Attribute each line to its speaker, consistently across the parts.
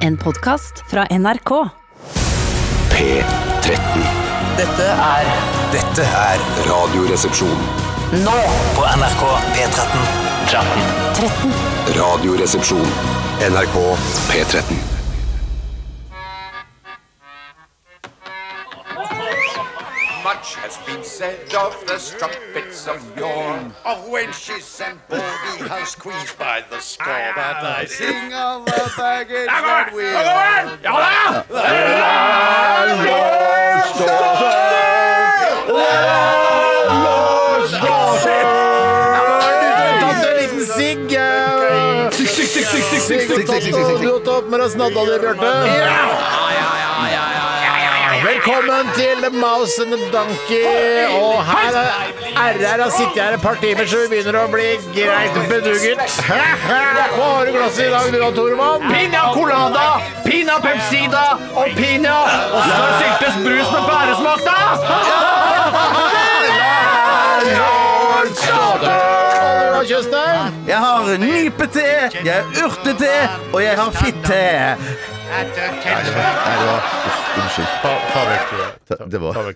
Speaker 1: En podkast fra NRK.
Speaker 2: P13.
Speaker 3: Dette er
Speaker 2: Dette er Radioresepsjon.
Speaker 3: nå på NRK P13.
Speaker 2: Radioresepsjon. NRK P13.
Speaker 4: Much has been said of the strumpets of yore, of wenches and baldy house queens by the score. But I sing of the baggage that we are.
Speaker 5: Nettopp med oss Nadal og Bjarte. Velkommen til The Mouse and the Donkey. Og her er RR har sittet her et par timer, så vi begynner å bli greit bedugget. Hva har du i glasset i dag, du da, Toremann?
Speaker 6: Pina colada, pina pepsida og pina Og så skal det syltes brus med bæresmak, da!
Speaker 5: Hva har du i Tjøstheim?
Speaker 7: Jeg har nypete, jeg har urtete, og jeg har fitte.
Speaker 5: Det var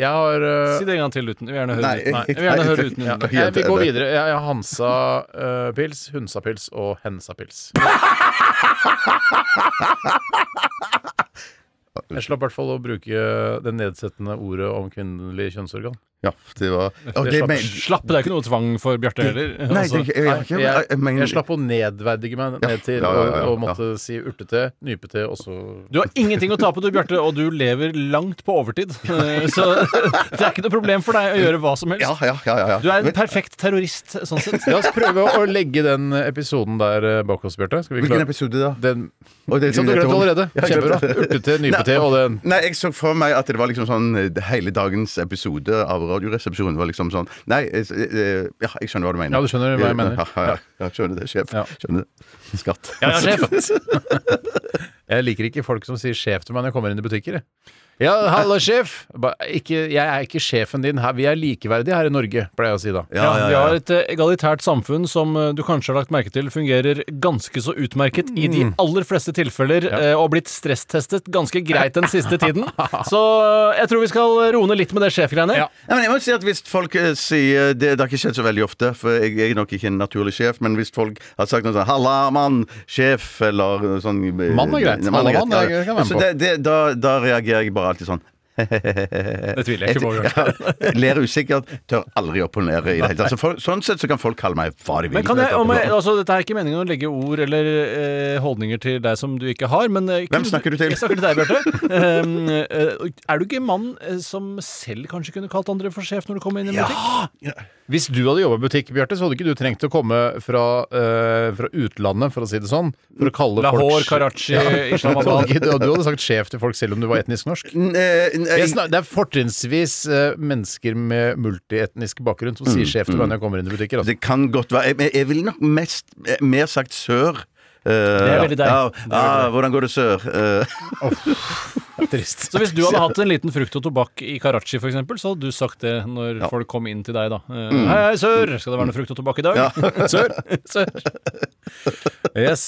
Speaker 5: Jeg har øh,
Speaker 6: Si det en gang til uten. Jeg vil gjerne høre
Speaker 7: Nei,
Speaker 6: uten. Nei, jeg vil
Speaker 7: nei,
Speaker 6: gjerne Eh, høre
Speaker 7: takk.
Speaker 6: uten.
Speaker 7: Ja.
Speaker 6: uten.
Speaker 5: jeg, Vi går videre. Jeg, jeg har Hansa-pils, Hunsa-pils og Hensa-pils. Jeg slapp i hvert fall å bruke det nedsettende ordet om kvinnelig kjønnsorgan.
Speaker 8: Ja, det var
Speaker 7: Og
Speaker 6: Jeg
Speaker 7: det
Speaker 6: slapp,
Speaker 7: men,
Speaker 6: slapp, det er ikke noe tvang for Bjarte heller.
Speaker 7: nei,
Speaker 6: Altså,
Speaker 7: det, jeg, jeg, jeg,
Speaker 5: Jeg,
Speaker 7: jeg, men,
Speaker 5: jeg slapp å nedverdige meg ned til
Speaker 8: ja, ja, ja, ja.
Speaker 5: å, å måtte si urtete, nypete og så
Speaker 6: du har ingenting å tape, du, Bjarte, og du lever langt på overtid. Eh, Så det er ikke noe problem for deg å gjøre hva som
Speaker 8: Ja,
Speaker 6: helst.
Speaker 8: ja, ja. ja, ja.
Speaker 6: Du er en
Speaker 8: Men-
Speaker 6: perfekt terrorist, sånn sett.
Speaker 5: La oss prøve å legge den episoden der eh, bak oss, Bjarte. Skal vi
Speaker 7: Hvilken
Speaker 5: klare
Speaker 7: episode da?
Speaker 5: den
Speaker 7: Å, det er
Speaker 5: som du glemte sånn allerede?
Speaker 7: Ja, jeg
Speaker 5: Kjempebra.
Speaker 7: glemte det.
Speaker 5: Urtete, nypete og den
Speaker 8: Nei, jeg så for meg at det var liksom sånn eh, Hele dagens episode av Radioresepsjonen var liksom sånn Nei, eh, eh, ja, jeg skjønner hva du mener.
Speaker 5: Ja, du skjønner hva jeg mener.
Speaker 8: Ja, ja, ja. ja skjønner det, sjef.
Speaker 5: Ja.
Speaker 8: Skjønner det. Skatt.
Speaker 6: Ja, ja, sjef.
Speaker 5: Jeg liker ikke folk som sier sjef til meg når jeg kommer inn i butikker. jeg. Ja, hallo, sjef! Ba- Ikke, jeg er ikke sjefen din her. Vi er likeverdige her i Norge, pleier jeg å si da.
Speaker 6: Ja, Vi har et eh, egalitært samfunn som eh, du kanskje har lagt merke til fungerer ganske så utmerket i de aller fleste tilfeller, eh, og blitt stresstestet ganske greit den siste tiden. Så eh, jeg tror vi skal roe ned litt med det sjefgreiene.
Speaker 5: Ja.
Speaker 8: Nei, men jeg må si at Hvis folk eh, sier Det det har ikke skjedd så veldig ofte, for jeg, jeg er nok ikke en naturlig sjef, men hvis folk har sagt noe sånn 'Halla, mann! Sjef!' eller noe sånn eh,
Speaker 5: Mann er greit.
Speaker 8: Mann
Speaker 5: Halla, mann er-
Speaker 8: ja.
Speaker 5: jeg kan være med
Speaker 8: Så
Speaker 5: på.
Speaker 8: det, det, da, da reagerer jeg bare alltid sånn.
Speaker 6: Det tviler jeg ikke på. Bjørn.
Speaker 8: Ja, ler usikkert, tør aldri opponere i det hele tatt. Så for- Sånn sett så kan folk kalle meg hva de vil.
Speaker 6: Men kan jeg, om jeg, altså, Dette er ikke meningen å legge ord eller eh, holdninger til deg som du ikke har, men eh,
Speaker 8: Hvem
Speaker 6: kunne-
Speaker 8: snakker du til?
Speaker 6: Jeg snakker til deg, Bjarte. Ehm, eh, er du ikke en mann eh, som selv kanskje kunne kalt andre for sjef når du kom inn i en butikk?
Speaker 5: Hvis du hadde jobba i butikk, Bjarte, så hadde ikke du trengt å komme fra, eh, fra utlandet, for å si det sånn, for å kalle
Speaker 6: Lahore,
Speaker 5: folk
Speaker 6: Karachi,
Speaker 5: Du hadde
Speaker 6: Islamabad.
Speaker 5: ikke- du hadde sagt sjef til folk selv om du var etnisk norsk.
Speaker 8: N- eh, n-
Speaker 5: Jeg
Speaker 8: jeg-
Speaker 5: snak- Det er fortrinnsvis eh, mennesker med multietnisk bakgrunn som sier sjef til meg når jeg kommer inn i butikker. Altså.
Speaker 8: Det kan godt være. Jeg, men jeg ville nok mest, eh, mer sagt sør. Eh,
Speaker 6: er veldig deg.
Speaker 8: ja,
Speaker 6: Det er veldig
Speaker 8: ja, hvordan går det sør? Eh,
Speaker 5: Trist.
Speaker 6: Så hvis du hadde hatt en liten frukt og tobakk i Karachi f.eks., så hadde du sagt det når folk kom inn til deg, da. Eh,
Speaker 8: Mm.
Speaker 6: Hei, hei, sør! Skal det være noe frukt og tobakk i dag? sør! sør.
Speaker 5: Yes.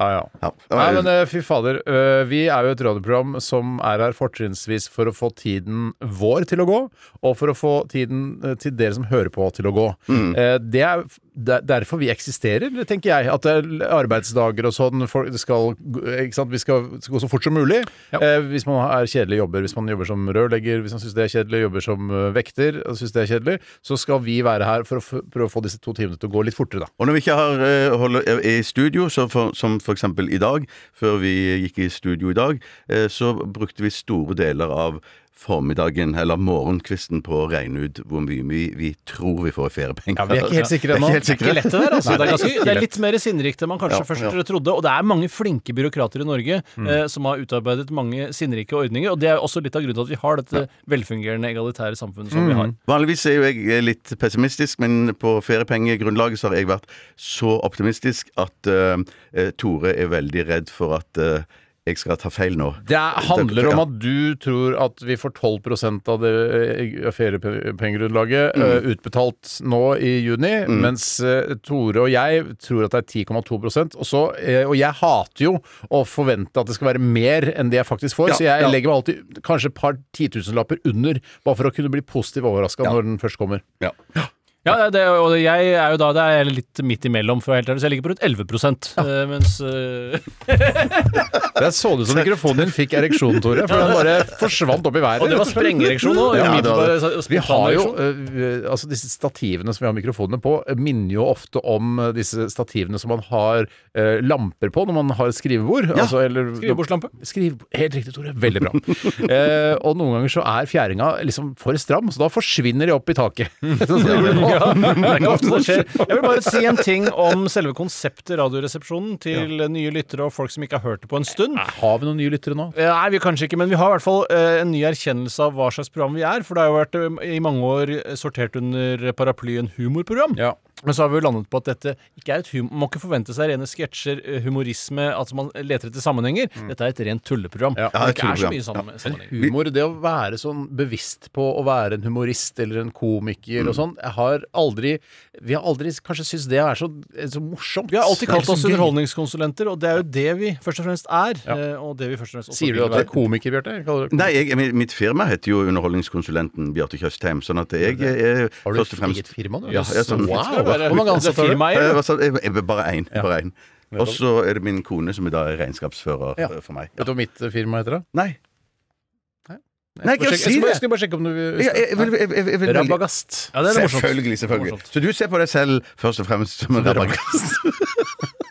Speaker 5: Ja, ja.
Speaker 8: ja.
Speaker 5: Nei, men eh, fy fader. eh, Vi er jo et radioprogram som er her fortrinnsvis for å få tiden vår til å gå, og for å få tiden eh, til dere som hører på, til å gå. Eh, Det er f- der- derfor vi eksisterer, tenker jeg. At det er l- arbeidsdager og sånn. folk skal, g- ikke sant? Vi skal, skal gå så fort som mulig. Eh, Hvis man er kjedelige jobber, hvis man jobber som rørlegger, hvis man syns det er kjedelig, jobber som eh, vekter og syns det er kjedelig, så skal vi være her for å f prøve å få disse to timene til å gå litt fortere, da.
Speaker 8: og når vi ikke har, eh, holder, er i studio, så for, som for eksempel i dag, før vi gikk i studio i dag, eh, så brukte vi store deler av formiddagen eller morgenkvisten på å regne ut hvor mye vi, vi tror vi får i feriepenger.
Speaker 5: Ja, vi er ikke helt sikre ennå.
Speaker 8: Vi er ikke helt
Speaker 6: Ikke
Speaker 8: sikre.
Speaker 6: lett det der, altså.
Speaker 5: Nei,
Speaker 6: Det er, ganske,
Speaker 5: ikke
Speaker 6: det er
Speaker 5: lett.
Speaker 6: litt mer sinnrikt enn man kanskje først trodde. Og det er mange flinke byråkrater i Norge
Speaker 5: Mm.
Speaker 6: eh, som har utarbeidet mange sinnrike ordninger, og det er også litt av grunnen til at vi har dette velfungerende egalitære
Speaker 5: Mm.
Speaker 6: samfunnet som vi har.
Speaker 8: Vanligvis er jo jeg eh, litt pessimistisk, men på feriepengegrunnlaget så har jeg vært så optimistisk at eh, eh, Tore er veldig redd for at eh, jeg skal ta feil nå.
Speaker 5: Det er, handler om
Speaker 8: Ja.
Speaker 5: at du tror at vi får 12 av det eh, feriepengegrunnlaget eh, utbetalt nå i juni, mens eh, Tore og jeg tror at det er 10,2 og, så, eh, og jeg hater jo å forvente at det skal være mer enn det jeg faktisk får,
Speaker 8: Ja,
Speaker 5: så jeg
Speaker 8: ja.
Speaker 5: legger meg alltid kanskje et par titusenlapper under, bare for å kunne bli positivt overraska når den først kommer.
Speaker 8: Ja.
Speaker 6: Ja, det, er det, og jeg er jo da det er litt midt imellom, for å være helt ærlig, så jeg ligger på rundt 11 eh, mens eh,
Speaker 5: Jeg så det ut som mikrofonen din fikk ereksjon, Tore, for den bare forsvant opp i været.
Speaker 6: Og det var
Speaker 5: rett og slett.
Speaker 6: sprengereksjon nå,
Speaker 5: Ja, det var det.
Speaker 6: umiddelbar-
Speaker 5: vi har jo eh, altså Disse stativene som vi har mikrofonene på, eh, minner jo ofte om eh, disse stativene som man har eh, lamper på når man har skrivebord. altså, eller,
Speaker 6: skrivebordslampe.
Speaker 5: Skriv, helt riktig, Tore. Veldig bra. Eh, og noen ganger så er fjæringa liksom for stram, så da forsvinner de opp i taket. Sånn som det gjorde nå.
Speaker 6: Ja, det er ikke ofte det skjer. Jeg vil bare si en ting om selve konseptet Radioresepsjonen til nye lyttere og folk som ikke har hørt det på en stund.
Speaker 5: Har vi noen nye lyttere nå?
Speaker 6: Eh, Nei, vi kanskje ikke, men vi har i hvert fall eh, en ny erkjennelse av hva slags program vi er. For det har jo vært eh, i mange år eh, sortert under paraplyen humorprogram.
Speaker 5: Ja.
Speaker 6: Men så har vi jo landet på at dette ikke er et hum man må ikke forvente seg rene sketsjer, eh, humorisme, at man leter etter sammenhenger. Dette er et rent tulleprogram.
Speaker 5: Mm. Ja,
Speaker 6: det ikke Sånn er så
Speaker 8: tulleprogram.
Speaker 6: mye sammen sammenhenger.
Speaker 5: Humor, det å være sånn bevisst på å være en humorist eller en komiker
Speaker 6: Mm.
Speaker 5: og sånn, jeg har aldri Vi har aldri kanskje syntes det er så, eh, så morsomt. liksom
Speaker 6: Vi har alltid kalt
Speaker 5: Eller
Speaker 6: oss
Speaker 5: så gøy.
Speaker 6: underholdningskonsulenter, og det er jo det vi først og fremst er. eh, Og det vi først og fremst også
Speaker 5: Sier du
Speaker 6: vil
Speaker 5: at du er
Speaker 6: være.
Speaker 5: komiker, Bjarte? Kaller du det-
Speaker 8: Nei, jeg, mi- mitt firma heter jo Underholdningskonsulenten Bjarte Tjøstheim, sånn at jeg er
Speaker 5: Har du
Speaker 8: først og
Speaker 5: et
Speaker 8: fremst
Speaker 5: eget firma, du?
Speaker 8: Ja, jeg er sånn-
Speaker 5: wow!
Speaker 6: Skal det være-
Speaker 5: Hvor mange
Speaker 6: altså,
Speaker 5: ansatte har du?
Speaker 6: firmaeier,
Speaker 8: Eh,
Speaker 6: da?
Speaker 8: hva sa- jeg- jeg- Bare én. Bare én. Og så er det min kone som i dag er regnskapsfører
Speaker 5: Ja.
Speaker 8: eh, for meg.
Speaker 5: Vet du hva mitt firma heter, da?
Speaker 8: Nei. Nei,
Speaker 5: Jeg
Speaker 8: ikke
Speaker 5: skal bare-
Speaker 8: si det.
Speaker 5: jeg skal bare sjekke om du
Speaker 8: Jeg, jeg, jeg, jeg, jeg, jeg vil veldig-
Speaker 5: Rabagast.
Speaker 6: Ja, det er morsomt.
Speaker 8: Selvfølgelig, selvfølgelig.
Speaker 6: morsomt.
Speaker 8: Så du ser på deg selv først og fremst som en rabagast.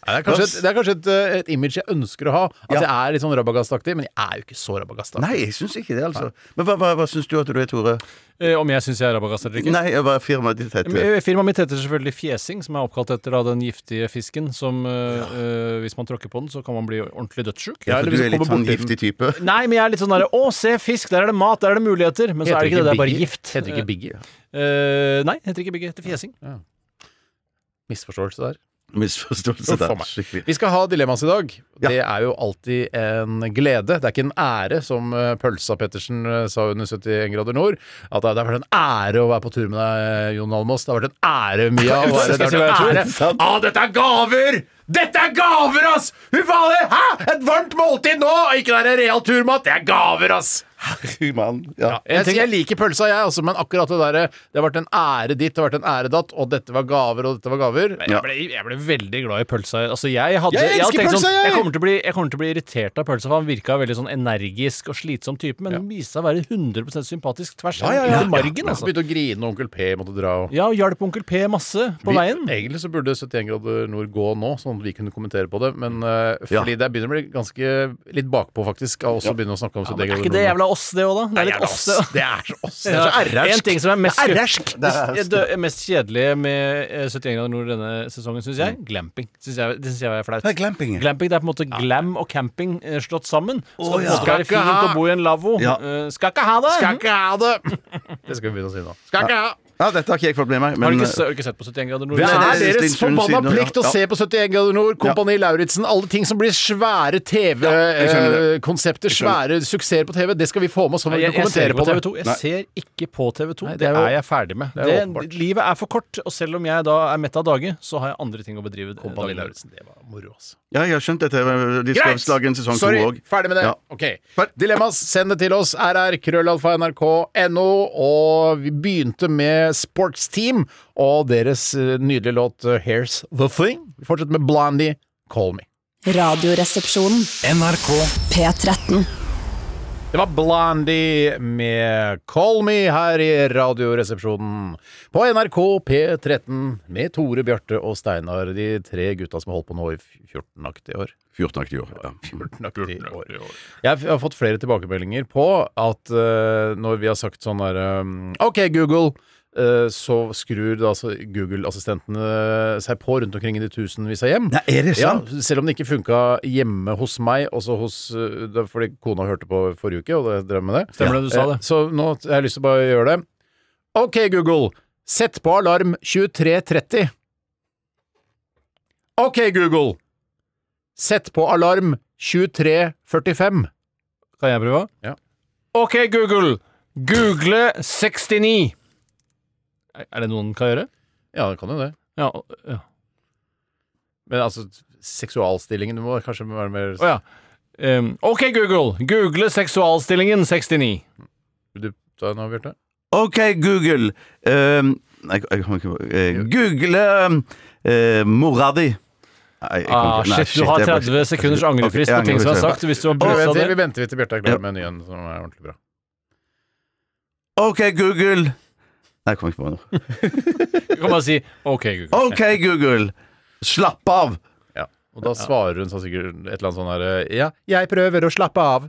Speaker 5: Nei, Det er kanskje, et, det er kanskje et, eh, et image jeg ønsker å ha. At
Speaker 8: Ja.
Speaker 5: jeg er litt sånn rabagast-aktig, men jeg er jo ikke så rabagast-aktig.
Speaker 8: Nei, jeg syns ikke det, altså. Men hva, hva, hva syns du at du er, Tore?
Speaker 6: Eh, Om jeg syns jeg er rabagast eller ikke?
Speaker 8: Nei, hva er firmaet ditt heter?
Speaker 6: Eh, Firmaet mitt heter selvfølgelig Fjesing, som er oppkalt etter da, den giftige fisken som eh, eh, Hvis man tråkker på den, så kan man bli ordentlig dødssjuk.
Speaker 8: Ja,
Speaker 5: eller
Speaker 8: for du
Speaker 5: hvis du
Speaker 8: er litt
Speaker 5: kommer
Speaker 8: sånn
Speaker 5: borti den.
Speaker 8: giftig type.
Speaker 6: Nei, men jeg er litt sånn derre Å, se fisk! Der er det mat, der er det muligheter. Men så er det ikke det, det er bare
Speaker 5: Biggie?
Speaker 6: gift.
Speaker 5: Heter ikke Biggie?
Speaker 6: Eh, nei, heter ikke Biggie. Heter Fjesing.
Speaker 5: Misforståelse der.
Speaker 8: Misforståelse
Speaker 5: Uff a
Speaker 8: der.
Speaker 5: meg.
Speaker 8: Skikkelig.
Speaker 5: Vi skal ha dilemmas i dag.
Speaker 8: Ja.
Speaker 5: Det er jo alltid en glede. Det er ikke en ære, som eh, Pølsa Pettersen eh, sa under 71 grader nord. At det det har vært en ære å være på tur med deg, eh, Jon Almaas. Det har vært en ære, Mia. Å være,
Speaker 6: Skal
Speaker 5: det
Speaker 6: jeg si
Speaker 5: har
Speaker 6: hva
Speaker 5: vært
Speaker 6: jeg
Speaker 5: en ære. Ja, dette er gaver! Dette er gaver, ass! Fy fader! Hæ? Et varmt måltid nå! Ikke det er real turmat, det er gaver, ass!
Speaker 8: Fy mann. Ja.
Speaker 5: Jeg, jeg liker pølsa, jeg, altså, men akkurat det derre Det har vært en ære ditt, det har vært en ære datt, og dette var gaver, og dette var gaver.
Speaker 6: Jeg ble, jeg ble veldig glad i pølsa. Altså, jeg hadde,
Speaker 5: Jeg
Speaker 6: hadde
Speaker 5: elsker
Speaker 6: tenkt
Speaker 5: pølsa,
Speaker 6: sånn,
Speaker 5: jeg!
Speaker 6: jeg, kommer til å bli, jeg kommer til å bli irritert av pølsa, for han virka veldig sånn energisk og slitsom type, men han viste seg å være 100 sympatisk tvers
Speaker 5: Ja, ja, ja.
Speaker 6: til margen. Altså.
Speaker 5: Begynte å grine, og onkel P måtte dra og
Speaker 6: Ja, og hjalp onkel P masse på
Speaker 5: Vi-
Speaker 6: veien.
Speaker 5: Egentlig så burde 71 grader nord gå nå, sånn at vi kunne kommentere på det. Men eh, fordi det begynner å bli ganske litt bakpå, faktisk, av oss å begynne å snakke om 71
Speaker 6: Ja, men er
Speaker 5: grader
Speaker 6: ikke det
Speaker 5: nord. nå.
Speaker 6: jævla oss, det òg, da? Det er litt oss, det også.
Speaker 5: Det er så oss. Det er så
Speaker 6: Ja,
Speaker 5: ærersk.
Speaker 6: en ting som er mest,
Speaker 5: Det er ærersk.
Speaker 6: Det, det mest kjedelige med eh, 71 grader nord denne sesongen,
Speaker 5: Mm.
Speaker 6: syns jeg, glamping. Synes jeg, det syns jeg er flaut.
Speaker 8: Det er glamping, ja.
Speaker 6: det er på en måte glam og camping eh, slått sammen. Skal på en
Speaker 8: ja.
Speaker 6: måte være
Speaker 5: Skal ikke
Speaker 6: fint
Speaker 5: ha-
Speaker 6: å bo i en lavvo.
Speaker 8: Ja.
Speaker 6: Eh, Skal ikke ha det!
Speaker 5: Skal ikke ha det! Det skal vi begynne å si nå. Skal ikke ha!
Speaker 8: ja, dette har ikke jeg fått med meg.
Speaker 6: Har du
Speaker 8: Men eh,
Speaker 6: ikke, se- har du ikke sett på 71 grader nord?
Speaker 5: Det
Speaker 8: Nei,
Speaker 5: eh, er
Speaker 8: det er
Speaker 5: deres
Speaker 8: litt stund
Speaker 5: forbanna
Speaker 8: siden, ja.
Speaker 5: plikt å
Speaker 8: Ja.
Speaker 5: se på 71 grader nord, Kompani Lauritzen, alle ting som blir svære
Speaker 8: jeg skjønner det.
Speaker 5: TV-konsepter,
Speaker 8: skjønner
Speaker 5: svære suksesser på TV, det skal vi få med oss, så
Speaker 6: Nei,
Speaker 5: vi
Speaker 6: Jeg,
Speaker 5: kan
Speaker 6: jeg ser
Speaker 5: kommentere
Speaker 6: ikke på
Speaker 5: på
Speaker 6: TV
Speaker 5: det.
Speaker 6: 2. Jeg ser ikke på TV 2.
Speaker 5: Nei,
Speaker 6: det,
Speaker 5: det er jo-
Speaker 6: er jeg ferdig med.
Speaker 5: det er jo
Speaker 6: Det-
Speaker 5: åpenbart.
Speaker 6: livet er for kort, og selv om jeg da er mett av dage, så har jeg andre ting å bedrive. eh,
Speaker 5: Kompani
Speaker 6: dagen.
Speaker 5: Lauritzen, det var moro, altså.
Speaker 8: ja, jeg har skjønt dette. De skal lage en sesong to
Speaker 5: Sorry,
Speaker 8: òg.
Speaker 5: ferdig med det.
Speaker 8: Ja.
Speaker 5: Ok. Dilemmas, send det til oss. rr.krøllalfa.nrk.no. Og vi begynte med Sportsteam og deres eh, nydelige låt eh, 'Here's The Thing'. Vi fortsetter med Blondie, 'Call Me'.
Speaker 1: Radioresepsjonen. NRK P13.
Speaker 5: Det var Blondie med 'Call Me' her i Radioresepsjonen på NRK P13 med Tore, Bjarte og Steinar, de tre gutta som har holdt på nå i 14-aktige år.
Speaker 8: 14-aktig år. Ja.
Speaker 5: 14 år. Jeg har fått flere tilbakemeldinger på at eh, når vi har sagt sånn der um, OK, Google, eh, så skrur da altså Google-assistentene seg på rundt omkring i de tusenvis av hjem.
Speaker 8: Nei, er det sant?
Speaker 5: Ja, selv om det ikke funka hjemme hos meg, også hos eh, det er Fordi kona hørte på forrige uke, og jeg drev med det.
Speaker 6: Stemmer det du sa
Speaker 5: Eh,
Speaker 6: det?
Speaker 5: Så nå jeg har jeg lyst til å bare gjøre det. OK, Google, sett på alarm 23.30. OK, Google, Sett på alarm 23.45.
Speaker 6: Kan jeg prøve?
Speaker 5: Ja.
Speaker 6: OK, Google. Google 69. Er- Er det noen kan gjøre?
Speaker 5: Ja, det kan jo det.
Speaker 6: Ja. Å ja.
Speaker 5: Men altså, seksualstillingen må kanskje være mer
Speaker 6: Å, ja. Ehm, OK, Google. Google seksualstillingen 69.
Speaker 5: Du ta en avgjørelse?
Speaker 8: OK, Google. Ehm, nei, jeg kommer ikke på eh, Google eh, mora di. Nei, jeg
Speaker 6: Ah,
Speaker 8: kommer ikke- nei,
Speaker 6: shit, du har
Speaker 8: jeg bare-
Speaker 6: 30 sekunders angrefrist
Speaker 8: Ok,
Speaker 6: på ting som er
Speaker 8: angrefrist, ja.
Speaker 6: sagt. Hvis du har
Speaker 5: Vi
Speaker 6: blussa
Speaker 5: venter,
Speaker 6: det.
Speaker 5: vi venter til Bjarte er klar med en ny en som er ordentlig bra.
Speaker 8: OK, Google. Nei, jeg kommer ikke på noe.
Speaker 6: Du kan bare si OK, Google.
Speaker 8: OK, Google. Slapp av.
Speaker 5: Ja. Og da svarer hun sånn sikkert et eller annet sånn her Ja, jeg prøver å slappe av.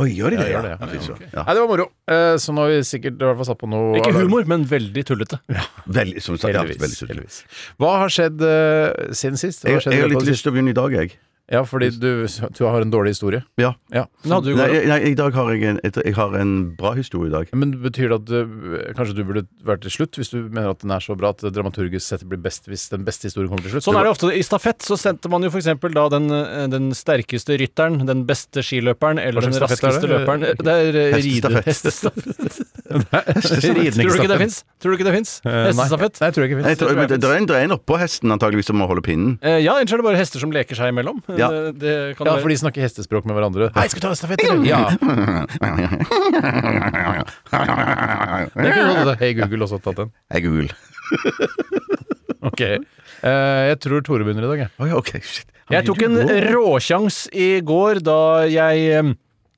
Speaker 8: Oi, gjør de det?
Speaker 5: Ja, gjør det, ja.
Speaker 8: Ja, fy søren. Ja.
Speaker 5: Nei, det var moro. Eh, Så nå har vi sikkert i hvert fall satt på noe
Speaker 6: Ikke
Speaker 5: alarm.
Speaker 6: humor, men veldig tullete.
Speaker 8: Veldig, som sagt, ja, veldig
Speaker 5: Heldigvis.
Speaker 8: søtt.
Speaker 5: heldigvis. Hva har skjedd eh, siden sist? Hva
Speaker 8: Jeg,
Speaker 5: skjedd i
Speaker 8: jeg har
Speaker 5: løpet av
Speaker 8: litt
Speaker 5: det
Speaker 8: lyst til å begynne i dag, jeg.
Speaker 5: siste? Ja, fordi du, du har en dårlig historie.
Speaker 8: Ja.
Speaker 5: Ja.
Speaker 6: Den hadde du i
Speaker 8: Nei,
Speaker 6: går.
Speaker 8: jeg- nei, i dag har jeg en, jeg tror jeg har en bra historie i dag.
Speaker 5: Men betyr det at du, kanskje du burde vært til slutt, hvis du mener at den er så bra at dramaturgisk sett blir best hvis den beste historien kommer til slutt?
Speaker 6: Sånn er det ofte. I stafett så sendte man jo f.eks. da den, eh, den sterkeste rytteren, den beste skiløperen eller
Speaker 5: Hva
Speaker 6: den
Speaker 5: slags stafett er
Speaker 6: raskeste
Speaker 5: det?
Speaker 6: løperen. Det er eh, ride...
Speaker 8: Hestestafett.
Speaker 6: Hestestafett.
Speaker 5: Ridningsstafett.
Speaker 6: Tror du ikke det fins? Tror du ikke det fins? Eh, Hestestafett?
Speaker 5: Nei, jeg tror jeg ikke
Speaker 8: Eh,
Speaker 5: det
Speaker 8: Nei, jeg tror, men
Speaker 5: fins.
Speaker 8: det, det er en, det er en oppå hesten antageligvis som må holde pinnen.
Speaker 6: Eh, Ja, ellers er det bare hester som leker seg imellom.
Speaker 8: Ja.
Speaker 6: Eh, Det kan
Speaker 5: Ja,
Speaker 6: være.
Speaker 5: for de snakker hestespråk med hverandre. Hei, skal vi ta en stafett, eller? Ja. Det er kult at Hey Google også har tatt den.
Speaker 8: Hei, Google.
Speaker 5: Ok. Eh, jeg tror Tore begynner i dag, jeg.
Speaker 8: Å ja, ok, shit. Han
Speaker 6: Jeg
Speaker 8: blir
Speaker 6: tok en eh,
Speaker 8: jo blå.
Speaker 6: råsjans i går da jeg eh,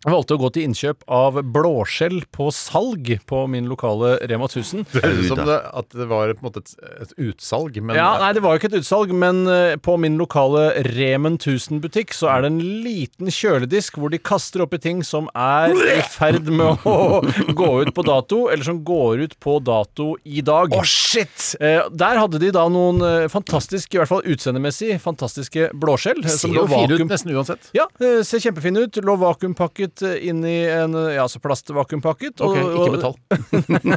Speaker 6: valgte å gå til innkjøp av blåskjell på salg på min lokale Rema 1000.
Speaker 5: Det høres ut som det, at det var på en måte et, et utsalg, men
Speaker 6: Ja, nei, det var jo ikke et utsalg, men eh, på min lokale Remen 1000-butikk så er det en liten kjøledisk hvor de kaster oppi ting som er i ferd med å gå ut på dato, eller som går ut på dato i dag. Å, shit! Der hadde de da noen eh, fantastiske, i hvert fall utseendemessig, fantastiske blåskjell. eh,
Speaker 5: ser
Speaker 6: som
Speaker 5: jo
Speaker 6: lå
Speaker 5: fine ut
Speaker 6: vakuum-
Speaker 5: nesten uansett.
Speaker 6: ja, eh, ser kjempefine ut. Lå vakuumpakket eh, inn i en eh, ja, så plastvakuumpakket. og-
Speaker 5: Ok, ikke
Speaker 6: og-
Speaker 5: metall.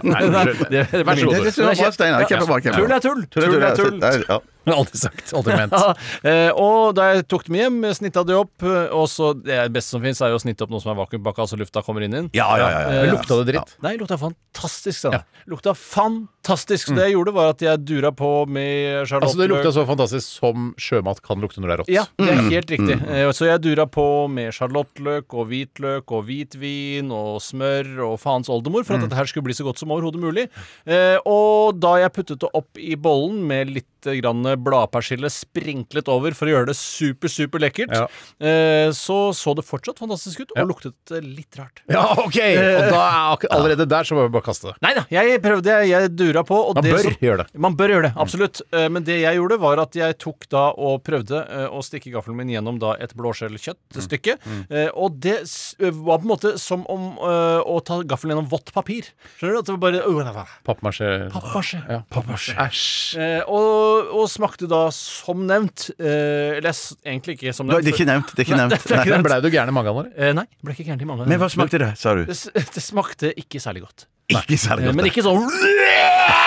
Speaker 6: Nei, nei, det, det,
Speaker 5: Vær så god.
Speaker 8: Det, det, det var bra, Steinar. Kjempebra. kjempebra.
Speaker 6: Tull er tull. Tull er tull.
Speaker 8: Nei, ja.
Speaker 5: Aldri sagt, aldri ment.
Speaker 6: Ja, eh, og da jeg tok dem hjem, snitta de opp. eh, Og så Det beste som fins, er jo å snitte opp noe som er vakuumpakka, så lufta kommer inn i den.
Speaker 8: Ja, ja, ja, ja,
Speaker 6: Eh,
Speaker 8: ja.
Speaker 5: Lukta det dritt?
Speaker 6: Nei, lukta fantastisk. Sånn. Lukta fantastisk. Så det jeg gjorde, var at jeg dura på med charlotte
Speaker 5: Mm. Altså, det lukta så fantastisk som sjømat kan lukte når det er rått.
Speaker 6: Ja, det er helt riktig.
Speaker 5: Mm.
Speaker 6: Eh, Så jeg dura på med sjalottløk og hvitløk og hvitvin og smør og faens oldemor for at
Speaker 5: Mm.
Speaker 6: dette her skulle bli så godt som overhodet mulig. Eh, Og da jeg puttet det opp i bollen med litt eh, grann bladpersille sprinklet over for å gjøre det super, super lekkert,
Speaker 5: Ja.
Speaker 6: eh, så så det fortsatt fantastisk ut og luktet eh, litt rart.
Speaker 5: Ja, ok! Og da er ak allerede der så må vi bare kaste det.
Speaker 6: Nei da, jeg prøvde, jeg, jeg dura på. Og
Speaker 5: Man
Speaker 6: det
Speaker 5: bør
Speaker 6: som-
Speaker 5: gjøre det.
Speaker 6: Man bør gjøre det, absolutt. Eh, Men det jeg gjorde, var at jeg tok da og prøvde eh, å stikke gaffelen min gjennom da et blåskjellkjøttstykke. Eh, Og det s- var på en måte som om eh, å ta gaffelen gjennom vått papir. Skjønner du? At det var bare
Speaker 5: Pappmasjé
Speaker 6: Pappasje.
Speaker 5: ja, pappmasjé. Æsj.
Speaker 6: Eh, og, og smakte da som nevnt eh, Eller s- egentlig ikke som
Speaker 8: Nei,
Speaker 6: nevnt.
Speaker 8: Det er ikke nevnt. Det er ikke nevnt. Nei.
Speaker 5: Men Blei du gæren i magen av det?
Speaker 6: Eh, Nei, ble ikke gæren i mange.
Speaker 8: Men hva smakte det, sa du?
Speaker 6: Det, s- det smakte ikke særlig godt.
Speaker 8: Ikke særlig
Speaker 6: Eh,
Speaker 8: godt.
Speaker 6: Men
Speaker 8: da.
Speaker 6: ikke sånn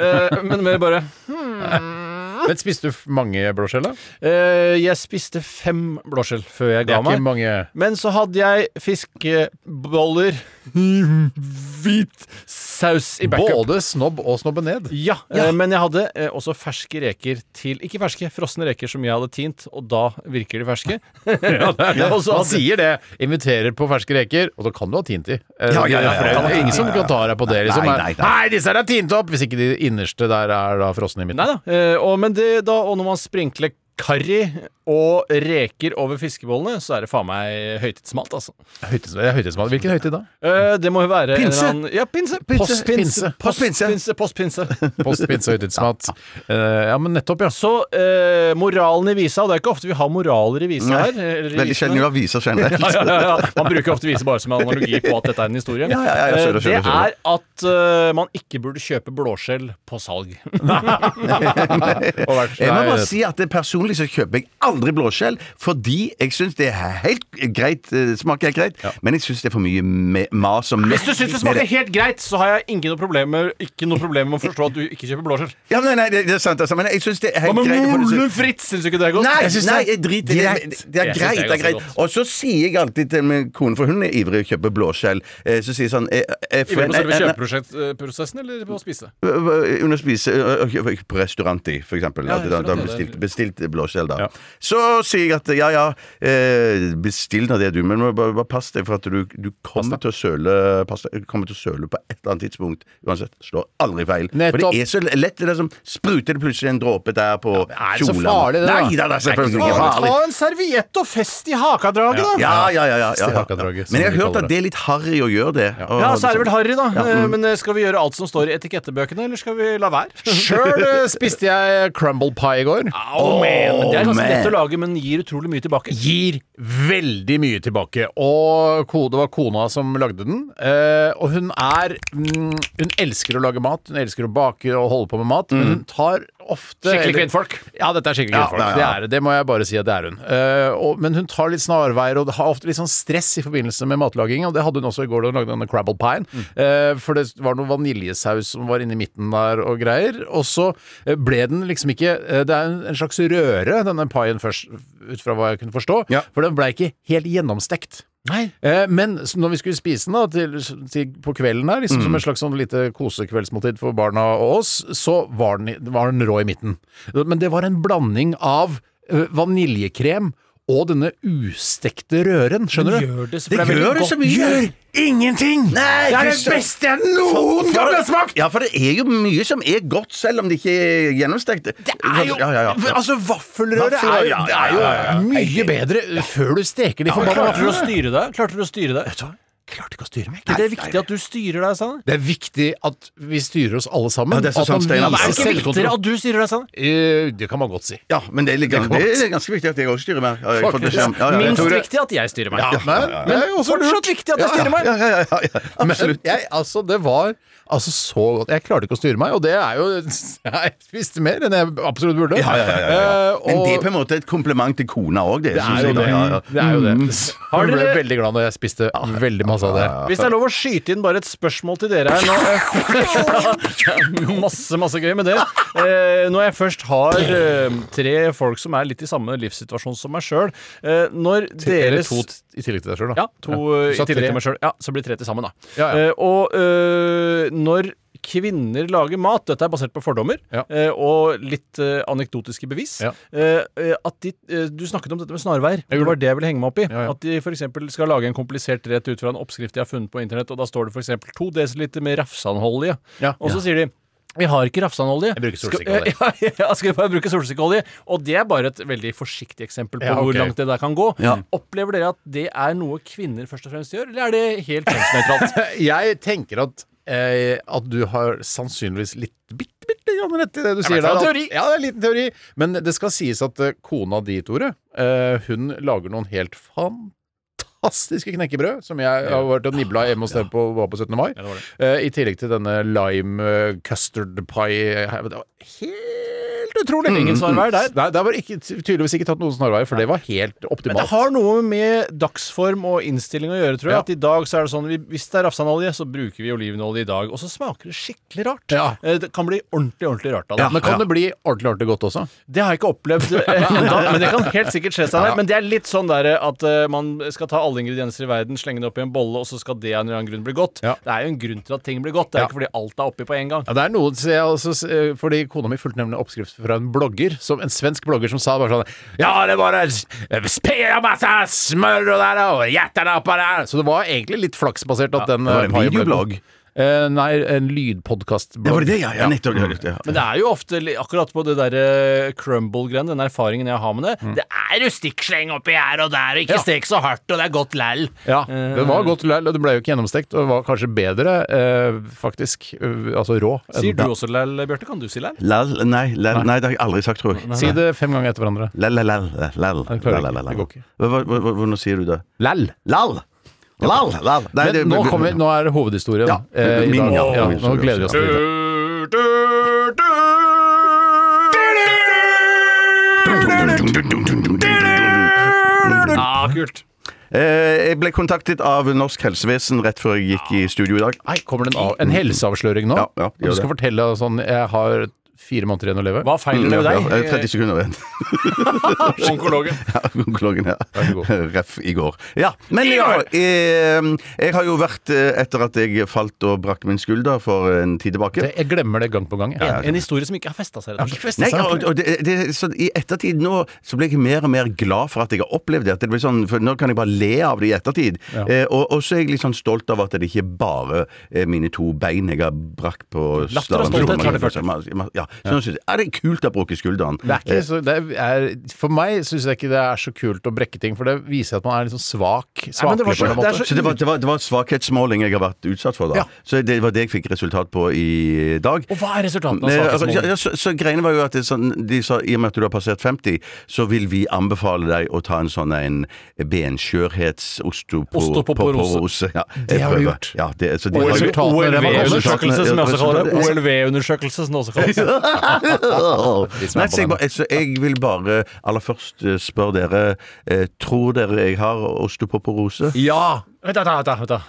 Speaker 6: Eh, Men mer bare
Speaker 5: Men spiste du f- mange blåskjell, da?
Speaker 6: Eh, jeg spiste fem blåskjell før jeg
Speaker 5: Det
Speaker 6: ga
Speaker 5: er ikke
Speaker 6: meg.
Speaker 5: mange.
Speaker 6: Men så hadde jeg fiskeboller Hvit saus i backup.
Speaker 5: Både snobb og snobbe ned.
Speaker 6: Ja, eh, men jeg hadde eh, også ferske reker til Ikke ferske, frosne reker som jeg hadde tint, og da virker de ferske. Og så
Speaker 5: Man
Speaker 6: hadde-
Speaker 5: altså, sier det. Inviterer på ferske reker, og da kan du ha tint i. Eh,
Speaker 8: Ja, ja, ja,
Speaker 5: for
Speaker 8: ja, ja,
Speaker 5: Det er ingen som kan ta deg på det. Liksom.
Speaker 8: Nei, nei, nei.
Speaker 5: Nei, disse her er tint opp! Hvis ikke de innerste der er da frosne i midten.
Speaker 6: Nei da. eh, Og, men det, da, og når man sprinkler karri og reker over fiskebollene, så er det faen meg høytidsmalt, altså.
Speaker 5: Høytids- det er høytidsmat. Hvilken høytid da?
Speaker 6: Eh, det må jo være en
Speaker 8: Pinse?
Speaker 6: eller annen- Ja, pinse. Postpinse.
Speaker 5: Pinse.
Speaker 6: Postpinse. Postpinse.
Speaker 5: Post, pinse og høytidsmat. Eh, ja, men nettopp, ja.
Speaker 6: Så eh, moralen i visa, og det er ikke ofte vi har moraler i visa
Speaker 8: Nei,
Speaker 6: her eller i
Speaker 8: Veldig
Speaker 6: visene.
Speaker 8: sjelden vi har viser generelt.
Speaker 6: ja, ja, ja. Man bruker ofte vise bare som en analogi på at dette er en historie.
Speaker 8: Ja, ja, ja, jeg skjønner,
Speaker 6: Eh, det
Speaker 8: skjønner, skjønner.
Speaker 6: er at eh, man ikke burde kjøpe blåskjell på salg.
Speaker 5: Og vært-
Speaker 8: Jeg må
Speaker 5: nei,
Speaker 8: bare si at det personlig så kjøper jeg aldri blåskjell, fordi jeg syns det er helt greit, eh, smaker helt greit, men jeg syns det er for mye me- mas og
Speaker 6: Hvis du syns det smaker helt greit, så har jeg ingen noe problemer ikke noe problem med å forstå at du ikke kjøper blåskjell.
Speaker 8: Ja, nei, nei, det det er sant, altså, men jeg syns det er
Speaker 6: Hva
Speaker 8: helt
Speaker 6: med
Speaker 8: greit. for det-
Speaker 6: Molen Fritz? Syns du ikke det er godt?
Speaker 8: Nei,
Speaker 6: Jeg synes
Speaker 8: nei,
Speaker 6: det er
Speaker 8: jeg driter i det.
Speaker 6: greit. Jeg
Speaker 8: Det det er
Speaker 6: synes
Speaker 8: greit.
Speaker 6: det er
Speaker 8: det er greit.
Speaker 6: ganske godt.
Speaker 8: Og så sier jeg alltid til min kone, for hun er ivrig og kjøper blåskjell, eh, så sier jeg sånn eh, eh, for-
Speaker 6: Ivrig på selve
Speaker 8: eh, eh,
Speaker 6: kjøpeprosessen eller på å spise?
Speaker 8: eh, Under spise eh, eh, På restaurant i, for eksempel.
Speaker 6: Ja,
Speaker 8: Da, da, da
Speaker 6: restaurant, ja,
Speaker 8: bestilt,
Speaker 6: det er-
Speaker 8: bestilt blåskjell, da.
Speaker 5: Ja.
Speaker 8: Så sier jeg at ja ja, eh, bestill nå det du, men må bare, bare pass deg, for at du, du kommer til å søle pass deg, kommer til å søle på et eller annet tidspunkt. Uansett. Slår aldri feil. For
Speaker 5: Nettopp.
Speaker 8: det er så lett. Det er som spruter det plutselig en dråpe der på
Speaker 5: er det så
Speaker 8: kjolen.
Speaker 5: farlig, det, da?
Speaker 8: Nei da, det er selvfølgelig ikke
Speaker 5: farlig.
Speaker 8: farlig.
Speaker 6: en serviett og fest i hakadraget, da!
Speaker 8: Ja, ja, ja. ja, ja, ja.
Speaker 5: Stekadraget, som
Speaker 8: Men jeg har
Speaker 5: de
Speaker 8: hørt
Speaker 5: kaller
Speaker 8: at det er litt harry å gjøre det. Og-
Speaker 6: Ja, så er det vel harry, da.
Speaker 8: Ja,
Speaker 6: Eh,
Speaker 8: mm.
Speaker 6: Men eh, skal vi gjøre alt som står i etikettebøkene, eller skal vi la være?
Speaker 5: Sjøl eh, spiste jeg crumble pie i går.
Speaker 6: Au, man. Men det er ganske
Speaker 8: man.
Speaker 6: lett å lage, men gir utrolig mye tilbake.
Speaker 5: Gir veldig mye tilbake. Og ko- det var kona som lagde den. Eh, og hun er mm, Hun elsker å lage mat, hun elsker å bake og holde på med mat,
Speaker 8: Mm.
Speaker 5: men hun tar ofte
Speaker 6: Skikkelig
Speaker 5: eller-
Speaker 6: kvinnfolk.
Speaker 5: Ja, dette er skikkelig
Speaker 8: Ja,
Speaker 5: kvinnfolk.
Speaker 8: nei, ja.
Speaker 5: Det, er, det. det må jeg bare si at det er hun. Eh, og, men hun tar litt snarveier og har ofte litt sånn stress i forbindelse med matlaging. Og det hadde hun også i går da hun lagde denne crabble pien. Eh, for det var noe vaniljesaus som var inni midten der og greier. Og så eh, ble den liksom ikke eh, Det er en, en slags røre, denne pien først, ut fra hva jeg kunne forstå.
Speaker 8: Ja.
Speaker 5: For den ble ikke helt gjennomstekt.
Speaker 6: Nei.
Speaker 5: Eh, men s- når vi skulle spise den da, til, til, på kvelden her, liksom, som et slags sånn lite kosekveldsmåltid for barna og oss, så var den, i- var den rå i midten. Men det var en blanding av eh, vaniljekrem og denne ustekte røren, skjønner du?
Speaker 6: Gjør det,
Speaker 8: Det gjør det så mye.
Speaker 5: ingenting!
Speaker 8: Nei, fy søren.
Speaker 5: beste jeg noen
Speaker 8: Ja, for det er jo mye som er godt, selv om det ikke er gjennomstekt. Det
Speaker 5: er jo,
Speaker 8: ja, ja, ja.
Speaker 5: Altså, vaffelrøre er,
Speaker 8: Vaffelrøre,
Speaker 5: jo-
Speaker 8: ja,
Speaker 5: det
Speaker 8: ja,
Speaker 5: er jo
Speaker 8: ja, ja, ja.
Speaker 5: mye bedre før du steker de forbanna
Speaker 6: Klarte du å
Speaker 5: vaflene.
Speaker 6: styre deg? Klarte du å styre deg?
Speaker 5: Klarte ikke å styre meg.
Speaker 6: Er det viktig at du styrer deg, Sanne?
Speaker 5: Det er viktig at vi styrer oss alle sammen.
Speaker 8: Ja, det er så
Speaker 5: at man
Speaker 8: sant,
Speaker 5: viser
Speaker 8: Steinar. Det er ikke
Speaker 5: selvkontroll.
Speaker 6: Viktigere at du styrer deg, Sanne?
Speaker 5: Eh, Det kan man godt si.
Speaker 8: Ja, men det er, litt-
Speaker 5: Det er
Speaker 8: det er ganske viktig at jeg også styrer meg. Ja, jeg har fått beskjed om- ja, ja, ja.
Speaker 6: Minst
Speaker 5: Tore.
Speaker 6: viktig at jeg styrer meg.
Speaker 5: Men
Speaker 6: Fortsatt viktig at jeg styrer meg.
Speaker 8: Ja, ja, ja, ja,
Speaker 5: Men
Speaker 8: absolutt.
Speaker 5: jeg, altså, det var altså så godt. Jeg klarte ikke å styre meg, og det er jo Jeg spiste mer enn jeg absolutt burde.
Speaker 8: Ja, ja, ja, ja, ja.
Speaker 5: Eh,
Speaker 8: Men det er
Speaker 5: og
Speaker 8: på en måte et kompliment til kona òg, det.
Speaker 5: det
Speaker 8: synes
Speaker 5: er jo
Speaker 8: jeg, da.
Speaker 5: det.
Speaker 8: Ja, ja.
Speaker 5: Det er jo det.
Speaker 6: Har
Speaker 5: Jeg ble
Speaker 6: dere-
Speaker 5: veldig glad når jeg spiste veldig masse av det.
Speaker 6: Hvis det er lov å skyte inn bare et spørsmål til dere her nå Masse, masse gøy med det. Eh, Når jeg først har eh, tre folk som er litt i samme livssituasjon som meg sjøl Når
Speaker 5: Eller
Speaker 6: deres
Speaker 5: to t- i tillegg til deg sjøl, da.
Speaker 6: Ja, to
Speaker 5: Ja.
Speaker 6: eh,
Speaker 5: Så
Speaker 6: i
Speaker 5: tre.
Speaker 6: tillegg til meg sjøl. Ja, så blir det tre til sammen, da.
Speaker 5: Ja, ja.
Speaker 6: Eh, og eh, når kvinner lager mat, dette er basert på fordommer
Speaker 5: Ja.
Speaker 6: eh, og litt eh, anekdotiske bevis
Speaker 5: Ja.
Speaker 6: eh, eh, at de, eh, Du snakket om dette med snarveier.
Speaker 5: Jeg gjorde
Speaker 6: Det var det jeg ville henge meg opp i.
Speaker 5: Ja, ja.
Speaker 6: At de f.eks. skal lage en komplisert rett ut fra en oppskrift de har funnet på internett, og da står det f.eks. 2 dl med rafsanolje.
Speaker 5: Ja.
Speaker 6: Og så sier de vi har ikke rafsanolje.
Speaker 5: Jeg bruker
Speaker 6: Skal-
Speaker 5: solsikkeolje.
Speaker 6: Ja, ja, ja, skal vi bare bruke solsikkeolje? Og det er bare et veldig forsiktig eksempel på
Speaker 5: Ja, ok.
Speaker 6: hvor langt det der kan gå.
Speaker 8: Ja.
Speaker 6: Opplever dere at det er noe kvinner først og fremst gjør, eller er det helt kjønnsnøytralt?
Speaker 5: Jeg tenker at eh, at du har sannsynligvis litt bitte, bitte grann rett i det du
Speaker 6: i
Speaker 5: sier
Speaker 6: hvert fall
Speaker 5: der.
Speaker 6: en
Speaker 5: at-
Speaker 6: teori.
Speaker 5: Ja, det er en liten teori. Men det skal sies at eh, kona di, Tore, eh, hun lager noen helt fantastiske knekkebrød, som jeg har vært og nibla hjemme hos dem på, var på 17. mai. Eh, I tillegg til denne lime eh, custard pie her. Det var helt utrolig! Mm,
Speaker 6: Ingen snarveier der.
Speaker 5: Nei, der var ikke, tydeligvis ikke tatt noen snarveier, for det var helt
Speaker 6: Men det
Speaker 5: optimalt.
Speaker 6: har noe med dagsform og innstilling å gjøre, tror jeg.
Speaker 5: Ja.
Speaker 6: At i dag så er det sånn vi- Hvis det er rafsanolje, så bruker vi olivenolje i dag. Og så smaker det skikkelig rart.
Speaker 5: Ja.
Speaker 6: Eh, Det kan bli ordentlig, ordentlig rart av det.
Speaker 5: Men kan det bli ordentlig, ordentlig godt også?
Speaker 6: Det har jeg ikke opplevd ennå, men det kan helt sikkert skje. Steinar. Men det er litt sånn der at eh, man skal ta alle ingredienser i verden, slenge det opp i en bolle, og så skal det av en eller annen grunn bli godt.
Speaker 5: Ja.
Speaker 6: Det er jo en grunn til at ting blir godt. Det er
Speaker 5: Ja.
Speaker 6: jo ikke fordi alt er oppi på en gang.
Speaker 5: Ja, det er noe, så jeg, altså, s- eh, fordi Kona mi fulgte nemlig oppskrift fra en blogger, som, en svensk blogger som sa bare sånn Ja, det var spir og masse smør og der, og hjertene oppå der Så det var egentlig litt flaksbasert at den
Speaker 8: det var en
Speaker 5: eh, paien ble
Speaker 8: videoblogg.
Speaker 5: god. Eh, nei, en lydpodkastblogg.
Speaker 8: Det var det, ja. ja. Nettopp. ja, ja.
Speaker 6: Men det er jo ofte li- akkurat på det derre crumble-greiene, den erfaringen jeg har med det. Det er jo stikksleng oppi her og der, og ikke
Speaker 5: Ja.
Speaker 6: stek så hardt, og det er godt Eh, læll.
Speaker 5: Ja, det var godt læll, og det ble jo ikke gjennomstekt, og det var kanskje bedre, eh, faktisk, eh, altså rå. enn-
Speaker 6: Sier du også læll, Bjarte? Kan du si læll?
Speaker 8: Lall, nei, lall, nei, det har jeg aldri sagt, tror jeg.
Speaker 5: Si det fem ganger etter hverandre.
Speaker 8: Lall, lall, lall, lall,
Speaker 5: det klarer jeg ikke.
Speaker 8: lall,
Speaker 5: Det
Speaker 8: lall.
Speaker 5: går ikke.
Speaker 8: Hva- hva- hva- hva- Hvordan sier du det?
Speaker 5: Læll.
Speaker 8: Lall! Lall, lall. Nei,
Speaker 5: Men
Speaker 8: det-
Speaker 5: nå, kommer vi, nå er det hovedhistorien.
Speaker 8: Ja,
Speaker 5: eh, i
Speaker 8: min-
Speaker 5: dag.
Speaker 8: ja,
Speaker 5: ja, nå
Speaker 8: hovedhistorien.
Speaker 5: gleder vi oss til det.
Speaker 8: Dun, dun, dun, dun, dun, dun, dun, dun, dun, dun, dun, dun.
Speaker 6: kult.
Speaker 8: Eh, Jeg ble kontaktet av Norsk helsevesen rett før jeg gikk i studio i dag.
Speaker 5: Nei, kommer det en, av, en helseavsløring nå?
Speaker 8: Ja, ja, gjør
Speaker 5: du skal
Speaker 8: det.
Speaker 5: fortelle sånn Jeg har fire måneder igjen å leve.
Speaker 6: Hva feiler det med
Speaker 8: Mm, Ja,
Speaker 6: deg?
Speaker 8: ja, 30 sekunder igjen.
Speaker 6: Onkologen.
Speaker 8: Ja, Onkologen, ja.
Speaker 5: Vær så god.
Speaker 8: Ref i går. Ja, men i hvert fall, eh, jeg har jo vært eh, Etter at jeg falt og brakk min skulder for en tid tilbake.
Speaker 5: Jeg glemmer det gang på gang. jeg.
Speaker 6: En, en historie som ikke har festa seg. rett og slett.
Speaker 8: Nei, og, og det, det, så I ettertid nå så blir jeg mer og mer glad for at jeg har opplevd det. At det blir sånn, for Nå kan jeg bare le av det i ettertid. Eh, og, og så er jeg litt sånn stolt av at det ikke bare er mine to bein jeg har brakk på
Speaker 6: Latter og
Speaker 8: staven.
Speaker 6: stolthet har det ført
Speaker 8: Ja, så nå synes jeg, er det kult å bruke skulderen.
Speaker 5: Det er ikke så, det er, for meg syns jeg ikke det er så kult å brekke ting, for det viser at man er litt sånn svak.
Speaker 6: men det var
Speaker 5: Svakere
Speaker 8: Eh,
Speaker 5: på en måte.
Speaker 6: så- det er så-
Speaker 8: Så det var, det, var, det var svakhetsmåling jeg har vært utsatt for da.
Speaker 5: Ja.
Speaker 8: Så det var det jeg fikk resultat på i dag.
Speaker 6: Og hva er resultatene
Speaker 8: Eh,
Speaker 6: av
Speaker 8: altså, ja,
Speaker 6: svakhetsmåling?
Speaker 8: ja, så, så greiene var jo at det, sånn, de sa i og med at du har passert 50, så vil vi anbefale deg å ta en sånn en benskjørhets-osteoporose. Ja,
Speaker 5: Det har du
Speaker 8: prøve.
Speaker 5: gjort.
Speaker 8: Ja, det, så de har jo-
Speaker 5: resultatene er det man
Speaker 8: altså,
Speaker 5: kaller
Speaker 8: sånn
Speaker 6: OLV-undersøkelse, som jeg også kaller det.
Speaker 8: Ja,
Speaker 6: OLV-undersøkelse,
Speaker 8: resultatene-
Speaker 6: som det også kalles.
Speaker 8: Nei, så jeg, bare- så jeg vil bare aller først eh, spørre dere eh, Tror dere jeg har osteoporose?
Speaker 6: Ja! Vent, da, da, da, vent da.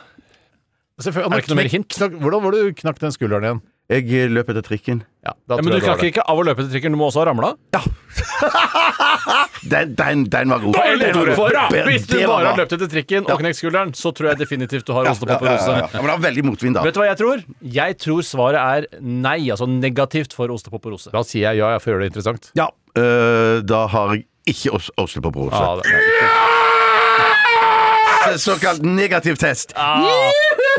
Speaker 5: Selvfølgelig,
Speaker 6: Er det ikke noe mer
Speaker 5: knekk-
Speaker 6: hint?
Speaker 5: knakk- hvordan var det du knakk den skulderen igjen?
Speaker 8: Jeg løp etter trikken.
Speaker 5: Ja, da
Speaker 6: Ja,
Speaker 5: tror
Speaker 6: men du
Speaker 5: jeg det var
Speaker 6: klakker
Speaker 5: det.
Speaker 6: ikke av å løpe til trikken, du må også ha ramla?
Speaker 8: Den, den, den var god.
Speaker 6: Eller,
Speaker 8: Den var god.
Speaker 6: Tore,
Speaker 8: Bedre-
Speaker 6: Hvis du
Speaker 8: det var
Speaker 6: bare har
Speaker 8: bra.
Speaker 6: løpt etter trikken og knekt skulderen, så tror jeg definitivt du har
Speaker 8: Ja, ja,
Speaker 6: ostepoporose.
Speaker 8: ja. Men det var veldig motvind, da.
Speaker 6: Vet du hva jeg tror? Jeg tror svaret er nei, altså negativt for ostepoporose.
Speaker 5: Da sier jeg ja, jeg får gjøre det interessant.
Speaker 8: Ja, øh, da har jeg ikke os- osteoporose.
Speaker 5: Ja, det,
Speaker 8: Så- Såkalt negativ test.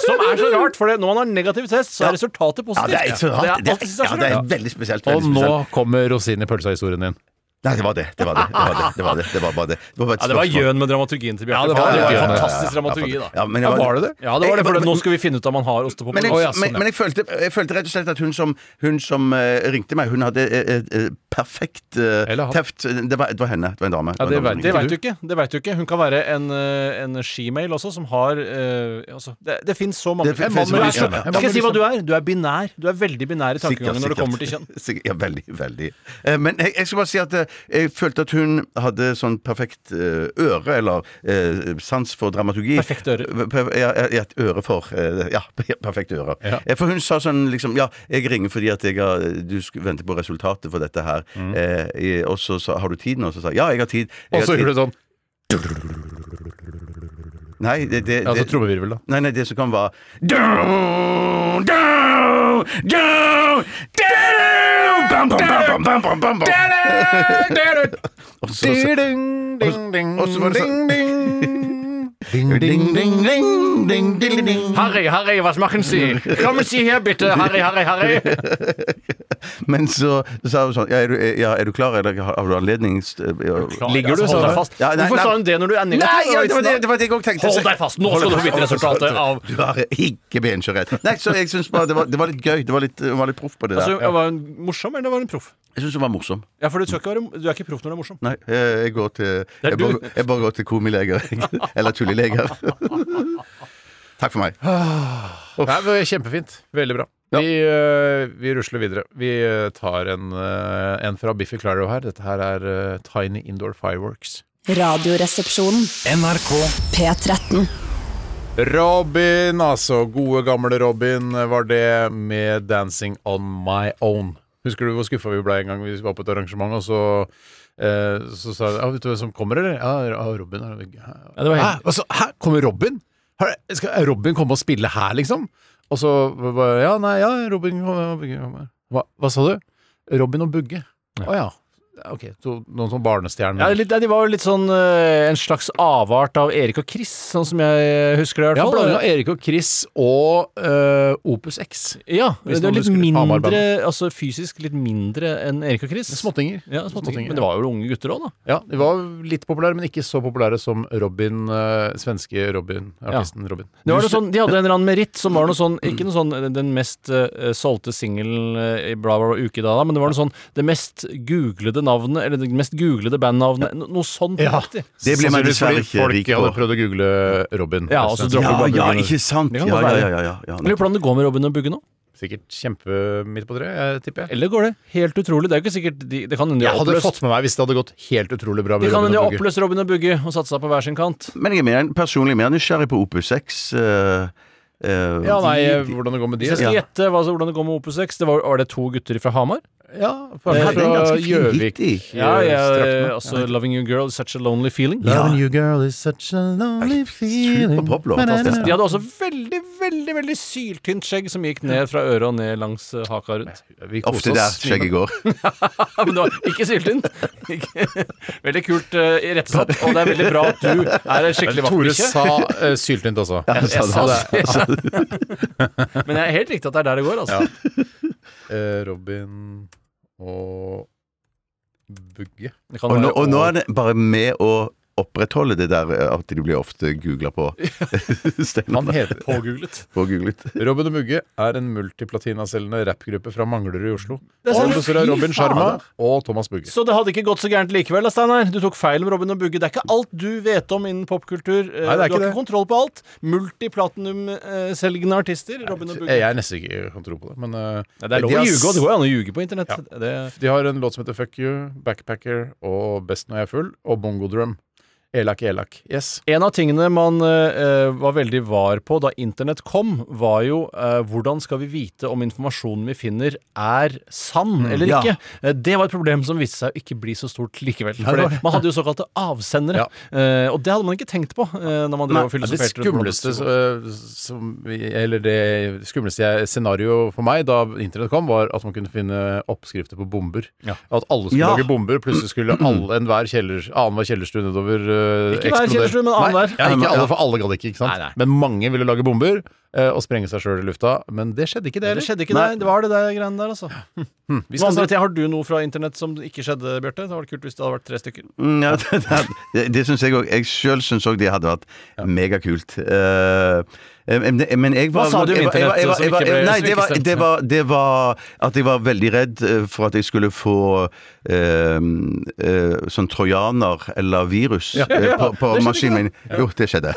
Speaker 6: Som er så rart, for det- når man har negativ test, så
Speaker 8: Ja.
Speaker 6: er resultatet
Speaker 8: Ja,
Speaker 6: positivt.
Speaker 8: det er så
Speaker 6: Det
Speaker 8: rart.
Speaker 6: er
Speaker 8: Det er,
Speaker 6: alltid så
Speaker 8: ja, det er
Speaker 6: rart.
Speaker 8: veldig spesielt.
Speaker 5: og
Speaker 8: Veldig
Speaker 5: nå
Speaker 8: spesielt.
Speaker 5: kommer rosinen i pølsa-historien din.
Speaker 8: Nei, det var det. Det var det. Det var det. Det var det. Det var bare det. Det var bare et
Speaker 6: Ja, det var
Speaker 8: spørsmål.
Speaker 6: gjøn med dramaturgien til
Speaker 5: Ja,
Speaker 6: Bjarte.
Speaker 5: det
Speaker 6: for
Speaker 5: var gjøn,
Speaker 6: det
Speaker 5: ja, ja,
Speaker 6: var
Speaker 5: ja.
Speaker 6: fantastisk dramaturgi,
Speaker 8: Ja,
Speaker 6: da.
Speaker 8: men jeg
Speaker 5: Ja, var det det?
Speaker 6: Ja, det var det, for
Speaker 8: Jeg-
Speaker 6: nå skal vi finne ut om han har ostepoporose.
Speaker 8: Men jeg,
Speaker 5: Å, ja, sånn,
Speaker 8: men,
Speaker 5: ja.
Speaker 8: men jeg, følte, jeg følte rett og slett at hun som, hun som eh, ringte meg, hun hadde eh, eh, perfekt eh,
Speaker 5: Eller han.
Speaker 8: teft det var, det var henne. Det var en dame.
Speaker 5: Ja,
Speaker 8: var en
Speaker 5: det
Speaker 8: dame
Speaker 5: vet-
Speaker 8: som
Speaker 6: Det
Speaker 8: ringte.
Speaker 6: veit du ikke. det vet du ikke Hun kan være en, eh, en shemale også, som har eh, altså, Det, det fins så mange
Speaker 8: Det fin-
Speaker 6: En mann
Speaker 8: finnes
Speaker 6: med
Speaker 8: mange,
Speaker 6: lyst-
Speaker 8: ja, ja.
Speaker 6: Skal jeg si hva du er? Du er binær. Du er veldig binær i
Speaker 8: Sikkert,
Speaker 6: tankegangen når det
Speaker 8: sikkert.
Speaker 6: kommer til kjønn.
Speaker 8: Sikkert, ja, veldig, veldig. Eh, Men jeg, jeg skal bare si at eh, jeg følte at hun hadde sånn perfekt eh, øre, eller eh, sans for dramaturgi.
Speaker 6: Perfekt øre.
Speaker 8: Per- Ja, ja, ja, et øre for eh, Ja, perfekt øre.
Speaker 5: Ja.
Speaker 8: Eh, For hun sa sånn liksom Ja, jeg ringer fordi at jeg har Du sk- venter på resultatet for dette her.
Speaker 6: Mm.
Speaker 8: Eh, i- og så sa Har du tid nå? Så sa jeg ja, jeg har tid.
Speaker 5: Og
Speaker 8: Jeg har
Speaker 5: så
Speaker 8: tid.
Speaker 5: gjorde du sånn.
Speaker 8: Nei, det, det,
Speaker 5: Ja, så
Speaker 8: det-
Speaker 5: trommevirvel, da.
Speaker 8: Nei, nei, det som kan være Down, down, down, down, bam, bam, bam, bam, bam, bam, bam. Eh, Og så- så-
Speaker 5: Ding, ding, ding,
Speaker 8: og så var det sånn-
Speaker 5: ding, ding.
Speaker 8: Ding, ding, ding, ding, ding, ding.
Speaker 6: Harry, Harry, hva smaken sier? Kom si her, bitte, Harry, Harry, Harry.
Speaker 8: Men så sa hun sånn ja, er, du, ja, er du klar, eller har har du anledning? eh,
Speaker 5: Ligger du,
Speaker 6: altså, hold
Speaker 5: sa
Speaker 6: deg
Speaker 5: du?
Speaker 6: fast.
Speaker 8: Ja, nei,
Speaker 6: Hvorfor
Speaker 8: nei.
Speaker 6: sa hun det når du er negativ?
Speaker 8: Nei, ja, det var det, det, var det jeg òg tenkte.
Speaker 6: Hold deg fast, nå skal du få vite resultatet av-
Speaker 8: Du har ikke benkjørhet. Nei, så jeg syns bare det var, det var litt gøy. Det var litt, hun var litt proff på det
Speaker 6: Altså,
Speaker 8: der.
Speaker 6: Var hun morsom, eller var hun proff?
Speaker 8: Jeg syns hun var morsom.
Speaker 6: Ja, for du, skal ikke være, du er ikke proff når du er morsom.
Speaker 8: Nei, jeg jeg går til
Speaker 6: er
Speaker 8: Jeg bare,
Speaker 6: du.
Speaker 8: jeg bare går til komileger. Eller tullileger. Takk for meg.
Speaker 5: Nei, det var kjempefint. Veldig bra. Vi, øh, vi rusler videre. Vi øh, tar en, øh, en fra Biffy Claro her. Dette her er øh, Tiny Indoor Fireworks.
Speaker 1: Radioresepsjonen. NRK P13.
Speaker 5: Robin, altså. Gode, gamle Robin var det med 'Dancing On My Own'. Husker du hvor skuffa vi ble en gang vi var på et arrangement, og så eh, så sa jeg ja, 'Vet du hvem som kommer, eller?' Ja, ja, Robin. er det-
Speaker 6: det var
Speaker 5: Hæ?
Speaker 6: helt-
Speaker 5: Altså, hæ? Kommer Robin? Har- Skal Robin komme og spille her, liksom? Og så bare Ja, nei, ja, Robin kommer. Bugge kommer». Hva, hva sa du? Robin og Bugge. Å ja. Ok, to, noen sånne barnestjerner.
Speaker 6: Ja, litt, De var jo litt sånn eh, en slags avart av Erik og Chris, sånn som jeg husker det. i
Speaker 5: Ja,
Speaker 6: hvert fall.
Speaker 5: blanding av Erik og Chris og eh, Opus X.
Speaker 6: Ja,
Speaker 5: Hvis
Speaker 6: det er
Speaker 5: noen
Speaker 6: litt
Speaker 5: husker det.
Speaker 6: mindre,
Speaker 5: Hamar-bandet.
Speaker 6: altså fysisk litt mindre enn Erik og Chris.
Speaker 5: Småttinger.
Speaker 6: Ja, småttinger.
Speaker 5: Småttinger,
Speaker 6: Men det var jo unge gutter òg, da.
Speaker 5: Ja, de var litt populære, men ikke så populære som Robin, eh, svenske Robin, artisten Robin.
Speaker 6: Det var noe sånn, de hadde en eller annen meritt som var noe sånn Ikke noe sånn den mest eh, solgte singelen eh, i bla, bla, bla uke da, da, men det var noe sånn det mest googlede navnet, eller det mest googlede bandnavnet, no, noe sånt
Speaker 5: Ja.
Speaker 6: aktig.
Speaker 8: Det blir man
Speaker 5: Sannsynligvis
Speaker 8: dessverre
Speaker 5: fordi
Speaker 8: ikke rik
Speaker 5: Folk hadde
Speaker 8: på.
Speaker 5: prøvd å google eh, Robin.
Speaker 6: Ja, og så dropper
Speaker 5: Ja,
Speaker 6: du bare
Speaker 5: ja,
Speaker 6: Bugge.
Speaker 8: sant?
Speaker 6: Det kan godt være.
Speaker 8: ja, ja,
Speaker 6: Jeg lurer på hvordan det går med Robin og Bugge nå.
Speaker 5: Sikkert kjempe midt på treet, jeg tipper jeg.
Speaker 6: Eller går det helt utrolig? Det er jo ikke sikkert de, Det kan hende de
Speaker 5: Jeg
Speaker 6: har
Speaker 5: hadde
Speaker 6: oppløst
Speaker 5: fått med meg hvis det hadde gått helt utrolig bra. med
Speaker 6: De kan
Speaker 5: Robin
Speaker 6: hende de har
Speaker 5: og Bugge.
Speaker 6: oppløst Robin og Bugge og satsa på hver sin kant.
Speaker 8: Men jeg er mer, personlig mer nysgjerrig på Opus 6. eh, eh,
Speaker 5: Ja, nei,
Speaker 8: de- de-
Speaker 5: hvordan det går med de?
Speaker 6: Hvis jeg skal
Speaker 8: Ja.
Speaker 6: gjette hva, hvordan det går med Opus 6 det var, var det to gutter fra Hamar?
Speaker 5: Ja, for
Speaker 6: Ja,
Speaker 5: fra
Speaker 6: det er
Speaker 8: en ganske fin hit, de.
Speaker 5: Gjøvik.
Speaker 6: Ja,
Speaker 5: eh,
Speaker 6: jeg,
Speaker 5: straffene.
Speaker 6: altså 'Loving You Girl Is Such a Lonely Feeling'.
Speaker 5: Loving you girl is such a lonely feeling.
Speaker 8: poplåt,
Speaker 5: Men-
Speaker 8: altså.
Speaker 6: De hadde også veldig, veldig veldig syltynt skjegg som gikk ned fra øret og ned langs eh, haka rundt.
Speaker 5: Vi koser
Speaker 8: Ofte
Speaker 5: oss.
Speaker 8: der skjegget går.
Speaker 6: Ja, men det var ikke syltynt. Ikke- Veldig kult eh, irettesatt, og det er veldig bra at du er en skikkelig
Speaker 5: Tore
Speaker 6: vaktbikkje.
Speaker 5: sa eh, syltynt også.
Speaker 8: Ja, Altså, sa
Speaker 6: Jeg sa
Speaker 5: altså.
Speaker 8: det.
Speaker 6: Men det er helt riktig at det er der det går, altså.
Speaker 5: Eh, Robin og Bugge.
Speaker 6: Det kan
Speaker 8: Og nå,
Speaker 6: være-
Speaker 8: og nå er det bare med å opprettholde det der eh, at de blir ofte googla på.
Speaker 5: Han
Speaker 8: Steinar
Speaker 5: heter
Speaker 6: pågooglet.
Speaker 8: på googlet.
Speaker 5: Robin og Mugge er en multiplatinaselgende rappgruppe fra Manglerud i Oslo.
Speaker 6: er sant.
Speaker 5: Som består av Robin
Speaker 6: Fy
Speaker 5: Sharma
Speaker 6: fader.
Speaker 5: og Thomas Bugge.
Speaker 6: Så det hadde ikke gått så gærent likevel, da, Steinar. Du tok feil om Robin og Bugge. Det er ikke alt du vet om innen popkultur. Eh,
Speaker 5: Nei, det er
Speaker 6: du har
Speaker 5: ikke
Speaker 6: ikke
Speaker 5: det.
Speaker 6: kontroll på alt. Multiplatinum-selgende artister, Robin og Bugge.
Speaker 5: Jeg er nesten ikke kan tro på det, men eh,
Speaker 6: Nei, det er lov
Speaker 5: de
Speaker 6: å
Speaker 5: har
Speaker 6: ljuge, og
Speaker 5: s-
Speaker 6: det går jo an å ljuge på internett. Det,
Speaker 5: De har en låt som heter Fuck You, Backpacker og Best når jeg er full, og Bongo Drum. Elak, elak. Yes.
Speaker 6: en av tingene man eh, var veldig var på da internett kom, var jo eh, hvordan skal vi vite om informasjonen vi finner er sann
Speaker 5: Mm,
Speaker 6: eller
Speaker 8: ja.
Speaker 6: ikke. Eh, det var et problem som viste seg å ikke bli så stort likevel. Fordi man hadde jo såkalte avsendere, eh, og det hadde man ikke tenkt på eh, når man drev og
Speaker 5: Ja, det
Speaker 6: filosoferte. rundt hvordan det
Speaker 5: skumleste,
Speaker 6: skulle gå.
Speaker 5: eh, som, vi- eller det skumleste jeg- scenario for meg da internett kom, var at man kunne finne oppskrifter på bomber.
Speaker 6: Ja.
Speaker 5: At alle skulle
Speaker 8: Ja.
Speaker 5: lage bomber. Plutselig skulle alle, enhver kjeller, annenhver kjellerstue nedover eh,
Speaker 6: Ikke hver kjellerstue, men
Speaker 5: Nei,
Speaker 6: annenhver.
Speaker 5: Ja, ikke
Speaker 6: Ja.
Speaker 5: alle, for alle gadd ikke, ikke sant?
Speaker 6: Nei, nei.
Speaker 5: Men mange ville lage bomber eh, og sprenge seg sjøl i lufta. Men det skjedde ikke, det
Speaker 6: Det
Speaker 5: heller.
Speaker 6: skjedde ikke, det. Det var det der greiene der, altså.
Speaker 5: Hm, Vi
Speaker 6: Hva
Speaker 5: skal
Speaker 6: andre
Speaker 5: snakke-
Speaker 6: ting, har du noe fra internett som ikke skjedde, Bjarte? Det hadde vært kult hvis det hadde vært tre stykker.
Speaker 8: Mm, Ja, det, det, det syns jeg òg. Jeg sjøl syns òg det hadde vært megakult. Eh, men, men jeg var
Speaker 6: Hva sa du om
Speaker 8: jeg var- jeg var- jeg var- jeg var-
Speaker 6: internett som ikke ble-
Speaker 8: Nei,
Speaker 6: som
Speaker 8: det
Speaker 6: ikke
Speaker 8: var,
Speaker 6: stemte?
Speaker 8: det, var, det var at jeg var veldig redd eh, for at jeg skulle få eh, eh, sånn trojaner eller virus eh, på, på maskinen min. Jo, det skjedde.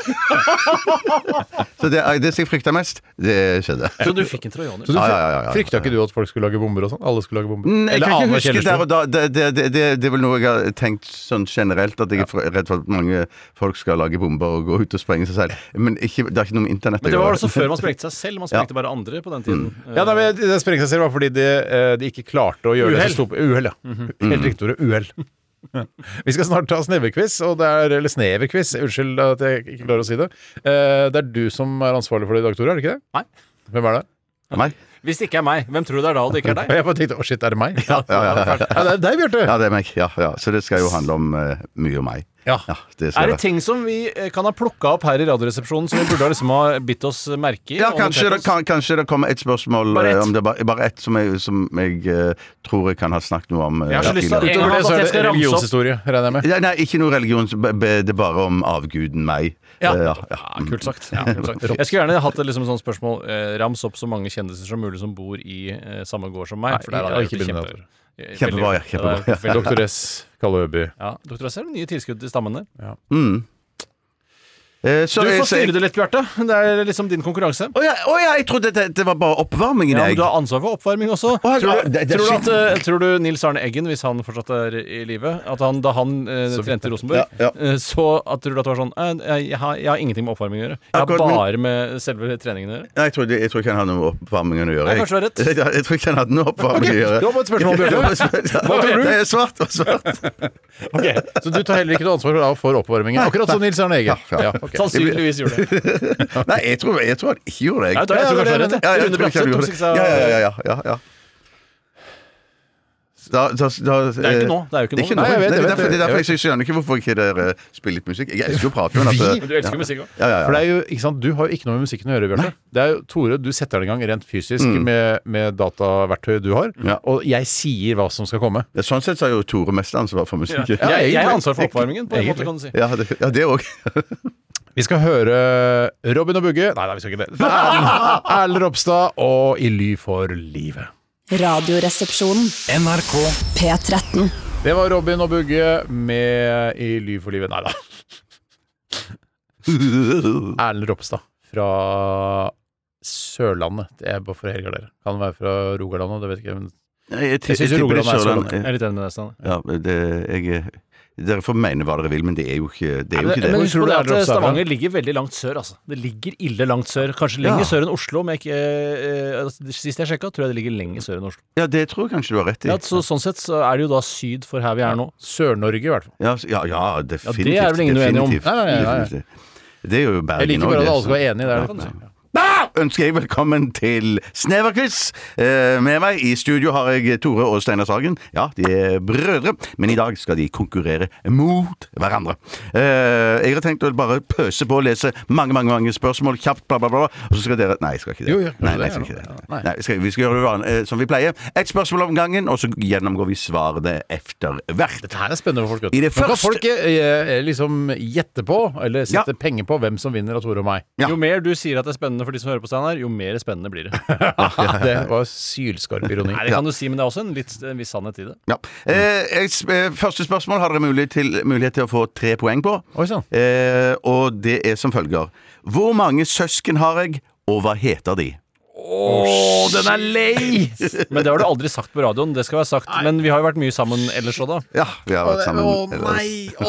Speaker 8: Så det, eh, det som jeg frykta mest, det skjedde.
Speaker 6: Så du fikk en trojaner?
Speaker 5: Så du
Speaker 8: Ja, ja, ja, ja, ja.
Speaker 5: Frykta ikke du at folk skulle lage bomber og sånn? Alle skulle lage bomber?
Speaker 8: Mm, Jeg
Speaker 5: Eller
Speaker 8: kan ikke
Speaker 5: annenhver
Speaker 8: huske
Speaker 5: kjellerstue?
Speaker 8: der og da. Det, det, det, det, det er vel noe jeg har tenkt sånn generelt, at jeg er fr- redd for at mange folk skal lage bomber og gå ut og sprenge seg selv. Men ikke, det er ikke noe med internett
Speaker 6: Men
Speaker 8: å
Speaker 6: det var
Speaker 8: gjøre.
Speaker 6: altså før man sprengte seg selv. Man sprengte bare andre
Speaker 5: Mm.
Speaker 6: på den tiden. Eh,
Speaker 5: Ja, nei, men Det sprengte seg selv var fordi de, eh, de ikke klarte å gjøre det som sto på Uhell, ja.
Speaker 8: Mhm.
Speaker 5: Helt riktig ordet. Uhell. Vi skal snart ta sneverquiz, og det er, eller sneverquiz. Unnskyld at jeg ikke klarer å si det. Eh, Det er du som er ansvarlig for det i dag, Tore, er det ikke det?
Speaker 6: Nei.
Speaker 5: Hvem er det?
Speaker 8: Nei?
Speaker 6: Hvis det ikke er meg, hvem tror du det er da, og det ikke er
Speaker 5: Og
Speaker 6: deg?
Speaker 5: jeg bare tenkte å shit, er det meg? Ja,
Speaker 8: ja, ja,
Speaker 5: det er deg, Bjarte.
Speaker 8: Ja, det er meg. Ja, ja. Så det skal jo handle om eh, mye om meg.
Speaker 5: Ja.
Speaker 8: det
Speaker 6: Er
Speaker 8: skal
Speaker 6: det ting som vi eh, kan ha plukka opp her i Radioresepsjonen som vi burde ha liksom ha bitt oss merke i?
Speaker 8: Ja,
Speaker 6: og
Speaker 8: kanskje det,
Speaker 6: notert oss?
Speaker 8: kan, kanskje det kommer et spørsmål
Speaker 6: Bare ett.
Speaker 8: eh, om det er bare, bare ett som jeg, som jeg eh, tror jeg kan ha snakket noe om. eh,
Speaker 6: Jeg har så lyst til å-
Speaker 8: tidligere.
Speaker 6: en gang
Speaker 5: Utover det
Speaker 6: at
Speaker 5: så
Speaker 6: jeg
Speaker 5: er
Speaker 6: skal
Speaker 5: det
Speaker 6: ramse opp-
Speaker 5: religionshistorie, regner jeg med.
Speaker 8: Nei, nei, ikke noe religion. så be- be- Det er bare om avguden meg.
Speaker 6: Ja.
Speaker 8: Eh,
Speaker 6: Ja, kult sagt. Ja,
Speaker 8: Mm.
Speaker 6: kult sagt. Jeg skulle gjerne hatt et liksom sånn spørsmål eh, Rams opp så mange kjendiser som mulig som bor i eh, samme gård som meg.
Speaker 5: Nei, ja, ikke begynn med det,
Speaker 8: Kjempebra, ja, kjempebra.
Speaker 6: Doktor,
Speaker 5: Doktor S. Kalle Øby.
Speaker 6: ja, doktor Asser, nye tilskudd til stammen der.
Speaker 8: Eh, så
Speaker 6: Du
Speaker 8: jeg-
Speaker 6: får
Speaker 8: så jeg-
Speaker 6: styre det litt, Bjarte. Det er liksom din konkurranse.
Speaker 8: Å ja, å ja, jeg trodde det, det var bare oppvarmingen,
Speaker 6: Ja, men
Speaker 8: jeg.
Speaker 6: Du har ansvar for oppvarming også.
Speaker 8: Å,
Speaker 6: Tror
Speaker 8: ja,
Speaker 6: du,
Speaker 8: det- det-
Speaker 6: tror, du at, eh, tror du Nils Arne Eggen, hvis han fortsatt er i live, at han, da han eh, trente i Rosenborg,
Speaker 8: Ja, ja.
Speaker 6: eh, så at, tror du at det var sånn eh, jeg, jeg, har, jeg har ingenting med oppvarming å gjøre. Jeg har
Speaker 8: Akkurat, men-
Speaker 6: bare med selve treningen å gjøre.
Speaker 8: Nei, jeg tror, jeg tror ikke han hadde noe med oppvarmingen å gjøre.
Speaker 6: Nei, kanskje du har rett.
Speaker 8: Jeg, jeg tror ikke han hadde noe med oppvarmingen å gjøre.
Speaker 5: det var bare et spørsmål, Bjørte.
Speaker 8: Hva
Speaker 5: tror du?
Speaker 8: Det er svart og svart.
Speaker 5: Så du tar heller ikke noe ansvar for- for oppvarmingen? Akkurat som Nils Arne Eggen.
Speaker 8: Ja, ja.
Speaker 5: ok.
Speaker 6: Sannsynligvis gjorde det.
Speaker 8: Nei, jeg tror, jeg tror han ikke gjorde det.
Speaker 6: Jeg tror, jeg tror kanskje det er rett. jeg.
Speaker 8: Ja, jeg
Speaker 6: Rune
Speaker 8: tror ikke
Speaker 6: Bratseth
Speaker 8: han
Speaker 6: tok
Speaker 8: gjorde
Speaker 6: seg
Speaker 8: det.
Speaker 6: av-
Speaker 8: Ja, ja, ja, ja, ja, ja. Da, da, da,
Speaker 6: Det er jo ikke nå. Det er jo ikke nå.
Speaker 5: Nei, jeg vet,
Speaker 8: nå. Nei,
Speaker 5: jeg
Speaker 8: det er
Speaker 5: vet,
Speaker 8: derfor, det er
Speaker 5: jeg
Speaker 8: derfor
Speaker 5: vet.
Speaker 8: jeg, skjønner ikke hvorfor ikke dere spiller litt musikk. Jeg elsker jo å prate med
Speaker 5: Vi?
Speaker 6: Men
Speaker 8: dette.
Speaker 6: du elsker jo musikk òg.
Speaker 8: Ja, ja,
Speaker 5: For det
Speaker 8: ja.
Speaker 5: er jo, ikke sant, Du har jo ikke noe med musikken å gjøre, Bjarte. Det er jo, Tore, du setter den i gang rent fysisk med, med dataverktøyet du har,
Speaker 8: Mm. Ja.
Speaker 5: og jeg sier hva som skal komme.
Speaker 8: Sånn sett så har jo Tore mest ansvar for musikk.
Speaker 6: Jeg, jeg har
Speaker 5: egentlig.
Speaker 6: ansvar for oppvarmingen, på en måte, kan du si.
Speaker 8: Ja, det, ja, det òg.
Speaker 5: Vi skal høre Robin og Bugge Nei, nei, vi skal ikke det. Det er Erlend- Erlend Ropstad og I ly for livet.
Speaker 1: Radioresepsjonen. NRK P13.
Speaker 5: Det var Robin og Bugge med I ly for livet. Nei da. Erlend Ropstad fra Sørlandet. Det er bare for å helgardere. Kan være fra Rogaland òg, det vet jeg ikke. Men
Speaker 8: Nei, Jeg,
Speaker 5: Jeg
Speaker 8: jeg,
Speaker 5: synes
Speaker 8: tipper det
Speaker 5: Rogaland
Speaker 8: er
Speaker 5: er
Speaker 8: Sørlandet.
Speaker 5: Sørlandet.
Speaker 6: Jeg er litt enig med deg, Stanley.
Speaker 8: Ja, det, jeg, dere får mene hva dere vil, men det er jo ikke det. Er jo
Speaker 6: Men,
Speaker 8: ikke
Speaker 6: men
Speaker 8: det.
Speaker 6: husk på
Speaker 5: tror du
Speaker 6: det
Speaker 5: det er
Speaker 6: at
Speaker 5: drops der, da?
Speaker 6: Stavanger ligger veldig langt sør, altså. Det ligger ille langt sør. Kanskje lenger sør enn Oslo, men jeg ikke, eh, eh, sist jeg sjekka, tror jeg det ligger lenger sør enn Oslo.
Speaker 8: Ja, det tror jeg kanskje du har rett i.
Speaker 6: Ja, så, sånn sett så er det jo da syd for her vi er nå.
Speaker 5: Sør-Norge, i hvert fall.
Speaker 8: Ja, s- ja, ja definitivt.
Speaker 6: det er vel ingen uenige om.
Speaker 8: definitivt,
Speaker 5: Nei, nei, nei, nei.
Speaker 8: definitivt. Det er jo
Speaker 5: Jeg
Speaker 8: Bergen
Speaker 5: liker bare at
Speaker 8: også, det,
Speaker 5: alle skal
Speaker 8: så-
Speaker 5: være enige. Det er det.
Speaker 8: Da ønsker jeg velkommen til Sneverquiz. Eh, med meg i studio har jeg Tore og Steinar Sagen. Ja, de er brødre, men i dag skal de konkurrere mot hverandre. Eh, jeg har tenkt å bare pøse på og lese mange mange, mange spørsmål kjapt, bla, bla, bla. Og så skal dere Nei, jeg skal ikke det.
Speaker 5: Jo, ja,
Speaker 8: nei,
Speaker 5: det
Speaker 8: nei, jeg
Speaker 5: er
Speaker 8: skal
Speaker 5: noe.
Speaker 8: ikke det.
Speaker 5: Nei.
Speaker 8: Nei, skal, vi skal gjøre det van- eh, som vi pleier. Ett spørsmål om gangen, og så gjennomgår vi svarene efter hvert.
Speaker 5: Dette her er spennende for folk. vet du.
Speaker 8: I det
Speaker 5: Nå kan
Speaker 8: første-
Speaker 5: folk eh, liksom gjette på, eller sette
Speaker 8: Ja.
Speaker 5: penger på, hvem som vinner av Tore og meg.
Speaker 8: Ja.
Speaker 6: Jo mer du sier at det er spennende for de som hører på, Steinar, jo mer spennende blir det.
Speaker 5: Det var sylskarp ironi.
Speaker 6: Nei, det kan du si, men det er også en, litt, en viss sannhet i det.
Speaker 8: Ja. Eh, jeg s- eh, første spørsmål har dere mulighet til, mulighet til å få tre poeng på.
Speaker 5: Oi sånn. sann.
Speaker 8: Eh, og det er som følger. Hvor mange søsken har jeg, og hva heter de?
Speaker 5: Å, den er lei!
Speaker 6: Men det har du aldri sagt på radioen, det skal være sagt. Men vi har jo vært mye sammen ellers òg, da.
Speaker 8: Ja, vi har vært sammen
Speaker 5: Å, den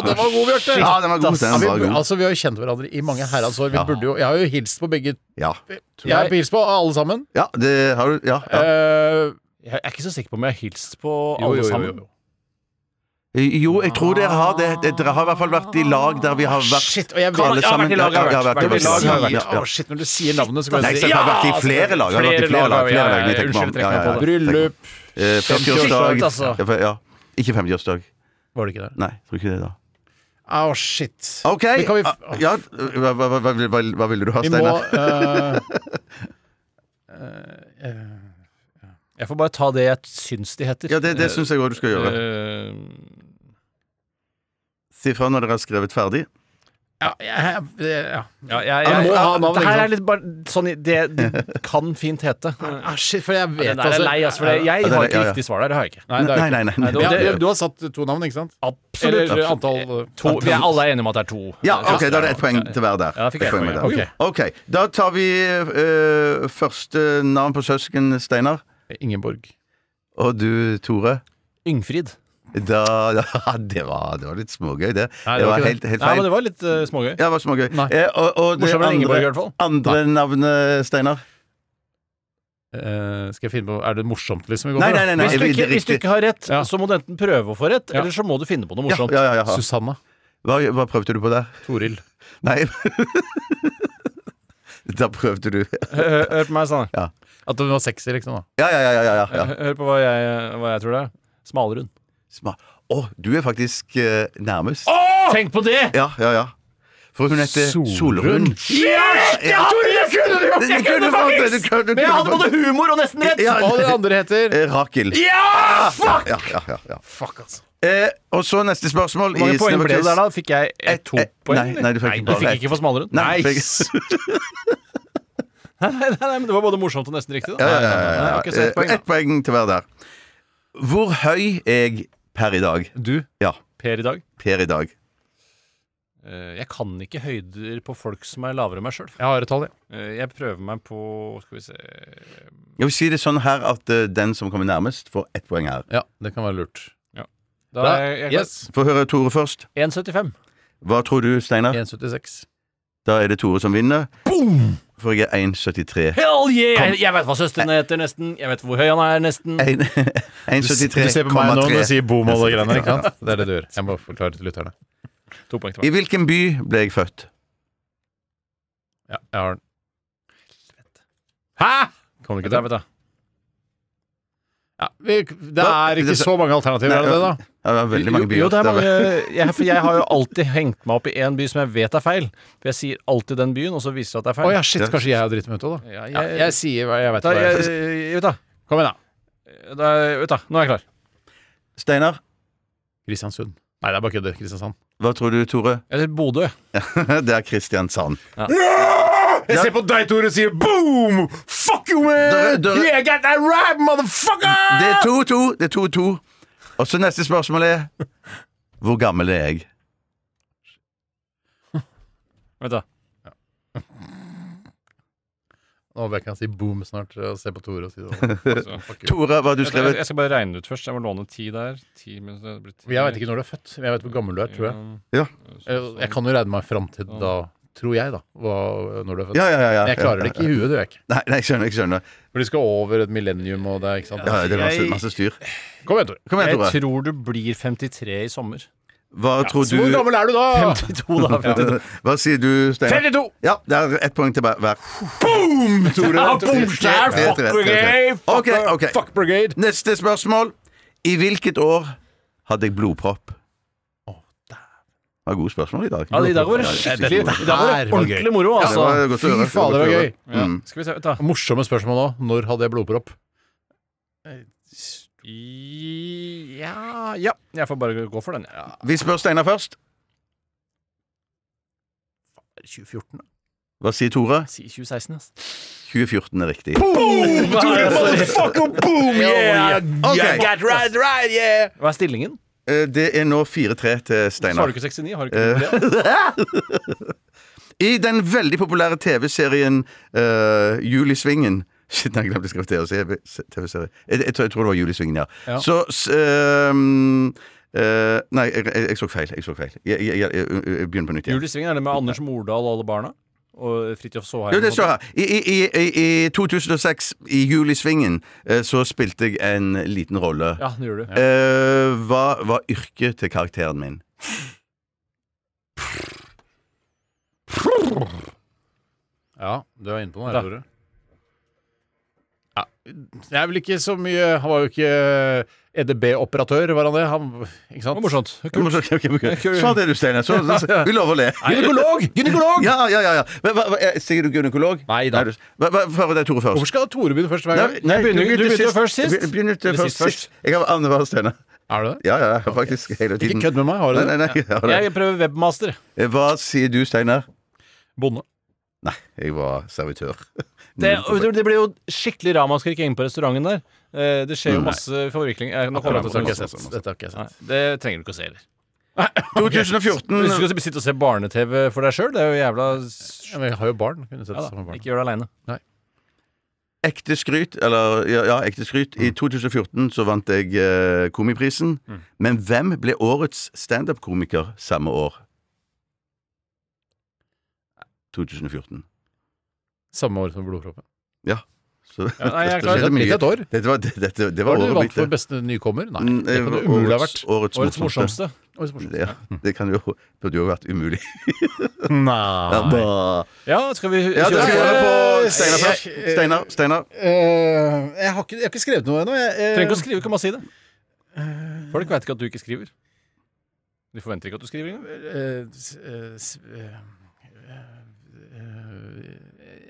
Speaker 5: var god, Bjarte!
Speaker 8: Ja, den var god.
Speaker 5: Ja,
Speaker 8: Den
Speaker 5: vi,
Speaker 8: var god.
Speaker 5: altså, vi har jo kjent hverandre i mange herrens år. Vi
Speaker 8: Ja.
Speaker 5: burde jo, jeg har jo hilst på begge
Speaker 8: Ja,
Speaker 5: Jeg har hilst på alle sammen.
Speaker 8: ja det har du Ja. ja.
Speaker 5: Eh,
Speaker 6: Jeg er ikke så sikker på om jeg har hilst på
Speaker 5: jo,
Speaker 6: alle
Speaker 5: jo, jo,
Speaker 6: sammen.
Speaker 5: jo.
Speaker 8: Jo, jeg tror dere har det. det. Dere har i hvert fall vært i lag der vi har vært
Speaker 5: Shit, og jeg vet-
Speaker 8: alle
Speaker 5: jeg har vært
Speaker 8: sammen.
Speaker 5: i lag, jeg har
Speaker 8: Ja, ja,
Speaker 5: vært- jeg
Speaker 8: vi har
Speaker 5: har vært i lag, jeg
Speaker 8: sammen, ja,
Speaker 5: har vært-
Speaker 8: ja.
Speaker 5: Å, shit, når du sier navnet, så kan
Speaker 8: Nei,
Speaker 5: jeg
Speaker 8: jeg
Speaker 5: si
Speaker 8: har vært i flere lag. Jeg har vært i flere lag. Flere lag,
Speaker 6: ja, ja,
Speaker 8: jeg tenker på.
Speaker 6: unnskyld, jeg
Speaker 8: Ja,
Speaker 6: trekker
Speaker 8: ja,
Speaker 6: meg på
Speaker 8: ja.
Speaker 5: Bryllup
Speaker 8: Eh, 50-årsdag.
Speaker 6: Kirkeårsdag, altså.
Speaker 8: Ja, for- Ja. Ikke 50-årsdag.
Speaker 5: Var det ikke det?
Speaker 8: Nei, tror ikke det, da.
Speaker 5: Å, shit.
Speaker 8: OK.
Speaker 5: Men kan vi f-
Speaker 8: ah, Ja, hva, hva, hva, hva, hva ville du ha,
Speaker 5: Vi må
Speaker 8: Steinar?
Speaker 5: eh,
Speaker 6: Jeg får bare ta det jeg syns de heter.
Speaker 8: eh, Ja, det, det syns jeg òg du skal gjøre.
Speaker 6: Eh,
Speaker 8: Si fra når dere har skrevet ferdig.
Speaker 5: Ja, jeg, jeg- ja.
Speaker 6: Ja, jeg,
Speaker 5: Ja,
Speaker 6: jeg,
Speaker 5: må ha navn,
Speaker 6: det
Speaker 5: ikke
Speaker 6: her
Speaker 5: sant?
Speaker 6: er litt bare sånn Det de kan fint hete.
Speaker 5: Ah, shit, for jeg vet
Speaker 6: Den der er lei, altså. For jeg, jeg
Speaker 8: den er-
Speaker 6: har ikke
Speaker 8: ja, ja.
Speaker 6: riktig svar der. Det har jeg ikke.
Speaker 5: Nei, det er
Speaker 8: Nei,
Speaker 5: jo ikke-
Speaker 8: nei, nei. nei,
Speaker 6: det var-
Speaker 5: Ja,
Speaker 6: det-
Speaker 5: du, du har satt to navn, ikke sant?
Speaker 6: Absolutt.
Speaker 5: Eller antall
Speaker 6: To, vi er alle enige om at det er to.
Speaker 8: Ja, ok, da er det ett poeng til hver der.
Speaker 6: Ja, da fikk jeg ett
Speaker 8: Et poeng
Speaker 6: poeng,
Speaker 8: hver der. ok, da tar vi eh, første navn på søsken, Steinar.
Speaker 5: Ingeborg.
Speaker 8: Og du, Tore.
Speaker 6: Yngfrid.
Speaker 8: Da, da det, var, det var litt smågøy, det.
Speaker 5: Nei, det var
Speaker 8: det var
Speaker 5: ikke det.
Speaker 8: helt, helt
Speaker 6: Nei,
Speaker 8: feil.
Speaker 6: men det var litt eh, smågøy.
Speaker 8: Ja, det var smågøy.
Speaker 5: Nei.
Speaker 8: Eh, og, og det
Speaker 6: Morsommere enn Ingeborg, i hvert
Speaker 8: andre,
Speaker 6: fall.
Speaker 8: andre navnet, Steinar?
Speaker 5: Eh, skal jeg finne på Er det morsomt, liksom? Vi går
Speaker 8: Nei,
Speaker 5: for, da?
Speaker 8: nei, nei. nei
Speaker 6: Hvis du,
Speaker 8: det er
Speaker 6: ikke, hvis du
Speaker 8: riktig.
Speaker 6: ikke har rett,
Speaker 5: Ja.
Speaker 6: så må du enten prøve å få rett,
Speaker 5: Ja.
Speaker 6: eller så må du finne på noe
Speaker 8: ja,
Speaker 6: morsomt.
Speaker 8: ja, ja, ja.
Speaker 5: Susanna.
Speaker 8: Hva, hva prøvde du på der?
Speaker 5: Toril.
Speaker 8: Nei Da prøvde du
Speaker 6: Hø- hø- Hør på meg, Sanne.
Speaker 5: At hun var sexy, liksom. da
Speaker 8: Ja, ja, ja. ja, ja, ja.
Speaker 6: Hø- Hør på hva jeg, hva jeg tror det er. Smalrund.
Speaker 8: Sma- Å, du er faktisk eh, nærmest.
Speaker 6: Tenk på det!
Speaker 8: Ja, ja, ja. For hun heter
Speaker 5: Solrun.
Speaker 8: Solrun. Ja, Jeg kunne fått det! Du kunne, du kunne fått det.
Speaker 6: humor og nesten rett!
Speaker 8: Ja,
Speaker 5: Og det andre heter
Speaker 8: eh, Rakel.
Speaker 6: Ja!
Speaker 8: Ja, ja, ja, ja, ja.
Speaker 5: Fuck, altså.
Speaker 8: Eh, og så neste spørsmål.
Speaker 6: Hvor mange
Speaker 8: i
Speaker 6: poeng ble det
Speaker 8: Snøbakkes.
Speaker 6: der, da? Fikk jeg eh,
Speaker 8: Et-
Speaker 6: to
Speaker 8: et-
Speaker 6: poeng?
Speaker 8: nei,
Speaker 6: eller?
Speaker 8: nei, du fikk ikke
Speaker 6: du
Speaker 8: bare
Speaker 6: fikk
Speaker 8: ett.
Speaker 6: ikke for Smalrund?
Speaker 8: Nei,
Speaker 6: Nei.
Speaker 8: fikk-
Speaker 6: Nei, nei, nei, men det var både morsomt og nesten riktig. Da.
Speaker 8: ja, ja, ja,
Speaker 6: Nei,
Speaker 8: ja,
Speaker 6: nei,
Speaker 8: ja.
Speaker 6: ok, så ett
Speaker 8: Eh,
Speaker 6: poeng, da.
Speaker 8: Ett poeng til hver der. Hvor høy er jeg per i dag?
Speaker 6: Du,
Speaker 8: Ja,
Speaker 6: Per i dag,
Speaker 8: per i dag.
Speaker 6: eh, jeg kan ikke høyder på folk som er lavere enn meg sjøl.
Speaker 5: Jeg har et tall, jeg.
Speaker 6: Jeg prøver meg på Skal vi se
Speaker 8: Jeg vil si det sånn her at eh, den som kommer nærmest, får ett poeng her.
Speaker 5: Ja, det kan være lurt.
Speaker 6: Da
Speaker 5: Da-
Speaker 6: er jeg, jeg,
Speaker 5: Yes.
Speaker 8: Få høre Tore først.
Speaker 6: 1,75.
Speaker 8: Hva tror du, Steinar?
Speaker 5: 1,76.
Speaker 8: Da er det Tore som vinner. For jeg er 1,73.
Speaker 6: Hell yeah! Jeg vet hva søsteren heter, nesten. Jeg vet hvor høy han er, nesten.
Speaker 8: En-
Speaker 5: Du, du ser på meg nå når du
Speaker 8: 1,73,3.
Speaker 5: sier bom og alle greiene der, ikke sant? Det er det du gjør. Jeg må forklare til lytterne.
Speaker 6: To poeng til
Speaker 8: I
Speaker 6: meg.
Speaker 8: hvilken by ble jeg født?
Speaker 5: Ja, jeg har den. Hæ?! Kom du ikke
Speaker 6: Vent
Speaker 5: til?
Speaker 6: da, vent da.
Speaker 5: Ja, vi, det er ikke så mange alternativer, er det det, da?
Speaker 8: Ja, det var veldig mange byer.
Speaker 6: Jo, det er
Speaker 8: Det var-
Speaker 6: mange jeg, For jeg har jo alltid hengt meg opp i én by som jeg vet er feil. For jeg sier alltid den byen, og så viser det at det er
Speaker 5: Å
Speaker 6: feil.
Speaker 5: ja, shit, kanskje jeg har dritt meg ut òg, da.
Speaker 6: Ja,
Speaker 5: Ja,
Speaker 6: jeg,
Speaker 5: jeg sier hva jeg vet.
Speaker 6: da,
Speaker 5: hva
Speaker 6: jeg,
Speaker 5: jeg-
Speaker 6: ut da.
Speaker 5: Kom igjen, da.
Speaker 6: da. Ut da. Nå er jeg klar.
Speaker 8: Steinar,
Speaker 5: Kristiansund. Nei, det er bare kødder. Kristiansand.
Speaker 8: hva tror du, Tore?
Speaker 6: Jeg sier Bodø.
Speaker 8: det er Kristiansand.
Speaker 5: Jeg ser på deg, Tore, og sier boom! Fuck you, man!
Speaker 8: Dere- dere-
Speaker 5: Yeah, I got that right, motherfucker!
Speaker 8: Det er 2-2. Det er 2-2. Og så neste spørsmål er Hvor gammel er jeg?
Speaker 6: Vent da.
Speaker 5: Nå kan jeg si boom snart og se på Tore og si det.
Speaker 6: Så, fuck you.
Speaker 8: Tora, hva har du
Speaker 6: Jeg, jeg,
Speaker 8: skrevet?
Speaker 6: jeg skal bare regne det ut først. Jeg må låne ti der. Ti minus det blir ti.
Speaker 5: Jeg veit ikke når du er født, men jeg vet hvor gammel du er, tror jeg.
Speaker 8: Ja.
Speaker 5: Eh, Jeg kan jo regne meg fram til da, tror jeg, da, hva, når du er født.
Speaker 8: Ja, ja, ja, ja.
Speaker 5: Men jeg klarer det ikke i huet, det gjør jeg ikke.
Speaker 8: Nei, nei, jeg skjønner. Jeg skjønner.
Speaker 5: For de skal over et millennium og det er ikke sant.
Speaker 8: Ja, det er masse,
Speaker 6: Jeg-
Speaker 8: masse styr.
Speaker 5: Kom igjen, Tore.
Speaker 8: Kom igjen, Tore.
Speaker 6: Jeg tror du blir 53 i sommer.
Speaker 8: Hva tror
Speaker 5: Hvor
Speaker 8: du
Speaker 5: gammel er du da?
Speaker 6: 52, da.
Speaker 8: Hva sier du, Steinar?
Speaker 5: 52!
Speaker 8: Ja, det er ett poeng til hver. hver.
Speaker 5: Tore.
Speaker 8: Tre, tre,
Speaker 5: Fuck
Speaker 8: tre, tre, tre.
Speaker 5: brigade!
Speaker 8: Ok,
Speaker 5: fuck-
Speaker 8: ok.
Speaker 5: Fuck brigade!
Speaker 8: Neste spørsmål. I hvilket år hadde jeg blodpropp? Det var gode spørsmål i dag.
Speaker 6: Ja, I dag var det skikkelig I dag var det ordentlig moro,
Speaker 8: Ja, det
Speaker 6: altså.
Speaker 8: var godt å
Speaker 5: Fy faen,
Speaker 8: høre.
Speaker 5: det var
Speaker 8: Godt å
Speaker 5: gøy.
Speaker 8: høre. Mm.
Speaker 6: Skal vi se, vent da.
Speaker 5: Morsomme spørsmål òg. Når hadde jeg blodpropp?
Speaker 6: I- Ja, ja, jeg får bare gå for den. Ja.
Speaker 8: Vi spør Steinar først.
Speaker 6: 2014, da.
Speaker 8: Hva sier Tore?
Speaker 6: Si 2016, ass.
Speaker 8: 2014 er riktig.
Speaker 5: Boom, yeah!
Speaker 8: Ok.
Speaker 5: right, right, yeah!
Speaker 6: Hva er stillingen?
Speaker 8: Eh, Det er nå 4-3 til
Speaker 6: Svarer
Speaker 8: Steinar.
Speaker 6: du ikke 69? Har du ikke det?
Speaker 8: I den veldig populære TV-serien uh, Julisvingen Shit, nei, jeg glemte å skrive TV-serie. Jeg, jeg, tror- jeg tror det var Julisvingen, ja.
Speaker 5: Ja.
Speaker 8: Så s- ehm, eh, Nei, jeg, jeg, jeg så feil. Jeg så feil. Jeg, jeg, jeg, jeg, jeg begynner på nytt igjen.
Speaker 6: Julesvingen, er det med Anders Mordal og alle barna? Og Fridtjof Saaheim?
Speaker 8: Jo, det står her. I, i, i- i, I 2006, i Julisvingen, eh, så spilte jeg en liten rolle.
Speaker 6: Ja, det gjør du.
Speaker 8: Eh, hva var yrket til karakteren min?
Speaker 5: Ja, du er inne på noe
Speaker 6: Da.
Speaker 5: her, Tore. Ja, det er vel ikke så mye Han var jo ikke eh, EDB-operatør, var han det? Han, ikke
Speaker 6: Det var
Speaker 5: sant?
Speaker 6: morsomt.
Speaker 8: Du må- ok, ok, ok. Svar det du, Steinar. Så- så- så- Vi lover å le.
Speaker 5: Gynekolog! Gynekolog!
Speaker 8: Ja, ja, ja. ja. Hva, hva, hva, eh, sier du gynekolog?
Speaker 5: Nei da.
Speaker 8: du- hva, hva, hva var det Tore først?
Speaker 5: Hvorfor skal Tore begynne først hver gang?
Speaker 6: Jeg begynner- du begynte først sist.
Speaker 8: Jeg begynner til
Speaker 6: Eller
Speaker 8: først
Speaker 6: sist først.
Speaker 8: sist. Jeg har annenhver stemme.
Speaker 5: Er det det?
Speaker 8: Ja, ja, ja, faktisk. Hele tiden.
Speaker 5: Ikke kødd med meg, har du
Speaker 8: Nei,
Speaker 5: det?
Speaker 8: nei, nei, jeg har det.
Speaker 6: Jeg prøver webmaster.
Speaker 8: Hva sier du, Steinar?
Speaker 5: Bonde.
Speaker 8: Nei, jeg var servitør.
Speaker 6: Det,
Speaker 8: Null
Speaker 6: og
Speaker 8: problem.
Speaker 6: det det blir jo skikkelig ramaskrik inne på restauranten der. Eh, Det skjer jo masse forvikling. Eh, nå kommer jeg
Speaker 5: Akkurat,
Speaker 6: til
Speaker 5: dette
Speaker 6: å
Speaker 5: har ikke
Speaker 6: snakke.
Speaker 5: jeg sett. Dette har ikke jeg
Speaker 6: Nei,
Speaker 5: sett.
Speaker 6: Det trenger du ikke å se heller.
Speaker 8: 2014 Mm,
Speaker 6: Hvis du skal sitte og se barne-TV for deg sjøl, det er jo jævla s-
Speaker 5: Ja, men jeg har jo barn. Kunne sett
Speaker 6: ja,
Speaker 5: det
Speaker 6: da.
Speaker 5: sammen med barn.
Speaker 6: Ikke gjør det aleine.
Speaker 8: Ekte skryt, eller ja, ja ekte skryt.
Speaker 5: Mm.
Speaker 8: I 2014 så vant jeg eh, Komiprisen. Men hvem ble årets standup-komiker samme år? 2014.
Speaker 5: Samme år som blodproppen.
Speaker 8: Ja. Så,
Speaker 6: nei, jeg er
Speaker 8: det
Speaker 6: klar.
Speaker 8: skjedde
Speaker 5: Det er
Speaker 8: mye.
Speaker 5: litt et år.
Speaker 8: Dette var, dette, det var,
Speaker 5: Var du
Speaker 8: året
Speaker 5: vant
Speaker 8: mitt.
Speaker 5: for
Speaker 8: det.
Speaker 5: beste nykommer? Nei,
Speaker 8: Mm,
Speaker 5: det
Speaker 8: eh,
Speaker 5: kan det umulig ha vært.
Speaker 8: årets- Årets,
Speaker 6: Årets
Speaker 8: morsomste.
Speaker 6: morsomste.
Speaker 5: Årets morsomste.
Speaker 8: Ja, det kan jo, burde jo vært umulig. Ja,
Speaker 5: Nei
Speaker 8: da-
Speaker 6: Ja, skal vi
Speaker 8: ja, det skal vi
Speaker 6: kjøre? Eh,
Speaker 8: gjøre på Steinar først. Steinar, Steinar.
Speaker 5: jeg, har ikke, skrevet noe ennå.
Speaker 6: Trenger ikke å skrive, kan bare si det. Folk veit ikke at du ikke skriver. De forventer ikke at du skriver engang.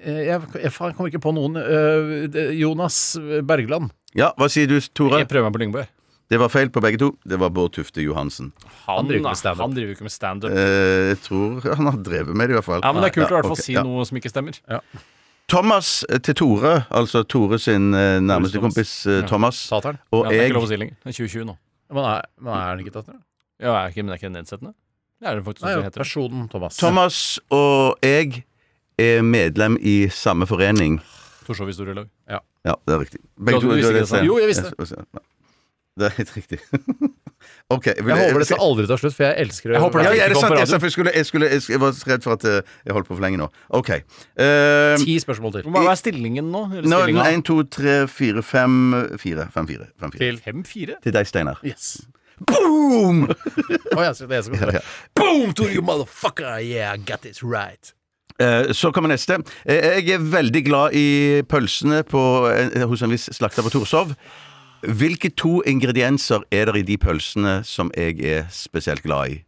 Speaker 5: Jeg, jeg faen, kommer ikke på noen. Eh, det- Jonas Bergland.
Speaker 8: Ja, hva sier du, Tore?
Speaker 6: Jeg prøver meg på Lyngbø.
Speaker 8: Det var feil på begge to. Det var Bård Tufte Johansen.
Speaker 6: Han,
Speaker 5: driver ikke med
Speaker 6: da,
Speaker 5: stand-up.
Speaker 6: han driver jo ikke med standup.
Speaker 8: Eh, jeg tror han har drevet med det, i hvert fall.
Speaker 6: Ja, men det er kult å i hvert fall
Speaker 8: ok,
Speaker 6: si
Speaker 8: ja.
Speaker 6: noe som ikke stemmer.
Speaker 8: Thomas eh, til Tore, altså Tore sin eh, nærmeste
Speaker 6: Thomas.
Speaker 8: kompis eh, Thomas,
Speaker 5: Satan.
Speaker 8: og
Speaker 6: Ja, det er
Speaker 8: jeg
Speaker 6: ikke lov å si lenger. Det er 2020 nå.
Speaker 5: Men er, men er han ikke tatt ned?
Speaker 6: Ja, er ikke, men det er ikke nedsettende? Det er det faktisk
Speaker 5: Nei,
Speaker 6: også
Speaker 5: jo,
Speaker 6: det heter.
Speaker 5: personen Thomas.
Speaker 8: Thomas og jeg er medlem i samme forening.
Speaker 6: Torshov historielag.
Speaker 8: Ja, det er riktig.
Speaker 6: Du- du visste ikke det, sa du?
Speaker 5: Jo, jeg visste det.
Speaker 8: det. Det er helt riktig. ok. Jeg,
Speaker 5: Jeg håper dette
Speaker 8: skal-
Speaker 5: aldri tar slutt, for jeg elsker
Speaker 6: Jeg håper
Speaker 8: ja,
Speaker 6: det
Speaker 8: ja, er
Speaker 6: ikke
Speaker 8: det
Speaker 6: kom
Speaker 8: sant?
Speaker 6: på
Speaker 8: Jeg,
Speaker 6: radio.
Speaker 8: jeg, skulle, jeg, skulle, jeg, jeg var så redd for at eh, jeg holdt på for lenge nå. OK. Uh,
Speaker 5: Ti spørsmål til.
Speaker 6: Hvor mange- Hva er stillingen nå? Eller
Speaker 8: nå er
Speaker 6: stillingen?
Speaker 8: den 1, 2, 3, 4, 5 4. 5, 4. 5, 4.
Speaker 5: Til.
Speaker 6: Fem-fire?
Speaker 8: Til deg, Steinar.
Speaker 5: Yes.
Speaker 8: Boom!
Speaker 5: Å, jeg skal- det skal jeg
Speaker 8: Ja, ja.
Speaker 5: Boom to you motherfucker! Yeah, I got this right.
Speaker 8: Eh, Så kommer neste. Eh, Jeg er veldig glad i pølsene på, eh, hos en viss slakter på Torshov. Hvilke to ingredienser er det i de pølsene som jeg er spesielt glad i?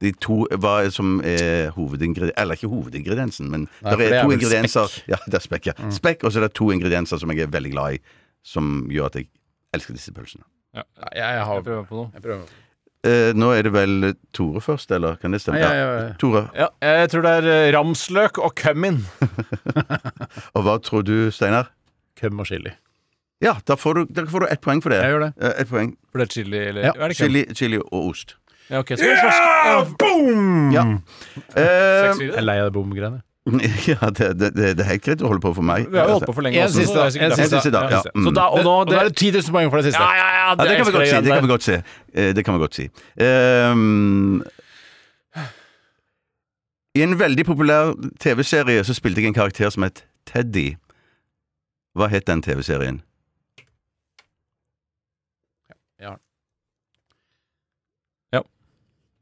Speaker 8: De to hva er som er hovedingrediensen Eller ikke hovedingrediensen, men
Speaker 5: Nei, for
Speaker 8: det
Speaker 5: det
Speaker 8: er
Speaker 5: er
Speaker 8: to
Speaker 5: vel
Speaker 8: ingredienser Ja, det er spekk, ja. Spekk, og så er det to ingredienser som jeg er veldig glad i, som gjør at jeg elsker disse pølsene.
Speaker 5: Jeg, jeg har
Speaker 6: Jeg prøver på noe.
Speaker 5: jeg prøver.
Speaker 8: Eh, nå er det vel Tore først, eller kan det stemme?
Speaker 5: Nei, jeg- jeg-
Speaker 8: Tore,
Speaker 6: Ja, jeg tror det er eh, ramsløk og kummin.
Speaker 8: og hva tror du, Steinar?
Speaker 5: Køm og chili.
Speaker 8: Ja, da får du, da får du ett poeng for det.
Speaker 5: Jeg gjør det.
Speaker 8: Eh, Ett poeng.
Speaker 6: For det er chili, eller
Speaker 5: Ja,
Speaker 6: er det kummin?
Speaker 8: Chili, chili og ost.
Speaker 6: Ja, ok, så vi slåss.
Speaker 5: Boom!
Speaker 8: Ja. Eh,
Speaker 6: Seks-fire.
Speaker 5: Jeg er lei av det bom-greiene.
Speaker 8: Ja, det, det, det det er helt greit å holde på for meg.
Speaker 6: Vi har jo holdt på for lenge
Speaker 5: En
Speaker 6: også. så
Speaker 5: siste,
Speaker 6: det er sikkert
Speaker 5: en
Speaker 6: derfor.
Speaker 8: siste, da, ja. Mm.
Speaker 6: Så da, og nå,
Speaker 5: Og da er det 10 000 poeng for det siste.
Speaker 6: ja, ja, ja,
Speaker 8: Ja, det kan vi
Speaker 6: elsker
Speaker 8: godt si.
Speaker 6: jeg
Speaker 8: Det kan
Speaker 6: igjen
Speaker 8: vi
Speaker 6: der.
Speaker 8: godt si. Eh, Det kan vi godt si. Ehm, I en veldig populær TV-serie så spilte jeg en karakter som het Teddy. Hva het den TV-serien?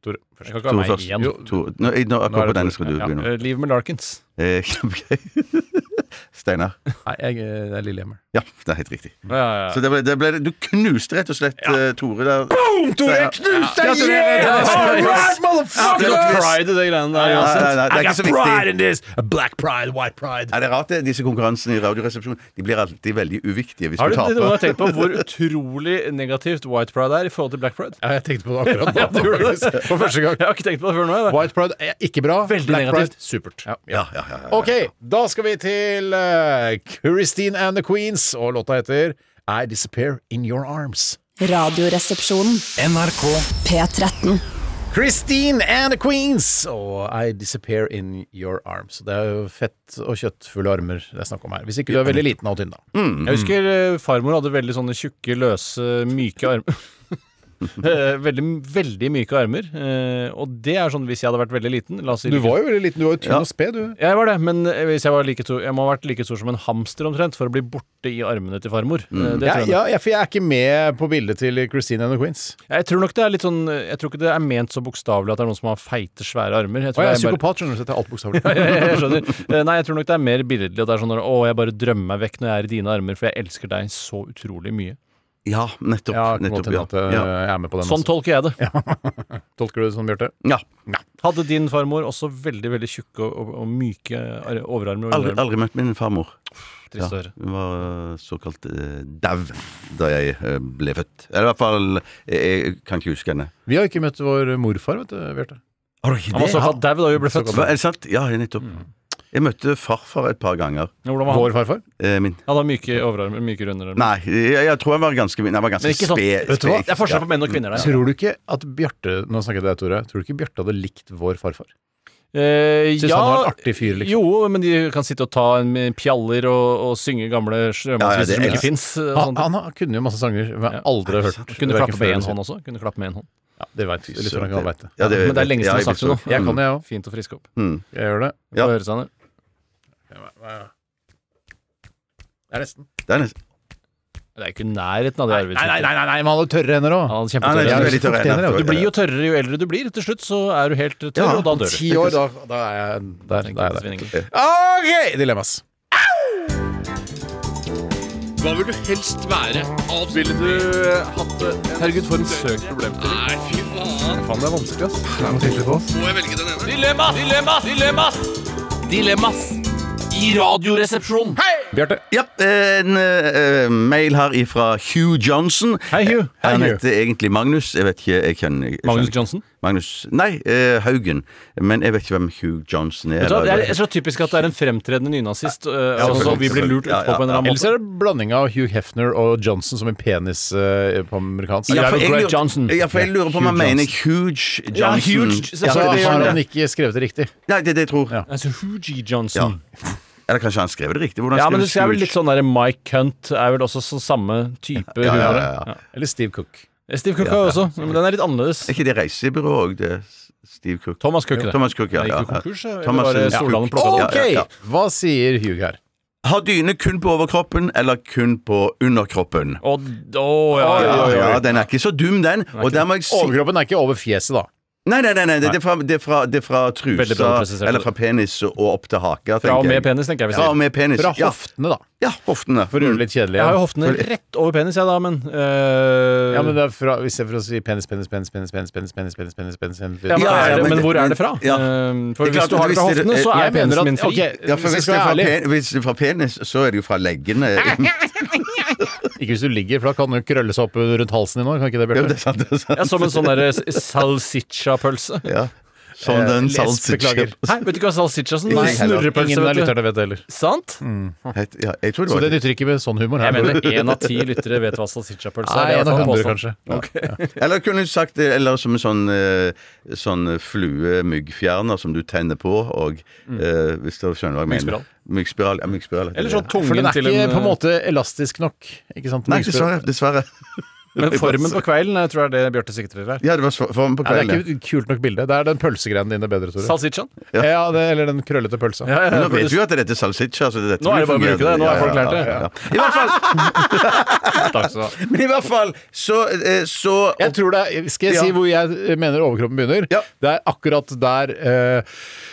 Speaker 5: Tore, først.
Speaker 6: Jeg kan ikke
Speaker 8: Tore
Speaker 6: ha meg
Speaker 8: først.
Speaker 6: igjen.
Speaker 8: Tore- Nå, jeg- nå,
Speaker 5: Nå er
Speaker 8: akkurat på
Speaker 5: det Tore.
Speaker 8: denne skal du
Speaker 5: Ja,
Speaker 8: begynne.
Speaker 6: Eh, Liv med Larkins.
Speaker 8: Eh, ok. Steinar.
Speaker 5: Nei, jeg, eh, det er Lillehammer.
Speaker 8: Ja, det er helt riktig.
Speaker 6: Ja, ja, ja.
Speaker 8: Så det ble, det ble, du knuste rett og slett eh, Tore der. Boom! Tore knuste!
Speaker 5: Ja, Tore, det er-
Speaker 8: Det
Speaker 6: Det
Speaker 8: er
Speaker 6: er
Speaker 8: nok
Speaker 6: noe
Speaker 8: quiz.
Speaker 6: pride i det greiene der.
Speaker 8: Nei,
Speaker 6: uansett.
Speaker 8: nei, nei, det er ikke så viktig.
Speaker 5: in this! Black pride, white pride.
Speaker 8: Er det rart, det? Disse konkurransene i Radioresepsjonen De blir alltid veldig uviktige hvis
Speaker 6: Har
Speaker 8: du
Speaker 6: du noen gang
Speaker 8: taper.
Speaker 6: tenkt på hvor utrolig negativt white pride er i forhold til black pride?
Speaker 5: Ja, jeg tenkte på det akkurat nå.
Speaker 6: gjorde det.
Speaker 5: faktisk. For første gang.
Speaker 6: Jeg har ikke tenkt på det før nå. jeg, da.
Speaker 5: White pride er ikke bra.
Speaker 6: Veldig
Speaker 5: Black pride,
Speaker 6: negativt.
Speaker 5: supert.
Speaker 8: Ja, ja, ja, ja.
Speaker 5: Ok, da skal vi til eh, Christine and the Queens, og låta heter I Disappear In Your Arms.
Speaker 1: Radioresepsjonen. NRK P13.
Speaker 5: Christine and the Queens og I Disappear In Your Arms. Det er jo fett og kjøttfulle armer det er snakk om her. Hvis ikke du er veldig liten og tynn, da.
Speaker 6: Jeg husker eh, farmor hadde veldig sånne tjukke, løse, myke armer. Eh, veldig, veldig myke armer. eh, Og det er sånn hvis jeg hadde vært veldig liten la oss si
Speaker 5: Du var jo veldig liten. Du var jo tynn
Speaker 8: Ja.
Speaker 5: og sped, du.
Speaker 6: Jeg var det, men eh, hvis jeg, var like stor, jeg må ha vært like stor som en hamster omtrent for å bli borte i armene til farmor. Eh,
Speaker 5: Mm.
Speaker 6: Det
Speaker 5: Ja,
Speaker 6: tror jeg,
Speaker 5: ja, ja, for jeg er ikke med på bildet til Christine and the Queens.
Speaker 6: nok. jeg tror nok det er litt sånn eh, Jeg tror ikke det er ment så bokstavelig at det er noen som har feite, svære armer. Jeg
Speaker 5: Å,
Speaker 6: tror
Speaker 5: jeg er
Speaker 6: det er bare-
Speaker 5: psykopat, skjønner du. så jeg tar alt bokstavelig.
Speaker 6: Ja, ja, ja, jeg skjønner. Eh, Nei, jeg tror nok det er mer billedlig. At det er sånn Å, jeg bare drømmer meg vekk når jeg er i dine armer, for jeg elsker deg så utrolig mye.
Speaker 8: ja nettopp.
Speaker 5: Ja, det kan godt
Speaker 8: nettopp
Speaker 5: hende
Speaker 8: ja.
Speaker 5: at eh,
Speaker 8: Ja.
Speaker 5: jeg er med på den.
Speaker 6: Sånn
Speaker 5: også.
Speaker 6: tolker jeg det.
Speaker 5: Tolker du det sånn, Bjarte?
Speaker 8: Ja.
Speaker 6: Hadde din farmor også veldig veldig tjukke og, og, og myke ar- overarmer? og
Speaker 8: Aldri,
Speaker 6: underarmer?
Speaker 8: aldri møtt min farmor.
Speaker 6: Trist å høre.
Speaker 8: Hun var eh, såkalt uh, dau da jeg eh, ble født. Eller i hvert fall eh, Jeg kan ikke huske henne.
Speaker 5: Vi har ikke møtt vår morfar, vet du, Bjarte.
Speaker 8: Har du ikke
Speaker 6: Han var såkalt dau da vi ble født.
Speaker 8: Hva, Er det sant? Ja, nettopp.
Speaker 6: Mm.
Speaker 8: Jeg møtte farfar et par ganger.
Speaker 6: Ja, Hvordan var han?
Speaker 5: Vår farfar?
Speaker 8: Eh, min.
Speaker 6: Han hadde myke overarmer, myke underarmer.
Speaker 8: Nei, jeg, jeg tror han var ganske min. Han var ganske
Speaker 6: Men ikke sånn.
Speaker 8: spe.
Speaker 6: Vet du hva? Det er
Speaker 8: spe-
Speaker 6: forskjell på menn og kvinner der.
Speaker 5: Tror du ikke at Bjarte Nå snakker jeg til deg, Tore. Tror du ikke Bjarte hadde likt vår farfar?
Speaker 6: Eh,
Speaker 5: Syns han var en artig fyr, liksom.
Speaker 6: Jo, men de kan sitte og ta en med pjaller og, og synge gamle
Speaker 8: Ja, ja,
Speaker 6: sjømannsviser
Speaker 8: det-
Speaker 6: som
Speaker 8: ja.
Speaker 6: ikke fins.
Speaker 5: Han, han har- kunne jo masse sanger som jeg
Speaker 6: Ja.
Speaker 5: aldri har hørt. hverken
Speaker 6: Kunne
Speaker 5: før
Speaker 6: klappe med
Speaker 5: eller
Speaker 6: én
Speaker 5: siden.
Speaker 6: hånd også. Kunne klappe med én hånd.
Speaker 5: Ja, det vet vi. Eller tror jeg ikke han vet det.
Speaker 8: Ja,
Speaker 6: Men det er lenge siden
Speaker 8: ja,
Speaker 6: du har
Speaker 8: jeg
Speaker 6: sagt det nå.
Speaker 8: visste
Speaker 5: Jeg kan det, jeg òg.
Speaker 6: Fint å friske opp.
Speaker 5: Jeg gjør det.
Speaker 8: Ja.
Speaker 6: Få høre, sånn, Sander.
Speaker 5: Det er nesten.
Speaker 8: Mm. Det er nesten-
Speaker 6: Det er jo ikke i nærheten av det
Speaker 5: Nei,
Speaker 6: Arvid.
Speaker 5: nei, nei, nei, nei, men han hadde tørre hender òg.
Speaker 6: Han er
Speaker 8: Ja, nei,
Speaker 6: kjempetørr.
Speaker 8: det er
Speaker 5: jeg har
Speaker 8: veldig tørre
Speaker 5: ikke fått
Speaker 8: hender.
Speaker 5: det,
Speaker 6: Du blir jo tørrere jo eldre du blir. Til slutt så er du helt tørr,
Speaker 8: Ja,
Speaker 6: og da dør du.
Speaker 5: Ti år, da, da er jeg der. Da er jeg der.
Speaker 6: Svinninger.
Speaker 5: OK! Dilemmas.
Speaker 9: Hva vil du helst være? Avslutning?
Speaker 6: Herregud, for en søk problem.
Speaker 9: Nei, fy faen.
Speaker 5: Faen, det er vanskelig, ass. Det er noe tydelig på oss.
Speaker 9: Må jeg velge den ene?
Speaker 3: Dilemmas! Dilemmas! Dilemmas! Dilemmas i Radioresepsjonen.
Speaker 5: Bjarte.
Speaker 8: Ja, en eh, eh, mail her ifra Hugh Johnson.
Speaker 6: Hei, Hugh.
Speaker 8: Hei, han
Speaker 5: Hugh.
Speaker 8: heter egentlig Magnus. Jeg vet ikke jeg kjenner, jeg
Speaker 6: Magnus
Speaker 8: skjønner-
Speaker 6: Johnson?
Speaker 8: Magnus Nei, eh, Haugen. Men jeg vet ikke hvem Hugh Johnson er.
Speaker 6: Vet du hva, Det altså,
Speaker 8: eller-
Speaker 6: er så typisk at det er en fremtredende nynazist, øh, og så
Speaker 8: selvfølgelig,
Speaker 6: vi blir lurt
Speaker 8: selvfølgelig. Ja,
Speaker 6: utpå på en eller annen
Speaker 5: Ellers
Speaker 6: måte.
Speaker 5: er det blanding av Hugh Hefner og Johnson som en penis eh, på amerikansk.
Speaker 8: ja, for
Speaker 6: Greg
Speaker 8: jeg lurer,
Speaker 6: Johnson.
Speaker 8: Ja, for jeg lurer på om han
Speaker 5: Hugh
Speaker 8: mener Huge Johnson.
Speaker 6: Ja, Huge,
Speaker 5: Så
Speaker 8: Ja, det, det,
Speaker 5: har han
Speaker 8: skjønner jeg.
Speaker 5: ikke skrevet det riktig.
Speaker 8: Nei, det, det jeg tror
Speaker 5: Ja.
Speaker 6: Altså, Hoogie Johnson.
Speaker 8: Eller kanskje han skrev det riktig? Hvordan
Speaker 6: Ja,
Speaker 8: skrev
Speaker 6: men det
Speaker 8: du
Speaker 6: er vel
Speaker 8: Huge?
Speaker 6: litt sånn der Mike Cunt er vel også så samme type
Speaker 8: ja, ja,
Speaker 6: humor.
Speaker 8: ja, ja.
Speaker 5: Eller Steve Cook.
Speaker 6: Steve Cook er også, men den er litt annerledes.
Speaker 8: Er ikke det reisebyrå òg, det? Steve Cook.
Speaker 6: Thomas Cook, det.
Speaker 8: Thomas Cook, ja.
Speaker 6: Det
Speaker 8: ja,
Speaker 6: gikk jo
Speaker 8: ja.
Speaker 6: konkurs, eller
Speaker 8: Thomas eh,
Speaker 6: var det
Speaker 8: Cook.
Speaker 6: Stordalen plukket det opp?
Speaker 8: Ja, ja, ja.
Speaker 5: Hva sier Hugh her?
Speaker 8: Ha dyne kun på overkroppen eller kun på underkroppen?
Speaker 6: Og, å, ja, ja,
Speaker 8: Ja,
Speaker 6: ja, ja.
Speaker 8: ja, den er ikke så dum, den. Og der må jeg si
Speaker 5: Overkroppen er ikke over fjeset, da.
Speaker 8: Nei, nei, nei, nei. Det, er fra, det, er fra, det er fra
Speaker 6: Veldig bra
Speaker 8: trusa
Speaker 6: presisert.
Speaker 8: Eller fra penis og opp til
Speaker 6: Fra
Speaker 8: haka.
Speaker 6: og
Speaker 8: tenker jeg.
Speaker 6: med penis, tenker jeg vi
Speaker 8: Fra
Speaker 6: sier.
Speaker 8: og med penis.
Speaker 5: Fra
Speaker 8: Ja,
Speaker 5: hoftene, da.
Speaker 8: ja Mm. hoftene.
Speaker 5: For å gjøre det litt kjedelig.
Speaker 6: Jeg har jo
Speaker 5: Ja.
Speaker 6: hoftene rett over penis, jeg da, men øh,
Speaker 5: Ja, men det er fra, I stedet for å si penis, penis, penis, penis, penis, penis, penis, penis, penis, penis, penis,
Speaker 6: Ja, men,
Speaker 8: Ja, ja,
Speaker 6: er det,
Speaker 8: men
Speaker 6: men
Speaker 8: det-
Speaker 6: hvor er
Speaker 8: men-
Speaker 6: det fra?
Speaker 8: ja.
Speaker 6: Ehm, For
Speaker 8: Det er
Speaker 6: hvis
Speaker 8: klart
Speaker 6: du
Speaker 8: at
Speaker 6: har det fra
Speaker 8: hvis dere-
Speaker 6: hoftene, så er
Speaker 5: Jeg mener
Speaker 6: penisen
Speaker 5: at
Speaker 6: min fri.
Speaker 5: Ok,
Speaker 8: Ja, for
Speaker 5: hvis jeg
Speaker 8: hvis det,
Speaker 5: skal
Speaker 8: er
Speaker 5: være
Speaker 8: fra
Speaker 5: ærlig
Speaker 8: pen, hvis det er fra penis, så er det jo fra leggene.
Speaker 5: Ikke hvis du ligger, for da kan den jo krølle seg opp rundt halsen din òg. Kan ikke det,
Speaker 8: Ja, det
Speaker 5: Bjarte?
Speaker 8: er sant, det er sant.
Speaker 6: Ja, som en sånn der salsiccia-pølse.
Speaker 8: Ja. Som den
Speaker 5: les,
Speaker 8: salsicha
Speaker 5: beklager.
Speaker 6: Hæ, vet du ikke hva salsicchasen
Speaker 8: Nei.
Speaker 5: Ingen
Speaker 6: Snurrepølse,
Speaker 5: av
Speaker 6: vet du.
Speaker 5: lytterne vet det heller.
Speaker 6: Sant?
Speaker 5: Mm.
Speaker 8: het. Ja, jeg tror det
Speaker 5: Så
Speaker 8: var
Speaker 5: det
Speaker 8: det.
Speaker 5: nytter ikke med sånn humor
Speaker 6: Jeg
Speaker 5: her.
Speaker 6: mener én av ti lyttere vet hva salsichapølse
Speaker 5: Nei,
Speaker 6: er. Det er.
Speaker 5: en av
Speaker 6: iallfall
Speaker 5: hundre,
Speaker 6: påstand.
Speaker 5: kanskje.
Speaker 8: Eller kunne du sagt det, eller som en sånn, eh, sånn fluemyggfjerner som du tenner på, og eh, hvis du skjønner hva jeg mener.
Speaker 6: Mm. Myggspiral.
Speaker 8: Myggspiral. Ja, myggspiral.
Speaker 6: Eller sånn
Speaker 5: For den
Speaker 6: tungen
Speaker 5: er
Speaker 6: til
Speaker 5: ikke
Speaker 6: en
Speaker 5: på en måte elastisk nok. Ikke sant?
Speaker 8: Nei, dessverre. dessverre.
Speaker 6: Men formen på kvelden jeg tror det er det Bjarte sikter til her.
Speaker 8: Ja, det var sv- formen på
Speaker 5: Nei, det
Speaker 8: kvelden.
Speaker 5: er ikke et kult nok bilde. Det er den pølsegreien dine bedre, Tore.
Speaker 6: Salsichan.
Speaker 5: ja. det, eller den krøllete pølsa.
Speaker 8: ja. Men nå vet vi jo at dette er salsiccia. Så det er dette
Speaker 6: Nå er det bare å
Speaker 8: fungerer.
Speaker 6: bruke det. Nå har folk lært det.
Speaker 8: I hvert fall,
Speaker 6: Takk skal du ha.
Speaker 8: men i hvert fall så, eh, så
Speaker 5: Jeg tror det er, Skal jeg si
Speaker 8: Ja.
Speaker 5: hvor jeg eh, mener overkroppen begynner?
Speaker 8: Ja.
Speaker 5: Det er akkurat der eh,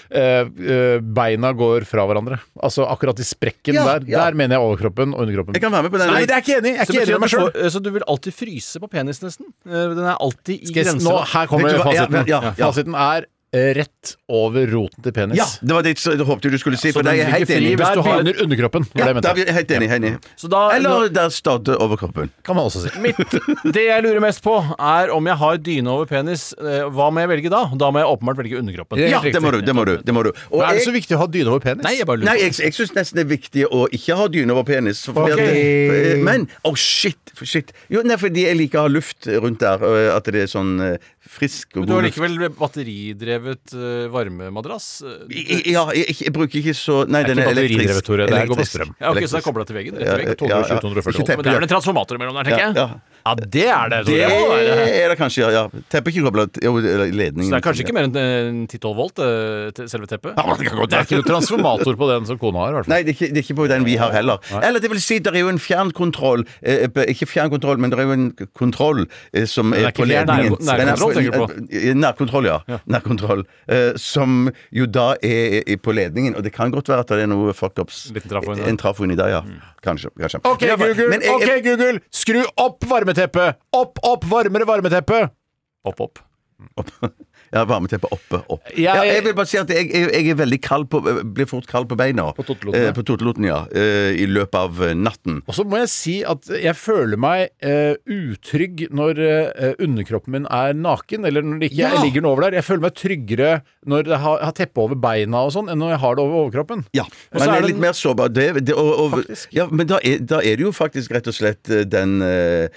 Speaker 5: eh, eh, beina går fra hverandre. Altså akkurat i sprekken
Speaker 8: Ja,
Speaker 5: der.
Speaker 8: ja.
Speaker 5: Der mener jeg overkroppen og underkroppen.
Speaker 8: Jeg kan være med på den.
Speaker 5: Nei, det er jeg ikke enig i! Jeg er
Speaker 6: Så,
Speaker 5: ikke enig
Speaker 6: betyr det
Speaker 5: med meg
Speaker 6: at du
Speaker 5: sjøl.
Speaker 6: får- eh, så du vil alltid fryse på penis, nesten? Eh, Den er alltid i
Speaker 5: Skal jeg- Nå,
Speaker 6: grensa.
Speaker 5: her kommer
Speaker 8: Vet du hva? Ja,
Speaker 5: fasiten.
Speaker 8: ja, ja.
Speaker 5: Fasiten er eh, rett over roten til penis.
Speaker 8: Ja, det var det jeg håpte du skulle si, for
Speaker 6: den
Speaker 8: det er jeg
Speaker 6: ligger
Speaker 8: helt
Speaker 6: fri
Speaker 8: enig i.
Speaker 6: hvis
Speaker 5: Der
Speaker 6: du har-
Speaker 5: begynner underkroppen. var
Speaker 8: Ja,
Speaker 5: det jeg
Speaker 8: da
Speaker 5: mente.
Speaker 8: er vi helt enig. helt enig.
Speaker 6: Så da,
Speaker 8: Eller der stadde overkroppen.
Speaker 5: kan man også si.
Speaker 6: nå- det jeg lurer mest på, er om jeg har dyne over penis. eh, Hva må jeg velge da? Da må jeg åpenbart velge underkroppen.
Speaker 5: Ja.
Speaker 8: Ja, det må du. det må du, det må du.
Speaker 5: Men
Speaker 8: Og
Speaker 5: er det så
Speaker 8: jeg-
Speaker 5: viktig å ha dyne over penis?
Speaker 6: Nei, jeg bare lurer.
Speaker 8: Nei, jeg, jeg syns nesten det er viktig å ikke ha dyne over penis. for- fordi at-
Speaker 5: Ok.
Speaker 8: Men Å, shit! for shit. Jo, nei, fordi jeg liker å ha luft rundt der. og At det er sånn eh, frisk og
Speaker 6: Men du har
Speaker 8: god luft.
Speaker 6: likevel batteridrevet eh, varmemadrass. Eh,
Speaker 8: I- i- Ja, jeg, jeg bruker ikke så Nei, den er
Speaker 5: batteridrevet,
Speaker 8: elektrisk.
Speaker 5: Tore, det her går på
Speaker 8: Elektrisk.
Speaker 5: strøm.
Speaker 6: Ja, ok, Så det er
Speaker 8: Elektrisk.
Speaker 6: kobla til veggen? Rett til veggen.
Speaker 8: Ja, eh, ja,
Speaker 5: 220,
Speaker 8: ja.
Speaker 5: 240
Speaker 6: Men
Speaker 8: Ikke
Speaker 6: det er vel
Speaker 8: teppe.
Speaker 6: en transformator imellom der, tenker
Speaker 8: Ja,
Speaker 6: jeg?
Speaker 8: ja.
Speaker 6: Ja, det er det.
Speaker 8: Det
Speaker 6: Tore. må være det.
Speaker 8: er det kanskje, ja. ja. Teppet er ikke kobla til Jo, ledningen.
Speaker 6: Så det er kanskje ikke mer enn eh, 10-12 volt, eh, til selve teppet?
Speaker 8: Ja, det kan godt
Speaker 5: Det er ikke noe transformator på den som kona har, i hvert fall.
Speaker 8: Nei, det er, ikke, det er ikke på den vi har heller. Eller det vil si, det er jo en fjernkontroll eh, på- Ikke fjernkontroll, men det er jo en k- kontroll eh, som er,
Speaker 6: ikke
Speaker 8: på
Speaker 6: fjern,
Speaker 8: ledningen.
Speaker 6: nær- nærkontroll,
Speaker 8: Den er-
Speaker 6: tenker
Speaker 8: eh, Nærkontroll, ja. Nærkontroll. Eh, som jo da er, er på ledningen. Og det kan godt være at det er noe fuckups.
Speaker 6: Liten trafo inni der.
Speaker 8: En trafo inni der, ja. Kanskje. kanskje.
Speaker 5: OK, Google,
Speaker 8: Men jeg-
Speaker 5: ok,
Speaker 8: jeg-
Speaker 5: Google, skru opp varmeteppet! Opp, opp, varmere varmeteppe!
Speaker 6: Opp, opp.
Speaker 8: Ja, varmeteppet oppe, opp.
Speaker 5: Ja,
Speaker 8: Ja,
Speaker 5: jeg-
Speaker 8: jeg vil bare si at jeg, jeg, jeg er veldig kald på, eh, blir fort kald på beina. På
Speaker 5: toteloten, ja.
Speaker 8: På toteloten, ja. Eh, I løpet av eh, natten.
Speaker 5: Og så må jeg si at jeg føler meg eh, utrygg når eh, underkroppen min er naken, eller når det ikke jeg ligger den over der. Jeg føler meg tryggere når jeg har, har teppe over beina og sånn, enn når jeg har det over overkroppen.
Speaker 8: Ja,
Speaker 5: Og
Speaker 8: man
Speaker 5: så
Speaker 8: er,
Speaker 5: er det
Speaker 8: litt mer sårbar. Det, det, og, og,
Speaker 5: Faktisk.
Speaker 8: ja, men da er, da er det jo faktisk rett og slett eh, den eh,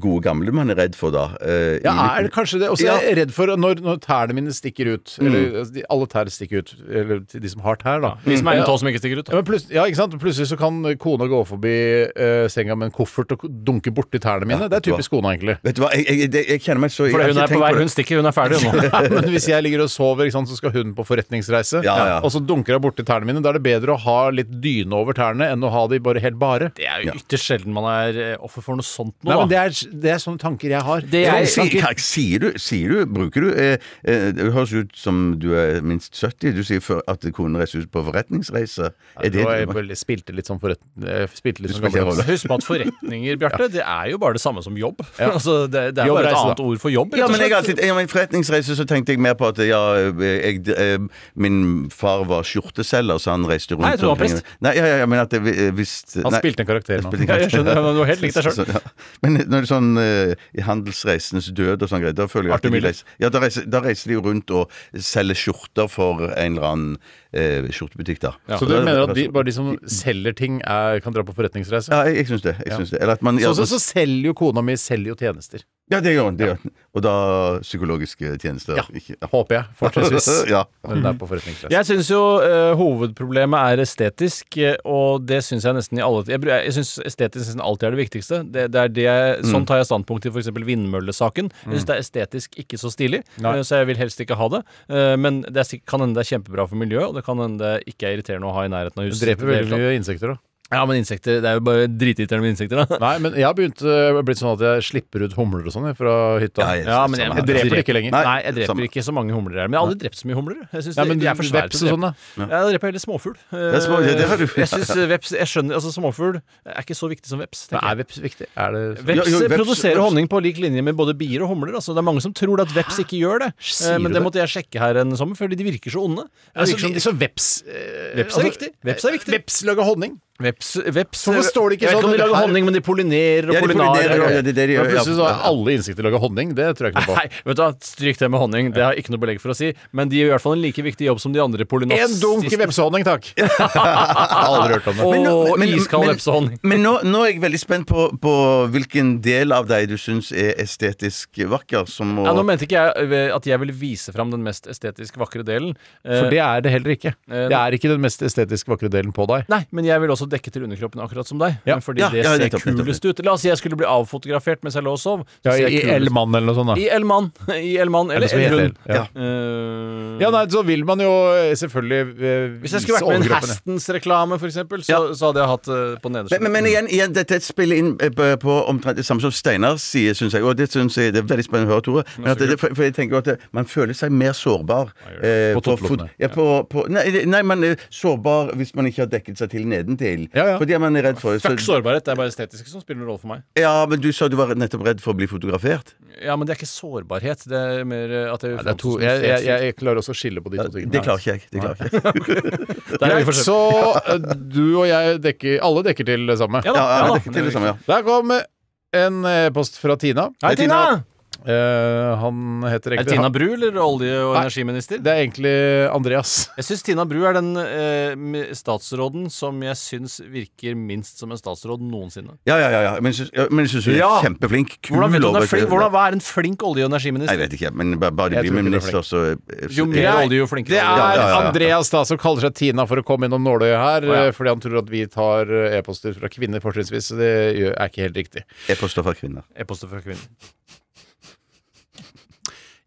Speaker 8: gode gamle man er redd for, da. eh, i
Speaker 5: Ja, er
Speaker 8: midten.
Speaker 5: det kanskje det? Og så er jeg redd for når, når tærne mine stikker ut. Eller altså, de, alle tær stikker ut. Eller til de som har tær, da.
Speaker 6: Vis meg en tå som ikke stikker ut.
Speaker 5: Ja, men plutselig, ja, ikke sant? plutselig så kan kona gå forbi eh, senga med en koffert og dunke borti tærne mine.
Speaker 8: Ja,
Speaker 5: det er
Speaker 8: vet du hva?
Speaker 5: typisk kona, egentlig.
Speaker 8: Vet du hva, jeg, jeg, det- jeg kjenner meg så jeg
Speaker 6: Fordi
Speaker 8: har
Speaker 6: hun er
Speaker 8: ikke
Speaker 6: på
Speaker 8: tenkt
Speaker 6: vei,
Speaker 8: på det.
Speaker 6: hun stikker, hun er ferdig hun nå.
Speaker 5: Ja, men hvis jeg ligger og sover, ikke sant, så skal hun på forretningsreise,
Speaker 8: Ja, ja.
Speaker 5: og så dunker hun borti tærne mine. Da er det bedre å ha litt dyne over tærne enn å ha de bare helt bare.
Speaker 6: Det er jo ytterst sjelden man er eh, offer for noe sånt nå,
Speaker 5: Nei, men
Speaker 6: da.
Speaker 5: det er, det er sånne tanker jeg har.
Speaker 6: Det er-
Speaker 8: Ja,
Speaker 6: Jeg
Speaker 8: sier,
Speaker 6: snakker-
Speaker 8: Kak, sier du, sier du, bruker du eh, eh, Det høres ut som du er minst 70. Du sier før at konen reiser ut på forretningsreise. Er det
Speaker 5: Nå har jeg bare spilte litt sånn forret... jeg Spilte litt
Speaker 8: Du
Speaker 5: sånn
Speaker 8: spilte en
Speaker 5: gammeldags.
Speaker 8: rolle.
Speaker 6: Husk på at forretninger, Bjarte, det er jo bare det samme som jobb. Altså, det, det er
Speaker 5: Jobbreise,
Speaker 6: bare et
Speaker 5: da.
Speaker 6: annet ord for jobb,
Speaker 8: Ja,
Speaker 6: rett og
Speaker 8: men jeg har
Speaker 6: slett.
Speaker 8: alltid, ja, men forretningsreise så tenkte jeg mer på at ja, jeg, eh, min far var skjorteselger, så han reiste rundt
Speaker 6: Nei, jeg tror han var
Speaker 8: omkring. Nei, ja, ja, ja, men at jeg, eh, hvis
Speaker 5: Han
Speaker 8: nei.
Speaker 5: spilte en karakter nå.
Speaker 6: Ja, jeg skjønner, men du var helt lik deg selv.
Speaker 8: Så, ja. Men når det er sånn eh, i Handelsreisenes død og sånn greier, da føler jeg at
Speaker 6: Arthur
Speaker 8: de
Speaker 6: Miller.
Speaker 8: reiser, ja, da, reiser, da reiser de jo rundt og selger skjorter for en eller annen eh, skjortebutikk, da.
Speaker 5: Så du mener at de, bare de som selger ting, er, kan dra på forretningsreise?
Speaker 8: Ja, jeg, jeg syns det. Jeg syns det. Eller at man ja,
Speaker 5: Sånn så, så selger jo kona mi selger jo tjenester.
Speaker 8: ja, det gjør han. Det gjør han. Og da psykologiske tjenester. Ikke, ja.
Speaker 5: Håper jeg, fortrinnsvis.
Speaker 8: ja.
Speaker 5: Når hun er på forretningsreise.
Speaker 6: Jeg syns jo eh, hovedproblemet er estetisk, eh, og det syns jeg nesten i alle Jeg, bru- jeg syns estetisk nesten alltid er det viktigste. Det, det er det jeg,
Speaker 5: Mm.
Speaker 6: Sånn tar jeg standpunkt i f.eks. vindmøllesaken. Jeg syns det er estetisk ikke så stilig, eh, så jeg vil helst ikke ha det. Eh, men det er, sikk- kan hende det er kjempebra for miljøet, og det kan hende det ikke er irriterende å ha i nærheten av
Speaker 5: Du
Speaker 6: huset.
Speaker 5: dreper
Speaker 6: Det er
Speaker 5: veldig
Speaker 6: helt klart.
Speaker 5: mye insekter, da.
Speaker 6: Ja, men insekter Det er jo bare dritirriterende med insekter, da.
Speaker 5: Nei, men jeg har begynt eh, blitt sånn at jeg slipper ut humler og sånn jeg, fra hytta.
Speaker 8: Ja, jeg-
Speaker 6: Ja, men jeg,
Speaker 8: samme her.
Speaker 5: dreper det ikke lenger.
Speaker 6: Nei,
Speaker 8: Nei,
Speaker 6: jeg dreper
Speaker 8: samme.
Speaker 6: ikke så mange humler her. Men jeg har aldri drept så mye humler. Jeg synes
Speaker 5: Nei, men
Speaker 6: de er for svære
Speaker 5: veps
Speaker 6: til å
Speaker 5: og
Speaker 6: drepe.
Speaker 5: sånn,
Speaker 6: Ja, Jeg dreper heller småfugl. Eh,
Speaker 8: er små- det- det har du-
Speaker 6: jeg synes veps Jeg skjønner Altså, småfugl er ikke så viktig som veps. tenker
Speaker 5: Men
Speaker 6: jeg.
Speaker 5: er veps viktig? Er det
Speaker 6: Veps,
Speaker 8: Jo, jo, veps-
Speaker 6: produserer
Speaker 8: veps-
Speaker 6: honning på lik linje med både bier og humler. Altså. Det er mange som tror at veps ikke gjør det. Eh, Men
Speaker 5: du
Speaker 6: det
Speaker 5: det?
Speaker 6: måtte jeg sjekke her en sommer, fordi de virker så onde. Det
Speaker 5: Altså,
Speaker 6: virker som de-
Speaker 5: så veps eh,
Speaker 6: Veps er viktig. Veps er viktig.
Speaker 5: Veps lager honning.
Speaker 6: Veps, veps
Speaker 5: Hvorfor står det ikke
Speaker 6: Jeg vet
Speaker 5: sånn?
Speaker 6: om de lager
Speaker 5: Her-
Speaker 6: honning, men de pollinerer og
Speaker 8: Ja, de
Speaker 6: pollinerer.
Speaker 8: pollinerer,
Speaker 6: og-
Speaker 8: ja, det er det de
Speaker 5: Men
Speaker 8: gjør,
Speaker 5: plutselig så
Speaker 8: ja.
Speaker 5: har alle insekter laga honning. Det tror jeg ikke noe
Speaker 6: Nei,
Speaker 5: på.
Speaker 6: vet du hva, stryk det med honning. Det har jeg ikke noe belegg for å si. Men de gjør i hvert fall en like viktig jobb som de andre
Speaker 5: En dunk i
Speaker 6: polynazistene.
Speaker 5: vepsehonning, takk! Jeg har aldri hørt om det.
Speaker 6: Og
Speaker 8: Men nå- men-
Speaker 6: iskald
Speaker 8: men-
Speaker 6: vepsehonning.
Speaker 8: Men nå, nå er jeg veldig spent på, på hvilken del av deg du syns er estetisk vakker. Som må
Speaker 6: Ja, nå mente ikke jeg eh, at jeg ville vise fram den mest estetisk vakre delen. Eh,
Speaker 5: For det er det heller ikke.
Speaker 6: eh,
Speaker 5: Det er ikke den mest estetisk vakre delen på deg.
Speaker 6: Nei, men jeg vil også dekke til underkroppen, akkurat som deg.
Speaker 5: Ja.
Speaker 6: Fordi
Speaker 8: Ja,
Speaker 6: det
Speaker 8: ja,
Speaker 6: ser
Speaker 8: nettopp, nettopp,
Speaker 6: kulest ut. La oss si jeg skulle bli avfotografert mens jeg lå og sov. så
Speaker 5: Ja,
Speaker 6: ser
Speaker 5: I
Speaker 6: jeg kulest-
Speaker 5: L-mann eller noe sånt. da
Speaker 6: I Elman. I Elman
Speaker 5: Er det
Speaker 6: eller
Speaker 5: som heter?
Speaker 6: Elhund.
Speaker 5: Ja.
Speaker 6: Eh,
Speaker 5: Ja, nei, så vil man jo eh, selvfølgelig eh,
Speaker 6: hvis jeg skulle
Speaker 5: vise
Speaker 6: vært med i en
Speaker 5: overkroppene.
Speaker 6: Hastens-reklame, f.eks., så, så hadde jeg hatt eh, på nederste.
Speaker 8: Men, men, men igjen, igjen, dette spiller inn eh, på, på omtrent det samme som Steinar sier, syns jeg. Og det synes jeg det er veldig spennende å høre, Tore. Men at det, for, for jeg tenker at det, man føler seg mer sårbar. eh,
Speaker 5: På
Speaker 8: på
Speaker 5: topplokene.
Speaker 8: fot- ja, på, på, nei, det- nei, man er sårbar hvis man ikke har dekket seg til nedentil.
Speaker 5: Ja, ja.
Speaker 8: Fordi man er redd for
Speaker 6: Fuck
Speaker 8: så,
Speaker 6: sårbarhet, det er bare estetisk som spiller noen rolle for meg.
Speaker 8: Ja, men du sa du var nettopp redd for å bli fotografert.
Speaker 6: Ja, men det er ikke sårbarhet. Det er mer eh, at jeg
Speaker 5: Nei, det er to, jeg, jeg, jeg klarer også å skille på de to tingene.
Speaker 8: Det klarer ikke jeg. Det klarer ikke. jeg.
Speaker 6: Der er vi forskjellige.
Speaker 5: Så eh, du og jeg dekker Alle dekker til det samme.
Speaker 6: Ja da,
Speaker 8: Ja, ja,
Speaker 6: ja da.
Speaker 8: det, til det samme, ja.
Speaker 5: Der kom eh, en eh, post fra Tina.
Speaker 6: Hei, Tina!
Speaker 5: Eh, han heter
Speaker 6: Er det
Speaker 5: egentlig
Speaker 6: Tina Bru eller olje- og
Speaker 5: Nei.
Speaker 6: energiminister?
Speaker 5: Det er egentlig Andreas.
Speaker 6: Jeg syns Tina Bru er den eh, m- statsråden som jeg syns virker minst som en statsråd noensinne.
Speaker 8: Ja, ja, ja, ja. Men syns- ja, Men jeg syns hun
Speaker 6: Ja.
Speaker 8: er kjempeflink. Kul
Speaker 6: Hvordan vet du hun er
Speaker 8: overkropp.
Speaker 6: flink? Hvordan, hva er en flink olje- og
Speaker 8: Jeg
Speaker 6: energiminister?
Speaker 8: vet ikke, men bare, bare
Speaker 5: Jeg
Speaker 8: de blir
Speaker 5: tror
Speaker 8: med
Speaker 5: ikke
Speaker 8: minister, så
Speaker 6: Jo mer
Speaker 5: Nei,
Speaker 6: olje, jo
Speaker 5: Det
Speaker 6: flinkere
Speaker 5: er
Speaker 6: olje.
Speaker 8: ja, ja, ja.
Speaker 5: Andreas da som kaller seg Tina for å komme innom nåløyet her,
Speaker 6: Å, ja.
Speaker 5: eh, fordi han tror at vi tar eh, e-poster fra kvinner fortrinnsvis. så Det gjør- er ikke helt riktig.
Speaker 8: E-poster fra kvinner.
Speaker 6: E-poster fra kvinner.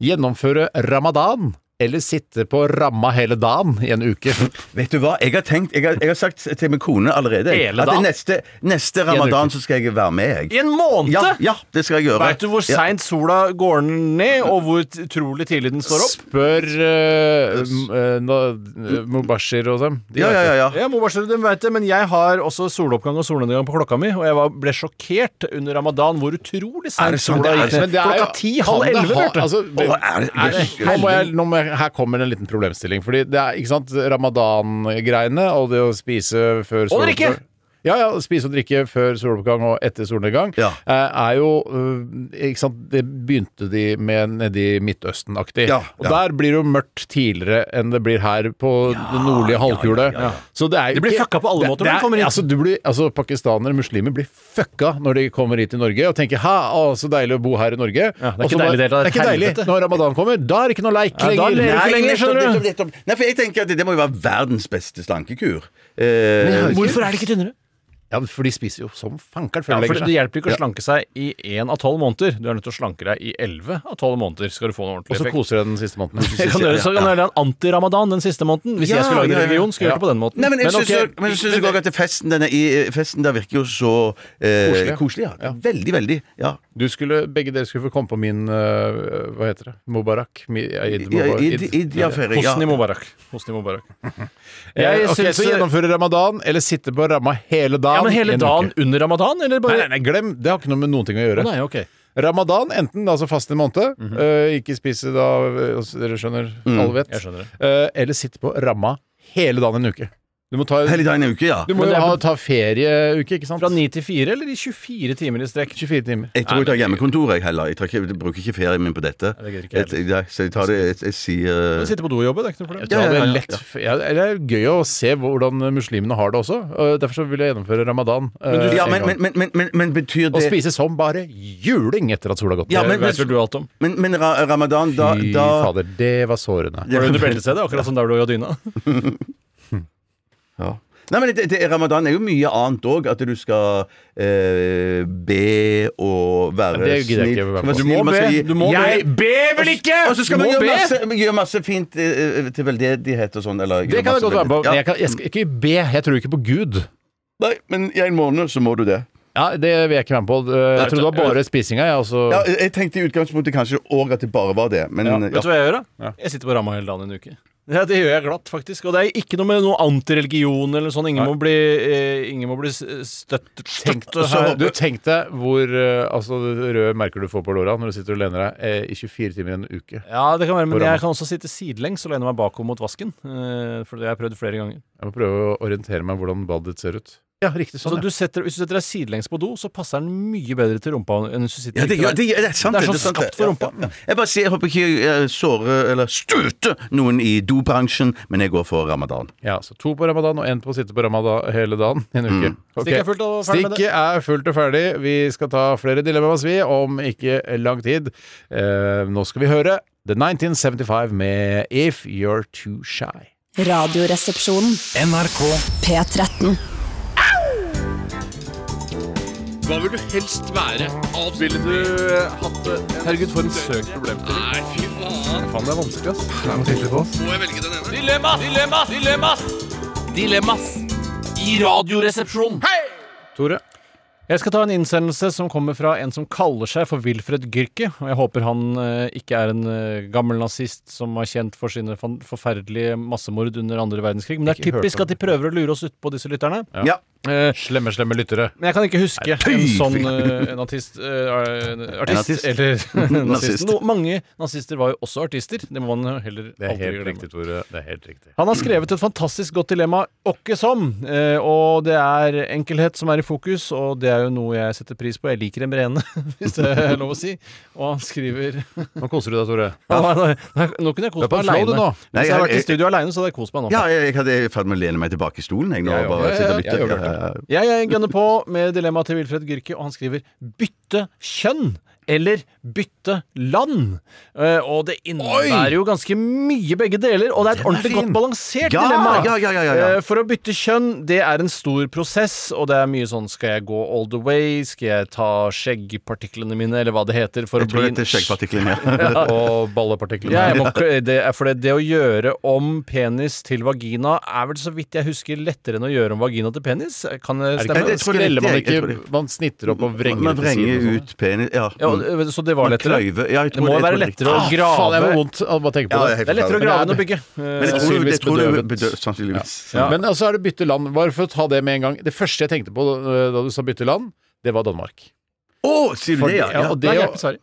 Speaker 5: Gjennomføre ramadan eller sitte på ramma hele dagen i en uke.
Speaker 8: Vet du hva, jeg har tenkt Jeg har, jeg har sagt til min kone allerede jeg,
Speaker 6: Hele
Speaker 8: at
Speaker 6: dagen?
Speaker 8: neste, neste ramadan så skal jeg være med, jeg.
Speaker 6: I en måned!
Speaker 8: Ja, ja, det skal jeg gjøre.
Speaker 6: Veit du hvor
Speaker 8: Ja.
Speaker 6: seint sola går ned, og hvor t- utrolig tidlig den står opp?
Speaker 5: Spør eh, m- eh, nå- eh, Mubashir og dem. De
Speaker 8: Ja,
Speaker 5: vet
Speaker 8: ja,
Speaker 5: det.
Speaker 8: ja. ja.
Speaker 6: Ja, må bare skjønne, du vet det, men jeg har også soloppgang og solnedgang på klokka mi, og jeg var, ble sjokkert under ramadan hvor utrolig seint
Speaker 8: sant?
Speaker 6: sola gikk
Speaker 8: Er det-
Speaker 6: ned.
Speaker 5: Men det er jo-
Speaker 6: Klokka ti,
Speaker 5: kan
Speaker 6: halv
Speaker 5: det
Speaker 6: elleve,
Speaker 5: ha-
Speaker 6: Bjarte.
Speaker 5: altså,
Speaker 8: Å, er det-
Speaker 5: er det-
Speaker 8: Jøss,
Speaker 5: nå må jeg, nå må jeg, her kommer en liten problemstilling. Fordi det er ikke sant, ramadan-greiene og det å spise før
Speaker 6: Og drikke!
Speaker 5: soloppgang- Ja, ja, spise og drikke før soloppgang og etter solnedgang
Speaker 8: Ja.
Speaker 5: eh, er jo øh, ikke sant, Det begynte de med nedi Midtøsten-aktig.
Speaker 8: Ja,
Speaker 5: Og
Speaker 8: ja.
Speaker 5: der blir det jo mørkt tidligere enn det blir her på den nordlige halvkule. Så det er jo
Speaker 6: De blir
Speaker 5: ikke-
Speaker 6: fucka på alle
Speaker 5: det-
Speaker 6: måter
Speaker 5: det
Speaker 6: når de
Speaker 5: er-
Speaker 6: kommer hit.
Speaker 5: Altså, du blir, altså Pakistanere, muslimer, blir fucka når de kommer hit til Norge og tenker 'hæ, å, så deilig å bo her i Norge'.
Speaker 6: det er
Speaker 5: Og
Speaker 6: ikke
Speaker 5: så bare-
Speaker 6: deilig, det er
Speaker 5: det er ikke deilig.
Speaker 6: helvete.
Speaker 5: Når ramadan kommer, da er det ikke noe leik
Speaker 6: Ja, da
Speaker 5: lenger.
Speaker 6: leker
Speaker 8: Nei,
Speaker 6: ikke lenger,
Speaker 8: nettopp,
Speaker 6: skjønner du.
Speaker 8: nettopp, nettopp. Nei, for jeg tenker at det, det må jo være verdens beste slankekuр. Eh,
Speaker 6: Hvorfor er det ikke tynnere?
Speaker 5: Ja, for de spiser jo som fankeren før
Speaker 6: Ja,
Speaker 5: de
Speaker 6: for
Speaker 5: legger
Speaker 6: Det
Speaker 5: seg.
Speaker 6: hjelper ikke å slanke seg i én av tolv måneder. Du er nødt til å slanke deg i elleve av tolv måneder skal du få en
Speaker 5: Og
Speaker 6: ordentlig
Speaker 5: så
Speaker 6: effekt.
Speaker 5: koser de den siste måneden.
Speaker 6: Jeg kan gjøre, så kan jeg gjøre en antiramadan den siste måneden. Hvis
Speaker 8: Ja,
Speaker 6: jeg skulle lage
Speaker 8: ja,
Speaker 6: en
Speaker 8: ja.
Speaker 6: religion, skulle jeg gjort det på den måten.
Speaker 8: Nei, men
Speaker 5: Men
Speaker 8: jeg
Speaker 5: ok,
Speaker 8: syns jo- men jeg syns jo også at festen, denne, i, festen der virker jo så eh,
Speaker 5: Koselig, ja.
Speaker 8: koselig. Ja. Veldig, veldig. Ja.
Speaker 5: Du skulle, begge dere skulle få komme på min øh, Hva heter det? Mubarak? Mi- Eid
Speaker 8: Ja,
Speaker 5: Mubarak-
Speaker 8: id,
Speaker 5: Eid.
Speaker 8: id, ja, feiring, ja.
Speaker 6: Hosni Mubarak. Hosni Mubarak.
Speaker 5: Eh,
Speaker 6: Jeg
Speaker 5: ok,
Speaker 6: syns-
Speaker 5: Så gjennomføre ramadan, eller sitte på ramma hele dagen.
Speaker 6: Ja, men
Speaker 5: i
Speaker 6: hele
Speaker 5: en
Speaker 6: dagen
Speaker 5: uke.
Speaker 6: under ramadan,
Speaker 5: Nei,
Speaker 6: eller bare
Speaker 5: nei, nei, glem! Det har ikke noe med noen ting å
Speaker 6: Å,
Speaker 5: gjøre.
Speaker 6: nei, Mhm. ok.
Speaker 5: Ramadan, enten da, altså faste en måned, øh, ikke spise da øh, altså, Dere skjønner, alle vet.
Speaker 6: Mm, jeg skjønner det.
Speaker 5: Øh, eller sitte på ramma hele dagen en uke. Du må ta,
Speaker 8: Hele dagen i en uke, ja.
Speaker 5: du må
Speaker 6: Men
Speaker 5: jo
Speaker 6: det er
Speaker 5: ha,
Speaker 6: på-
Speaker 5: ta ferieuke, ikke sant?
Speaker 6: Fra ni til fire, eller i 24 timer i strekk?
Speaker 5: 24 timer.
Speaker 8: Jeg tror jeg tar hjemmekontor, jeg heller. Jeg, tar ikke, jeg bruker ikke ferien min på dette.
Speaker 6: det gidder ikke jeg
Speaker 8: jeg, nei, så jeg tar det Jeg, jeg sier
Speaker 6: Sitte på do og jobbe, det er ikke noe problem.
Speaker 5: Ja,
Speaker 8: ja, ja, ja.
Speaker 5: Lett, ja, det er gøy å se hvordan muslimene har det også. Øh, Derfor så vil jeg gjennomføre ramadan. øh,
Speaker 8: eh, ja,
Speaker 5: en
Speaker 8: men,
Speaker 5: gang.
Speaker 8: men, men, men, men, men betyr
Speaker 5: og
Speaker 8: det
Speaker 5: spise som bare juling etter at sola har gått
Speaker 8: Ja,
Speaker 5: ned.
Speaker 8: men-
Speaker 6: Det vet vel du alt om.
Speaker 8: Men, men ra ramadan, da,
Speaker 5: Fy
Speaker 8: da
Speaker 5: fader, det var sårende.
Speaker 6: Var du under beltestedet, akkurat som der du lå i dyna?
Speaker 8: ja. Nei, men det, det, Ramadan er jo mye annet òg. At du skal eh, be og være
Speaker 5: Det gidder jeg ikke
Speaker 8: snill.
Speaker 5: være
Speaker 8: Man
Speaker 5: på.
Speaker 8: skal være snill, man skal gi-
Speaker 6: Jeg ber vel ikke!
Speaker 8: Og så skal
Speaker 6: Du
Speaker 8: man
Speaker 6: må
Speaker 8: gjøre
Speaker 6: be!
Speaker 8: masse, gjøre masse fint eh, til veldedighet og sånn. eller
Speaker 5: Det kan
Speaker 8: gjøre
Speaker 5: jeg
Speaker 8: masse
Speaker 5: godt være med på.
Speaker 8: veldedighet.
Speaker 5: Men jeg, kan, jeg skal ikke be. Jeg tror ikke på Gud.
Speaker 8: Ja. Nei, men i en måned så må du det.
Speaker 5: Ja, Det vil jeg ikke være med på. Eh, Jeg trodde det var bare spisinga. Jeg, altså. også.
Speaker 8: Ja, jeg tenkte i utgangspunktet kanskje òg at det bare var det. Men ja.
Speaker 6: Vet du hva jeg gjør, da? Jeg sitter på ramma hele dagen en uke. Ja, det gjør jeg glatt, faktisk. Og det er ikke noe med noe antireligion eller noe sånt. Ingen må bli, eh, ingen må bli s- støtt...
Speaker 5: Tenk,
Speaker 6: støtt
Speaker 5: her, du Tenk deg hvor eh, altså, det røde merker du får på låra når du sitter og lener deg eh, i 24 timer i en uke. Jeg
Speaker 6: Ja, det kan være,
Speaker 5: På
Speaker 6: men
Speaker 5: ramma.
Speaker 6: jeg kan også sitte sidelengs og lene meg bakover mot vasken. eh, For det har jeg prøvd flere ganger.
Speaker 5: må prøve å orientere meg hvordan badet ditt ser ut. Ja, riktig sånn.
Speaker 6: Så du setter, hvis du setter deg sidelengs på do, så passer den mye bedre til rumpa enn hvis du sitter
Speaker 8: Ja, det, gjør-
Speaker 6: riktig
Speaker 8: det,
Speaker 6: vei.
Speaker 8: gjør- det er sant.
Speaker 6: Det er
Speaker 8: det
Speaker 6: sånn
Speaker 8: sant,
Speaker 6: skapt for rumpa.
Speaker 8: Ja, ja. Jeg bare sier, jeg håper ikke jeg eh, sårer eller støter noen i dobransjen, men jeg går for ramadan.
Speaker 5: ja. ja, så to på ramadan og én på å sitte på ramadan hele dagen i en uke. Ok.
Speaker 6: Stikket er fullt og ferdig med det.
Speaker 5: Mm. Stikket er fullt og ferdig. Vi skal ta flere dilemmaer, vi, om ikke lang tid. Eh, nå skal vi høre The 1975 med If You're Too Shy.
Speaker 1: Radioresepsjonen. NRK P13.
Speaker 9: Hva vil du helst være? Avs...
Speaker 3: Ville du eh, hatt det? Herregud, for en søk problemstilling.
Speaker 9: Nei, fy faen.
Speaker 5: Faen, det er vanskelig, ass.
Speaker 9: Må jeg velge den ene?
Speaker 3: Dilemmas! Dilemmas! Dilemmas! Dilemmas i Radioresepsjonen.
Speaker 5: Tore?
Speaker 6: Jeg skal ta en innsendelse som kommer fra en som kaller seg for Wilfred Gyrke. Og jeg håper han eh, ikke er en eh, gammel nazist som er kjent for sine fan- forferdelige massemord under andre verdenskrig. Men det er
Speaker 5: Ikke hørt
Speaker 6: typisk
Speaker 5: om
Speaker 6: at de prøver å lure oss utpå, disse lytterne.
Speaker 8: Ja.
Speaker 5: Slemme, slemme lyttere.
Speaker 6: Men jeg kan ikke huske en
Speaker 8: fy
Speaker 6: sånn
Speaker 8: fy.
Speaker 6: eh, en artist, eh, en artist,
Speaker 8: artist.
Speaker 6: Eller nazist.
Speaker 8: Nazist.
Speaker 6: No, mange nazister var jo også artister. Det må man jo heller
Speaker 5: Det er
Speaker 6: aldri
Speaker 5: helt
Speaker 6: glemme.
Speaker 5: riktig, Tore. Det er helt riktig.
Speaker 6: Han har skrevet et fantastisk godt dilemma, åkke som. Eh, og det er enkelhet som er i fokus, og det er jo noe jeg setter pris på. Jeg liker en brene, hvis det er lov å si. Og han skriver
Speaker 5: Nå koser du deg, Tore.
Speaker 6: Nei, nei, nei, Nå kunne jeg
Speaker 5: Du er
Speaker 6: kost
Speaker 5: på
Speaker 6: meg
Speaker 5: flow, du,
Speaker 6: aleine.
Speaker 5: nå.
Speaker 8: Nei,
Speaker 6: Hvis jeg hadde vært
Speaker 8: jeg-
Speaker 6: i studio aleine, så hadde jeg kost meg nå.
Speaker 8: Ja, jeg, jeg hadde jeg er i ferd med å lene meg tilbake i stolen. Jeg, nå,
Speaker 5: Ja, ja, ja,
Speaker 8: bare sitte
Speaker 5: ja,
Speaker 8: og lytte.
Speaker 5: jeg gjør det.
Speaker 8: Ja, ja, ja.
Speaker 6: Jeg, jeg gønner på med dilemmaet til Wilfred Gyrke, og han skriver 'bytte kjønn' eller 'bytte land'. Eh, og det innebærer jo ganske mye begge deler, og det er et ordentlig
Speaker 5: fin.
Speaker 6: godt balansert
Speaker 8: Ja,
Speaker 6: dilemma.
Speaker 8: ja, ja, ja, ja, ja.
Speaker 6: Eh, for å bytte kjønn, det er en stor prosess, og det er mye sånn 'skal jeg gå all the way', 'skal jeg ta skjeggpartiklene mine', eller hva det heter, for
Speaker 8: Jeg
Speaker 6: å
Speaker 8: tror
Speaker 6: bli
Speaker 8: dette er skjeggpartiklene. Ja.
Speaker 5: Og ballepartiklene.
Speaker 6: ja, jeg må, ikke- det er fordi det å gjøre om penis til vagina er vel så vidt jeg husker lettere enn å gjøre om vagina til penis? Kan det
Speaker 5: Er det ikke,
Speaker 6: stemme?
Speaker 8: Jeg tror det er
Speaker 5: skreller man
Speaker 8: riktig, jeg tror
Speaker 5: ikke Man snitter opp og vrenger
Speaker 8: Man
Speaker 5: til siden og
Speaker 8: vrenger
Speaker 5: sånn.
Speaker 8: ut penis Ja.
Speaker 6: Ja,
Speaker 8: mm.
Speaker 6: og- så det var
Speaker 8: Man
Speaker 6: lettere?
Speaker 8: kløyver- Ja, jeg
Speaker 6: det
Speaker 8: tror
Speaker 6: må
Speaker 8: det, jeg
Speaker 6: være
Speaker 8: tror det. Ah!
Speaker 6: lettere å
Speaker 5: Ah, Faen, jeg
Speaker 6: grave.
Speaker 5: får vondt av å bare tenke på
Speaker 8: Ja,
Speaker 5: det.
Speaker 8: jeg helt
Speaker 6: Det er lettere å
Speaker 8: forferdelig.
Speaker 6: grave enn å bygge.
Speaker 8: Men jeg tror,
Speaker 5: Sannsynligvis
Speaker 8: jeg tror det
Speaker 5: bedøvet.
Speaker 8: bedøves. Sannsynligvis.
Speaker 6: Ja.
Speaker 5: Men altså er det bytte land. Bare for å ta det med en gang. Det første jeg tenkte på eh, da du sa bytte land, det var Danmark.
Speaker 8: Å, sier du det, ja?
Speaker 5: Ja,
Speaker 8: ja.
Speaker 5: og det
Speaker 6: Nei,
Speaker 5: å-
Speaker 6: hjelpen, sorry.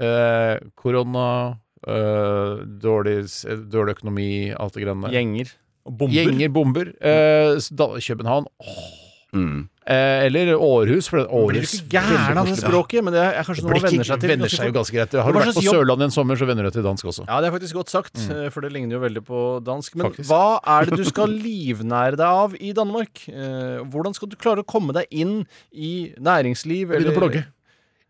Speaker 5: eh, Korona, eh, dårlig, s- dårlig økonomi, alt det greiene der.
Speaker 6: Eh, Gjenger. Og bomber.
Speaker 5: Gjenger, bomber. Eh, så da, København. Åh.
Speaker 6: Mm.
Speaker 5: Eh, eller Århus. For det-
Speaker 6: Blir
Speaker 5: Århus
Speaker 6: du ikke gæren av det
Speaker 5: veldig koselig.
Speaker 6: språket? Men det er er kanskje noe man
Speaker 5: Blir
Speaker 6: venner
Speaker 5: ikke-
Speaker 6: seg til.
Speaker 5: venner seg jo ganske greit. Har
Speaker 6: Hva
Speaker 5: du
Speaker 6: slags
Speaker 5: vært på
Speaker 6: jobb-
Speaker 5: Sørlandet en sommer, så venner du deg til dansk også.
Speaker 6: Ja, det er faktisk godt sagt, eh, for det ligner jo veldig på dansk. Men
Speaker 5: Mm. Faktisk.
Speaker 6: hva er det du skal livnære deg av i Danmark? Eh, Hvordan skal du klare å komme deg inn i
Speaker 5: Jeg
Speaker 6: næringsliv?
Speaker 5: begynner å
Speaker 6: eller-
Speaker 5: blogge.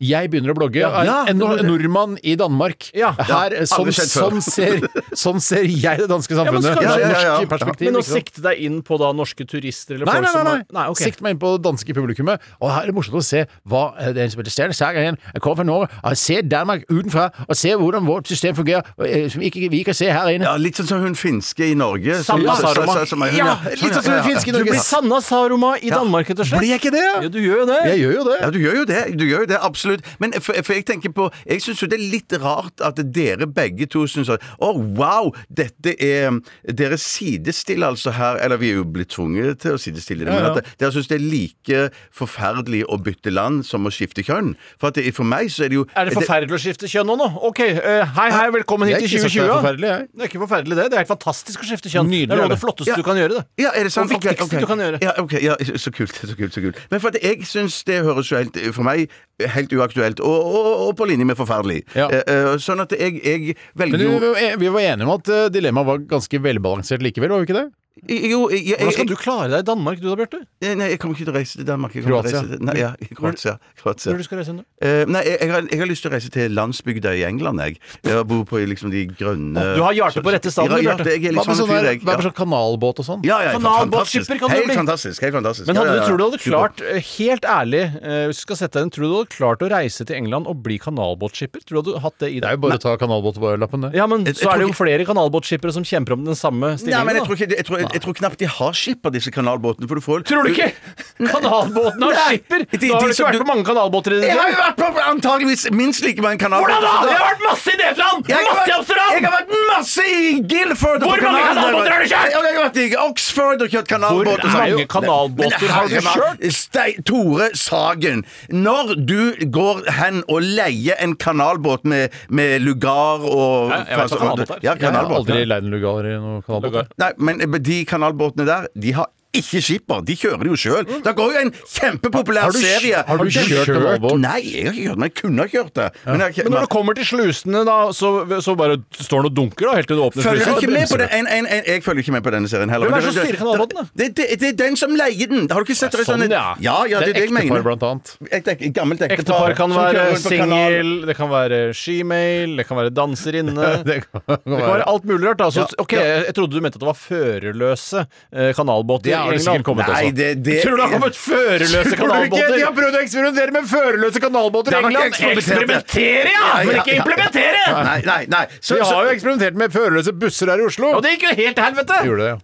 Speaker 5: Jeg begynner å blogge.
Speaker 6: Ja, ja,
Speaker 5: en,
Speaker 6: det
Speaker 5: en
Speaker 6: burde-
Speaker 5: nordmann i Danmark.
Speaker 6: Ja.
Speaker 5: Her, sånn,
Speaker 8: aldri skjedd før.
Speaker 5: sånn, ser, sånn ser jeg det danske
Speaker 6: men
Speaker 5: samfunnet.
Speaker 6: skal
Speaker 5: Fra
Speaker 8: du- Ja, ja, ja.
Speaker 5: norsk perspektiv.
Speaker 6: Men å
Speaker 5: ikke sant?
Speaker 6: sikte deg inn på da norske turister eller
Speaker 5: Nei,
Speaker 6: folk
Speaker 5: nei,
Speaker 6: som
Speaker 5: nei,
Speaker 6: har-
Speaker 5: nei.
Speaker 6: ok.
Speaker 5: Sikt meg inn på det danske publikummet. Og her er det morsomt å se hva eh, det er en som heter Stjerne Sager igjen. Jeg kommer fra Norge og ser Danmark utenfra og ser hvordan vårt system fungerer, og, eh, som ikke vi kan se her inne.
Speaker 8: Ja, litt sånn som hun finske i Norge. som-
Speaker 6: Sanna
Speaker 8: så- så-
Speaker 6: Saroma.
Speaker 8: så- som er hun,
Speaker 5: Ja, litt sånn som hun
Speaker 8: ja, ja.
Speaker 5: finske i
Speaker 6: Du
Speaker 5: Norge.
Speaker 6: blir Sanna Saroma i Danmark, rett og slett.
Speaker 5: Blir jeg ikke det?
Speaker 6: Ja, du gjør jo det.
Speaker 5: Jeg gjør jo det.
Speaker 8: Ja, du gjør jo det. Du gjør jo det, absolutt. Men for, for jeg tenker på Jeg syns jo det er litt rart at dere begge to syns at Å, wow! Dette er Dere sidestiller altså her Eller vi er jo blitt tvunget til å sidestille det, men at dere syns det er like forferdelig å bytte land som å skifte kjønn. For, at det, for meg så er det jo
Speaker 6: Er det forferdelig å skifte kjønn nå, nå? Ok, eh, hei hei, velkommen hit
Speaker 5: Jeg har
Speaker 6: til
Speaker 5: ikke sagt
Speaker 6: 2020.
Speaker 5: det er
Speaker 6: ja.
Speaker 5: forferdelig, jeg.
Speaker 6: Det er ikke forferdelig det, det er helt fantastisk å skifte kjønn.
Speaker 5: Nydelig
Speaker 6: det er noe
Speaker 5: er
Speaker 6: av det
Speaker 5: det.
Speaker 6: flotteste
Speaker 8: Ja.
Speaker 6: du kan gjøre det.
Speaker 8: Ja, er det sant?
Speaker 6: Og
Speaker 8: Ok,
Speaker 6: viktigste
Speaker 8: ok.
Speaker 6: du kan gjøre.
Speaker 8: Ja, ok, ja, så- så kult, så kult, så kult. Men for at jeg syns det høres jo helt, for meg, helt uaktuelt, og, og, og på linje med forferdelig.
Speaker 5: Ja.
Speaker 8: Eh, eh, sånn at jeg, jeg
Speaker 5: Men
Speaker 8: velger
Speaker 5: du,
Speaker 8: jo
Speaker 5: vi var enige om at eh, dilemmaet var ganske velbalansert likevel, var vi ikke det?
Speaker 8: Jo, jeg, jeg,
Speaker 6: Hvordan skal
Speaker 8: jeg,
Speaker 6: du klare deg i Danmark, du da, Bjarte?
Speaker 8: jeg, nei, jeg kommer ikke til å reise til Danmark. Jeg kommer til å
Speaker 5: Kroatia.
Speaker 8: Reise til, nei, ja, Kroatia. Kroatia.
Speaker 6: Når du skal reise hjem?
Speaker 8: Eh, nei, jeg, jeg, har, jeg har lyst til å reise til landsbygda i England, jeg. Jeg bor på liksom de grønne
Speaker 6: Du har hjertet på rette stedet,
Speaker 8: Ja, ja,
Speaker 6: Bjarte.
Speaker 8: det- Jeg er
Speaker 5: Hva med
Speaker 8: litt sånn
Speaker 5: sånn,
Speaker 8: fyr,
Speaker 5: der,
Speaker 8: jeg.
Speaker 5: hva med sånn kanalbåt og sånn?
Speaker 8: Ja, ja, ja,
Speaker 6: Kanalbåtskipper
Speaker 8: fantastisk.
Speaker 6: kan du
Speaker 8: Helt
Speaker 6: bli.
Speaker 8: fantastisk. Helt fantastisk.
Speaker 6: Men
Speaker 8: Ja,
Speaker 6: hadde
Speaker 8: ja,
Speaker 6: du
Speaker 8: ja.
Speaker 6: trodd du hadde
Speaker 8: Super.
Speaker 6: klart, eh, helt ærlig, eh, hvis du skal sette deg inn, tror du du hadde klart å reise til England og bli kanalbåtskipper? Tror du du hadde hatt det i
Speaker 5: Det er
Speaker 6: deg?
Speaker 5: jo bare å ta kanalbåtlappen, det.
Speaker 6: Ja, men
Speaker 8: Jeg- jeg
Speaker 6: så er det
Speaker 8: tror
Speaker 6: jo flere kanalbåtskippere som kjemper om den samme
Speaker 8: Nei, men
Speaker 6: stillingen.
Speaker 8: jeg
Speaker 6: da.
Speaker 8: tror, ikke, jeg, tror, jeg, jeg tror knapt de har skipper, disse kanalbåtene. For du får
Speaker 6: Tror du ikke? Kanalbåten har
Speaker 8: Nei.
Speaker 6: skipper!
Speaker 8: De-
Speaker 6: Da har
Speaker 8: de
Speaker 6: du
Speaker 8: som
Speaker 6: ikke vært
Speaker 8: du-
Speaker 6: på mange kanalbåter i ditt
Speaker 8: Jeg har
Speaker 6: liv.
Speaker 8: jo vært på antageligvis minst like mange kanalbåter.
Speaker 6: Hvordan da?
Speaker 8: så
Speaker 6: Det har vært masse i Nederland!
Speaker 8: Jeg har,
Speaker 6: Masse i
Speaker 8: vært, jeg
Speaker 6: Amsterdam!
Speaker 8: har vært masse i Guilford og
Speaker 6: Hvor
Speaker 8: på
Speaker 6: mange
Speaker 8: kanalen.
Speaker 6: kanalbåter har du kjørt?
Speaker 8: Jeg har vært i Oxford og kjørt kanalbåt.
Speaker 6: Hvor
Speaker 8: og sånn.
Speaker 6: mange kanalbåter
Speaker 8: Men det-
Speaker 6: har du
Speaker 8: herre- Stein- Tore Sagen, når du går hen og leier en kanalbåt med, med lugar og
Speaker 6: Ja, jeg vet hva kanalbåt er.
Speaker 8: Ja,
Speaker 5: Jeg har
Speaker 8: kanalbåt.
Speaker 5: aldri leid en lugar i noen kanalbåt.
Speaker 8: Nei, men de eh, kanalbåtene der, de har ikke skipper. De kjører det jo sjøl. Det går jo en kjempepopulær
Speaker 5: du-
Speaker 8: serie.
Speaker 5: har du kjørt en wallboard?
Speaker 8: Nei, jeg har ikke kjørt den. Jeg kunne ha kjørt det. Men jeg,
Speaker 6: Men når det kommer til slusene, da, så, så bare står den og dunker da, helt til du åpner
Speaker 8: Følger
Speaker 6: slusen?
Speaker 8: ikke med på den. En, en, en, jeg følger ikke med på denne serien heller.
Speaker 6: Hvem er det som
Speaker 8: Det-
Speaker 6: styrer kanalbåten, da?
Speaker 8: Det, det, det er den som leier den! Har du ikke sett det? er
Speaker 6: sånn,
Speaker 8: sånn-
Speaker 6: ja.
Speaker 8: ja, ja, det er det jeg
Speaker 5: Ektepar,
Speaker 8: mener.
Speaker 5: blant annet.
Speaker 8: Et ek- gammelt ektepar.
Speaker 6: Ektepar kan
Speaker 8: som
Speaker 6: være
Speaker 8: kjører rundt på kanalen.
Speaker 6: singel, det kan være shemale, det kan være danserinne Det
Speaker 5: Det kan
Speaker 6: kan være alt mulig rart. da. Så, ok, jeg, jeg trodde du mente at det var førerløse eh, kanalbåter
Speaker 5: Det har
Speaker 6: i
Speaker 5: det sikkert
Speaker 6: England.
Speaker 5: kommet
Speaker 8: Nei, det, det
Speaker 6: Tror du det har kommet førerløse kanalbåter?
Speaker 5: De har prøvd å eksperimentere med førerløse kanalbåter i
Speaker 8: har
Speaker 5: England!
Speaker 6: sånn
Speaker 8: ikke eksperimentert.
Speaker 6: Eksperimentere, ja!
Speaker 8: Ja, ja,
Speaker 6: Men ikke
Speaker 8: ja.
Speaker 6: implementere!
Speaker 8: Nei, nei, nei. Så,
Speaker 5: De
Speaker 8: så,
Speaker 5: har jo eksperimentert med førerløse busser her i Oslo.
Speaker 6: Og det gikk jo helt til helvete!
Speaker 5: Gjorde det, ja.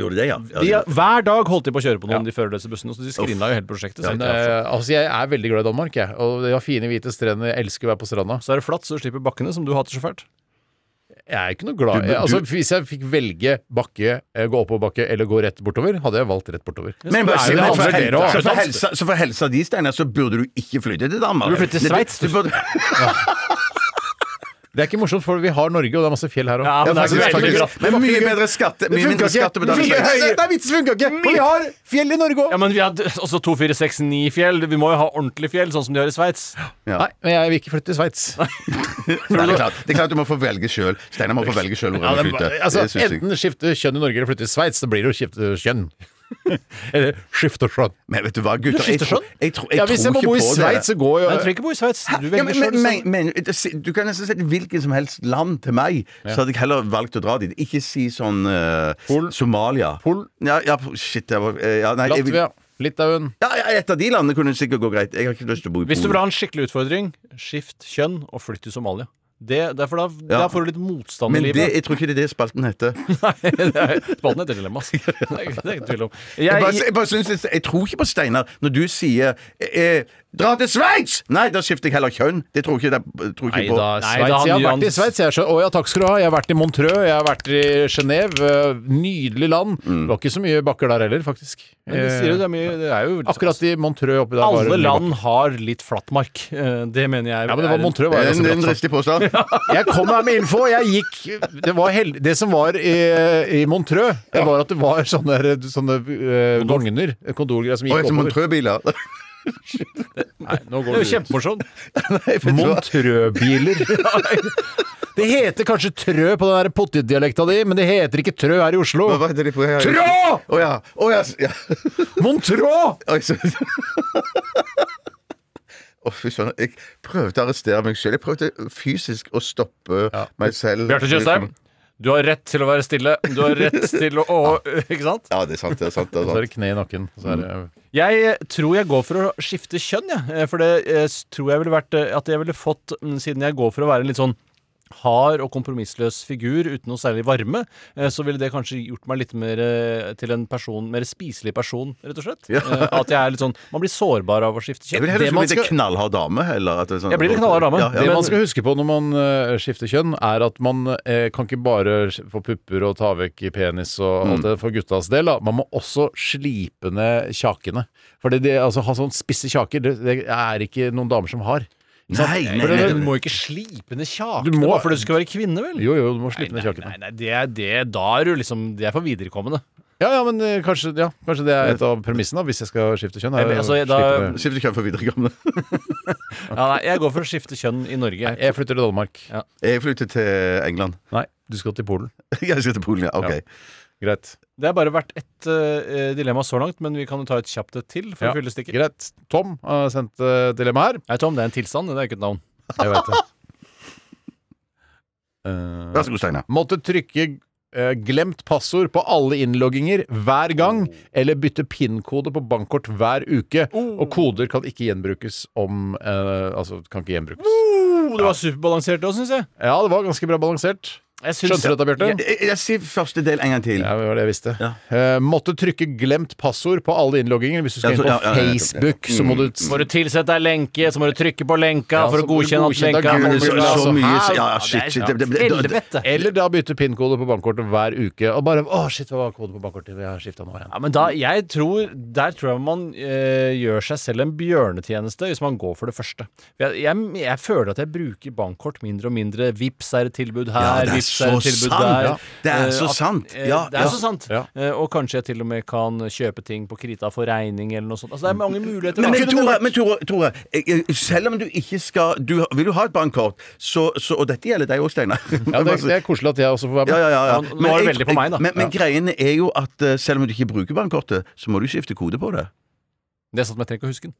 Speaker 8: gjorde det, ja. ja,
Speaker 6: De,
Speaker 8: det-
Speaker 6: har- hver dag holdt de på å kjøre på noen, de førerløse bussene. Så de skrinla jo hele prosjektet.
Speaker 5: Men,
Speaker 6: selv.
Speaker 5: eh, altså, jeg er veldig glad i Danmark, jeg. Og de har fine, hvite strender. Jeg elsker å være på stranda.
Speaker 6: så er det flatt, så du slipper bakkene, som du hater så fælt.
Speaker 5: Jeg er ikke noe glad i altså, Hvis jeg fikk velge bakke, eh, gå oppoverbakke eller gå rett bortover, hadde jeg valgt rett bortover.
Speaker 8: Men bare
Speaker 5: Det er
Speaker 8: si
Speaker 5: jo
Speaker 8: meg,
Speaker 5: det
Speaker 8: for
Speaker 5: andre dere
Speaker 8: hel-
Speaker 5: også.
Speaker 8: så for helsa, så for helsa di, Steinar, så burde du ikke flytte til Danmark.
Speaker 6: Du burde flytte til
Speaker 8: Nei,
Speaker 6: Sveits.
Speaker 8: Du, du burde...
Speaker 5: Det er ikke morsomt, for vi har Norge, og det er masse fjell her òg.
Speaker 6: Ja, men det er ikke så veldig bra.
Speaker 8: Men mye bedre skatte...
Speaker 5: Det
Speaker 8: Mye
Speaker 5: funka
Speaker 8: mindre
Speaker 5: ikke!
Speaker 8: skattebetaling.
Speaker 5: Mye høyere- Nei, vitsen funka ikke! For vi har fjell i Norge òg!
Speaker 6: Ja, men vi har d- også 2469 fjell. Vi må jo ha ordentlig fjell, sånn som de har i Sveits.
Speaker 5: Nei, men jeg vil ikke flytte til Sveits.
Speaker 8: Nei, det er klart. Det er klart du må få velge sjøl. Steinar må få velge sjøl hvor
Speaker 5: Ja,
Speaker 8: han
Speaker 5: det
Speaker 8: vil
Speaker 5: er
Speaker 8: flytte.
Speaker 5: bare- altså,
Speaker 8: Det synes jeg.
Speaker 5: enten skifte kjønn i Norge eller flytte til Sveits. Da blir det jo skifte kjønn. Eller skifte kjønn.
Speaker 8: Men vet du hva, gutter?
Speaker 6: skifter
Speaker 8: tror-
Speaker 6: skjønn?
Speaker 8: jeg tror- jeg
Speaker 5: Ja, hvis jeg
Speaker 8: tror
Speaker 5: må
Speaker 8: ikke
Speaker 5: bo i
Speaker 8: på
Speaker 5: Sveits,
Speaker 8: dere.
Speaker 5: så går jo
Speaker 6: Men jeg trenger ikke bo i Sveits. Du
Speaker 8: ja,
Speaker 6: velger
Speaker 8: men,
Speaker 6: selv.
Speaker 8: men,
Speaker 6: liksom.
Speaker 8: men, men, det si- Du kan nesten si hvilken som helst land til meg, så hadde jeg heller valgt å dra dit. Ikke si sånn eh, Somalia.
Speaker 5: Pol.
Speaker 8: Ja, ja, shit. Jeg var, eh, ja, nei, jeg vil-
Speaker 5: Latvia, Litauen
Speaker 8: Ja, ja, et av de landene kunne sikkert gå greit. Jeg har ikke lyst til å bo i
Speaker 6: Hvis du vil
Speaker 8: Polen.
Speaker 6: ha en skikkelig utfordring, skift kjønn og flytt til Somalia. Det, derfor da,
Speaker 8: Ja.
Speaker 6: Der får du litt motstand i
Speaker 8: Men det,
Speaker 6: livet.
Speaker 8: jeg tror ikke det er det spalten heter.
Speaker 6: Nei, det er Spalten heter dilemma, ass. Det er ikke- det er ikke tvil om.
Speaker 8: Jeg, bare,
Speaker 6: Jeg,
Speaker 8: jeg, bare synes, det- jeg tror ikke på Steinar når du sier eh, 'dra til Sveits'! Nei, da skifter jeg heller kjønn. Det tror ikke, det, tror ikke
Speaker 5: Nei
Speaker 8: på.
Speaker 5: da,
Speaker 6: Nei,
Speaker 5: Sveits.
Speaker 6: da har
Speaker 5: Jeg har
Speaker 6: Nyans-
Speaker 5: vært i Sveits. Jeg, er så- å ja, takk skal du ha. Jeg har vært i Montreux, jeg har vært i Genéve. eh, Nydelig land.
Speaker 8: Mm.
Speaker 5: Det var ikke så mye bakker der heller, faktisk.
Speaker 6: men det sier
Speaker 5: Eh,
Speaker 6: jo, det er mye Det er jo
Speaker 5: Akkurat i Montreux oppi der var det
Speaker 6: Alle
Speaker 5: mye
Speaker 6: land har litt flatmark. Eh, Det mener
Speaker 5: bakker.
Speaker 6: jeg
Speaker 5: Ja, men det var
Speaker 6: er-
Speaker 5: Montreux. Var jo
Speaker 8: Det er en,
Speaker 5: ganske
Speaker 8: det er en
Speaker 5: bratt,
Speaker 8: dristig påstand.
Speaker 5: Jeg kom her med info. Jeg gikk Det, var held, det som var i, i Montreux, det var at det var sånne, der- sånne eh, vogner, kondolgreier, som
Speaker 8: Og
Speaker 5: gikk
Speaker 8: etter
Speaker 5: oppover.
Speaker 8: Montreux-biler.
Speaker 5: Nei, nå
Speaker 6: Det
Speaker 5: går
Speaker 6: er jo kjempemorsomt.
Speaker 5: Montreux-biler. Det heter kanskje Trø på den der pottitdialekta di, men det heter ikke Trø her i Oslo.
Speaker 8: Hva heter de på her?
Speaker 5: Trå!
Speaker 8: Å ja. Å ja. s- ja.
Speaker 5: Montreux!
Speaker 8: Oi, så- Å, fy søren. Jeg prøvde å arrestere meg sjøl. Jeg prøvde fysisk å stoppe meg selv.
Speaker 6: Bjarte Tjøstheim, du har rett til å være stille. Du har rett til å Ikke sant?
Speaker 8: Ja, det er sant. Det er sant. Det
Speaker 5: Så
Speaker 8: er
Speaker 5: er
Speaker 8: sant.
Speaker 5: det kne i nakken. Så er det
Speaker 6: Jeg eh, tror jeg går for å skifte kjønn, jeg. Eh, For det eh, s- tror jeg ville vært eh, At jeg ville fått mm, Siden jeg går for å være en litt sånn hard og kompromissløs figur uten noe særlig varme, eh, så ville det kanskje gjort meg litt mer eh, til en person, mer spiselig person, rett og slett. Eh, At jeg er litt sånn Man blir sårbar av å skifte
Speaker 8: Jeg vil
Speaker 6: kjønn.
Speaker 8: heller
Speaker 5: Det
Speaker 8: skulle
Speaker 5: man
Speaker 8: blitt en
Speaker 5: skal-
Speaker 8: knallhard dame. Eller, at det er sånn,
Speaker 6: Jeg blir en knallhard dame.
Speaker 8: Ja, ja.
Speaker 5: Det
Speaker 6: men-
Speaker 5: man skal huske på når man eh, skifter kjønn, er at man eh, kan ikke bare få pupper og ta vekk penis og alt det for guttas del. Da. Man må også slipe ned kjakene. For det, altså, ha sånn spisse kjaker, det, det er ikke noen damer som har.
Speaker 8: Nei, nei,
Speaker 6: For
Speaker 8: nei,
Speaker 6: det-
Speaker 8: nei.
Speaker 6: Du må ikke slipe ned
Speaker 5: Du
Speaker 6: kjakene
Speaker 5: må-
Speaker 6: bare fordi du skal være kvinne, vel?
Speaker 5: Jo, jo, du må slipe
Speaker 6: Nei,
Speaker 5: ned
Speaker 6: nei,
Speaker 5: kjakene.
Speaker 6: nei, nei, det er det Da er du liksom Det er for viderekommende.
Speaker 5: Ja, ja, men eh, kanskje, ja, kanskje det er et av premissene, da, hvis jeg skal skifte kjønn. er
Speaker 6: Jeg-
Speaker 5: å
Speaker 6: altså, jeg-
Speaker 5: slipe ned.
Speaker 8: Skift kjønn for videregående.
Speaker 6: Ja, nei, jeg går for å skifte kjønn i Norge. jeg.
Speaker 5: Jeg flytter til Danmark.
Speaker 6: Ja.
Speaker 8: Jeg flytter til England.
Speaker 5: Nei, du skal til Polen.
Speaker 8: Jeg skal til Polen, ja. Ok.
Speaker 5: Greit.
Speaker 6: Det har bare vært ett eh, dilemma så langt, men vi kan jo ta et kjapt et til.
Speaker 5: Ja.
Speaker 6: for å fylle stikket.
Speaker 5: Greit. Tom har sendt eh, dilemma her.
Speaker 6: Nei, Tom, det er en tilstand, det er ikke et navn.
Speaker 5: Jeg vet det. Eh,
Speaker 8: Vær så god, Steinar.
Speaker 5: Måtte trykke eh, glemt passord på alle innlogginger hver gang, eller bytte PIN-kode på bankkort hver uke.
Speaker 8: Oh.
Speaker 5: Og koder kan ikke gjenbrukes om eh, Altså, kan ikke gjenbrukes.
Speaker 6: Oh, det var superbalansert òg, syns jeg.
Speaker 5: Ja, det var ganske bra balansert.
Speaker 6: jeg syns-
Speaker 5: Skjønte du dette, Bjarte?
Speaker 8: Jeg, jeg sier første del en gang til.
Speaker 5: Ja, det var det jeg visste. Eh, måtte trykke glemt passord på alle innlogginger. Hvis du skal
Speaker 8: Ja, så-
Speaker 5: inn på
Speaker 8: ja, Mm. ja, ja, ja.
Speaker 5: Facebook, så må du
Speaker 6: Må du tilsette ei lenke, så må du trykke på lenka
Speaker 5: Ja,
Speaker 6: for
Speaker 5: så
Speaker 6: å
Speaker 5: blir det
Speaker 6: godkjenne at
Speaker 5: godkjent av
Speaker 6: lenka
Speaker 5: Google,
Speaker 8: Men så,
Speaker 6: sånn-
Speaker 5: altså,
Speaker 8: så mye
Speaker 5: her-
Speaker 8: Ja,
Speaker 6: Ja,
Speaker 8: shit.
Speaker 6: Ah, det
Speaker 8: shit
Speaker 6: er
Speaker 8: det, det, det, det,
Speaker 6: Helvete.
Speaker 5: Eller da bytte PIN-kode på bankkortet hver uke. Og bare Å, shit, hva var kode på bankkortet? Jeg har skifta nå igjen.
Speaker 6: Ja, men da, jeg tror, Der tror jeg man eh, gjør seg selv en bjørnetjeneste hvis man går for det første. Jeg, jeg, jeg føler at jeg bruker bankkort mindre og mindre. Vips er et tilbud her,
Speaker 8: det er
Speaker 6: Vips konserttilbud
Speaker 8: sant,
Speaker 6: der.
Speaker 8: ja. Det er
Speaker 6: Eh,
Speaker 8: så
Speaker 6: at-
Speaker 8: sant,
Speaker 6: eh,
Speaker 8: ja,
Speaker 6: det er
Speaker 8: ja.
Speaker 6: så sant.
Speaker 5: Ja.
Speaker 6: Eh, Og kanskje jeg til og med kan kjøpe ting på krita for regning eller noe sånt. Altså, det er mange muligheter.
Speaker 8: Men,
Speaker 6: da.
Speaker 8: men, Tore, men Tore, Tore jeg- jeg- selv om du ikke skal du, Vil du ha et bankkort, så, så Og dette gjelder deg òg, Steinar.
Speaker 5: Ja, det, det er koselig at jeg også får være med.
Speaker 8: Ja, ja, ja, ja.
Speaker 6: Nå- nå var det
Speaker 8: jeg-
Speaker 6: veldig på meg, da.
Speaker 8: Men, men greien er jo at eh, selv om du ikke bruker bankkortet, så må du skifte kode på det.
Speaker 6: Det er sant, men jeg trenger ikke å huske den.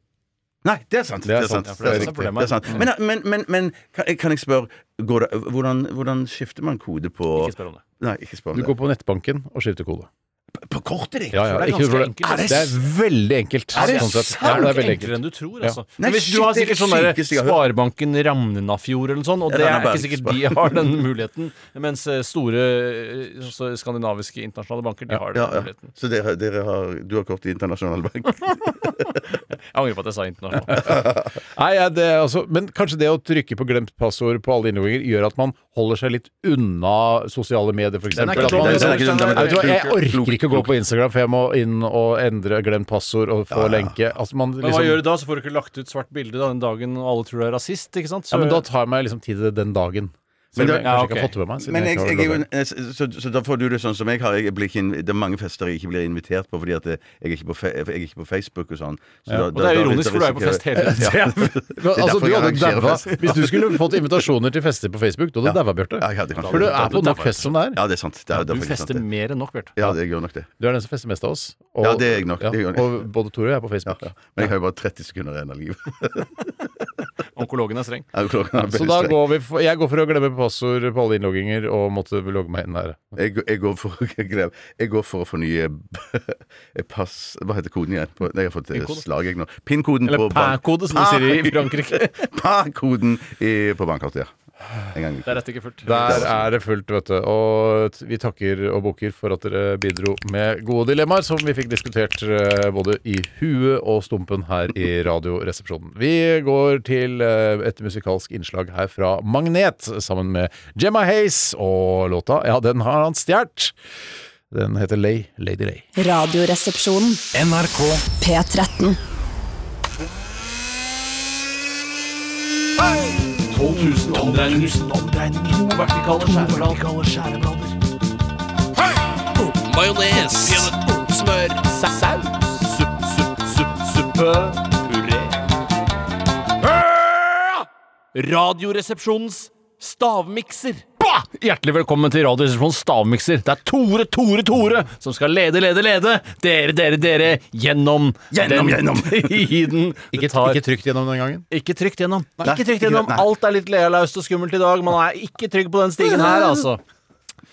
Speaker 8: Nei, det er sant.
Speaker 5: Det er sant. Ja,
Speaker 8: Det er
Speaker 5: for det er det som
Speaker 8: sant.
Speaker 5: er
Speaker 8: Det er sant. Men,
Speaker 6: Mm.
Speaker 8: men, men, men kan, jeg- kan jeg spørre går det, hvordan, hvordan skifter man kode på
Speaker 6: Ikke spør om det.
Speaker 8: Nei, ikke spør om
Speaker 5: Du
Speaker 8: det.
Speaker 5: går på nettbanken og skifter kode.
Speaker 8: På kortet ditt?
Speaker 5: Ja, ja,
Speaker 6: det er
Speaker 5: ikke noe
Speaker 6: ganske
Speaker 5: problem.
Speaker 6: enkelt. Er det
Speaker 5: Det er veldig enkelt.
Speaker 8: Er det
Speaker 5: sånn sett.
Speaker 8: sant?
Speaker 5: Ja, det er veldig
Speaker 6: Enklere
Speaker 5: enkelt.
Speaker 6: enn du tror,
Speaker 5: Ja.
Speaker 6: altså.
Speaker 8: Nei,
Speaker 6: Men hvis
Speaker 8: shit,
Speaker 6: du har
Speaker 8: det er
Speaker 6: sikkert
Speaker 8: det
Speaker 6: sånn der
Speaker 8: sykeste jeg har
Speaker 6: Sparebanken Ramnafjord eller sånn, og det
Speaker 8: Ja, den
Speaker 6: er
Speaker 8: er
Speaker 6: ikke
Speaker 8: bare-
Speaker 6: sikkert de har den muligheten. Mens eh, store eh, altså, skandinaviske internasjonale banker, de har den
Speaker 8: Ja, ja.
Speaker 6: muligheten.
Speaker 8: Så dere, dere har, du har kort i internasjonal bank?
Speaker 6: Jeg angrer på at jeg sa internasjonal.
Speaker 5: Nei, ja, det er altså, men kanskje det å trykke på glemt passord på alle innlogginger gjør at man holder seg litt unna sosiale medier, f.eks.
Speaker 6: Den er ikke klok,
Speaker 5: liksom-
Speaker 6: den er ikke- den er-
Speaker 5: Jeg, jeg orker ikke å gå
Speaker 8: Klokt.
Speaker 5: på Instagram, for jeg må inn og endre glemt passord og få lenke. Altså, man
Speaker 6: Men hva
Speaker 5: liksom,
Speaker 6: gjør du da? Så får du ikke lagt ut svart bilde da, den dagen og alle tror du er rasist, ikke sant? Så,
Speaker 5: ja, men da tar jeg meg liksom tid til det den dagen. Selv om
Speaker 8: Men
Speaker 5: jeg kanskje
Speaker 8: da-
Speaker 6: ja,
Speaker 5: ikke
Speaker 6: ok.
Speaker 5: har fått det med meg. siden
Speaker 8: Men
Speaker 5: jeg
Speaker 8: jeg,
Speaker 5: ikke har
Speaker 8: jeg, er jo
Speaker 5: logget
Speaker 8: en- eh, så, så, så da får du det sånn som jeg har. Jeg blir ikke, inn- det er mange fester jeg ikke blir invitert på fordi at eh, jeg er ikke på, fe, jeg er ikke på Facebook og sånn. Så da-
Speaker 6: og
Speaker 8: da-
Speaker 6: det er
Speaker 8: da-
Speaker 6: ironisk,
Speaker 8: da
Speaker 6: for du er jo på
Speaker 8: risikerer-
Speaker 6: fest hele tiden.
Speaker 8: Ja.
Speaker 5: inn. Men, altså,
Speaker 8: derfor
Speaker 5: du
Speaker 8: jeg
Speaker 5: hadde
Speaker 8: arrangerer
Speaker 5: daua.
Speaker 8: fest.
Speaker 5: Hvis du skulle fått invitasjoner til fester på Facebook, du hadde daua, Bjarte.
Speaker 8: Ja, jeg hadde kanskje
Speaker 5: For du
Speaker 8: det.
Speaker 5: er på nok fest som det er.
Speaker 8: Ja, det er sant. Det er, det
Speaker 6: Du
Speaker 8: er faktisk sant,
Speaker 6: fester
Speaker 8: det.
Speaker 6: mer enn nok, Bjarte.
Speaker 8: Ja, det gjør nok det.
Speaker 5: Du er den som fester mest av oss. Og,
Speaker 8: Ja, det er jeg nok. Det er jeg nok.
Speaker 5: og både Tore og jeg er på
Speaker 8: Ja,
Speaker 5: Facebook.
Speaker 8: ja. Men jeg har jo bare 30 sekunder igjen av livet.
Speaker 6: Onkologen er streng.
Speaker 8: Ja, klokken er
Speaker 5: Så
Speaker 8: veldig
Speaker 5: da
Speaker 8: streng.
Speaker 5: går vi for, jeg går for å glemme passord på alle innlogginger og måtte logge meg inn der.
Speaker 8: Jeg, går- jeg, går for, jeg går for å fornye pass Hva heter koden igjen? På- Nei, jeg har fått eh,
Speaker 6: Pin-kode.
Speaker 8: slag, jeg nå. Pin-koden
Speaker 6: Eller
Speaker 8: på bank- Ah!
Speaker 6: pæ-kode, som de sier i Frankrike.
Speaker 8: Pæ-koden i- på bankkortet, ja. En gang i uka.
Speaker 6: Det er rett ikke fullt.
Speaker 5: Der er det fullt, vet du. Og t- vi takker og bukker for at dere bidro med gode dilemmaer som vi fikk diskutert eh, både i huet og stumpen her i Radioresepsjonen. Vi går til eh, et musikalsk innslag her fra Magnet sammen med Gemma Hayes og låta Ja, den har han stjålet. Den heter Lay Lady Lay.
Speaker 1: Radioresepsjonen. NRK P13.
Speaker 9: 12 000 omdreininger. To vertikale skjæreblader. Majones. Smør. Saus. Supp, supp, supp, suppe. Puré.
Speaker 6: Radioresepsjonens stavmikser. Bah! Hjertelig velkommen til Radioresepsjonens stavmikser. Det er Tore, Tore, Tore som skal lede, lede, lede dere, dere, dere gjennom
Speaker 8: Gjennom,
Speaker 6: den
Speaker 8: gjennom.
Speaker 6: tiden. Ikke,
Speaker 5: Ikke trygt gjennom den gangen.
Speaker 6: ikke trygt gjennom. ikke trygt
Speaker 8: ikke-
Speaker 6: gjennom.
Speaker 8: nei.
Speaker 6: Alt er litt lealaust og skummelt i dag. Man er ikke trygg på den stigen her, altså.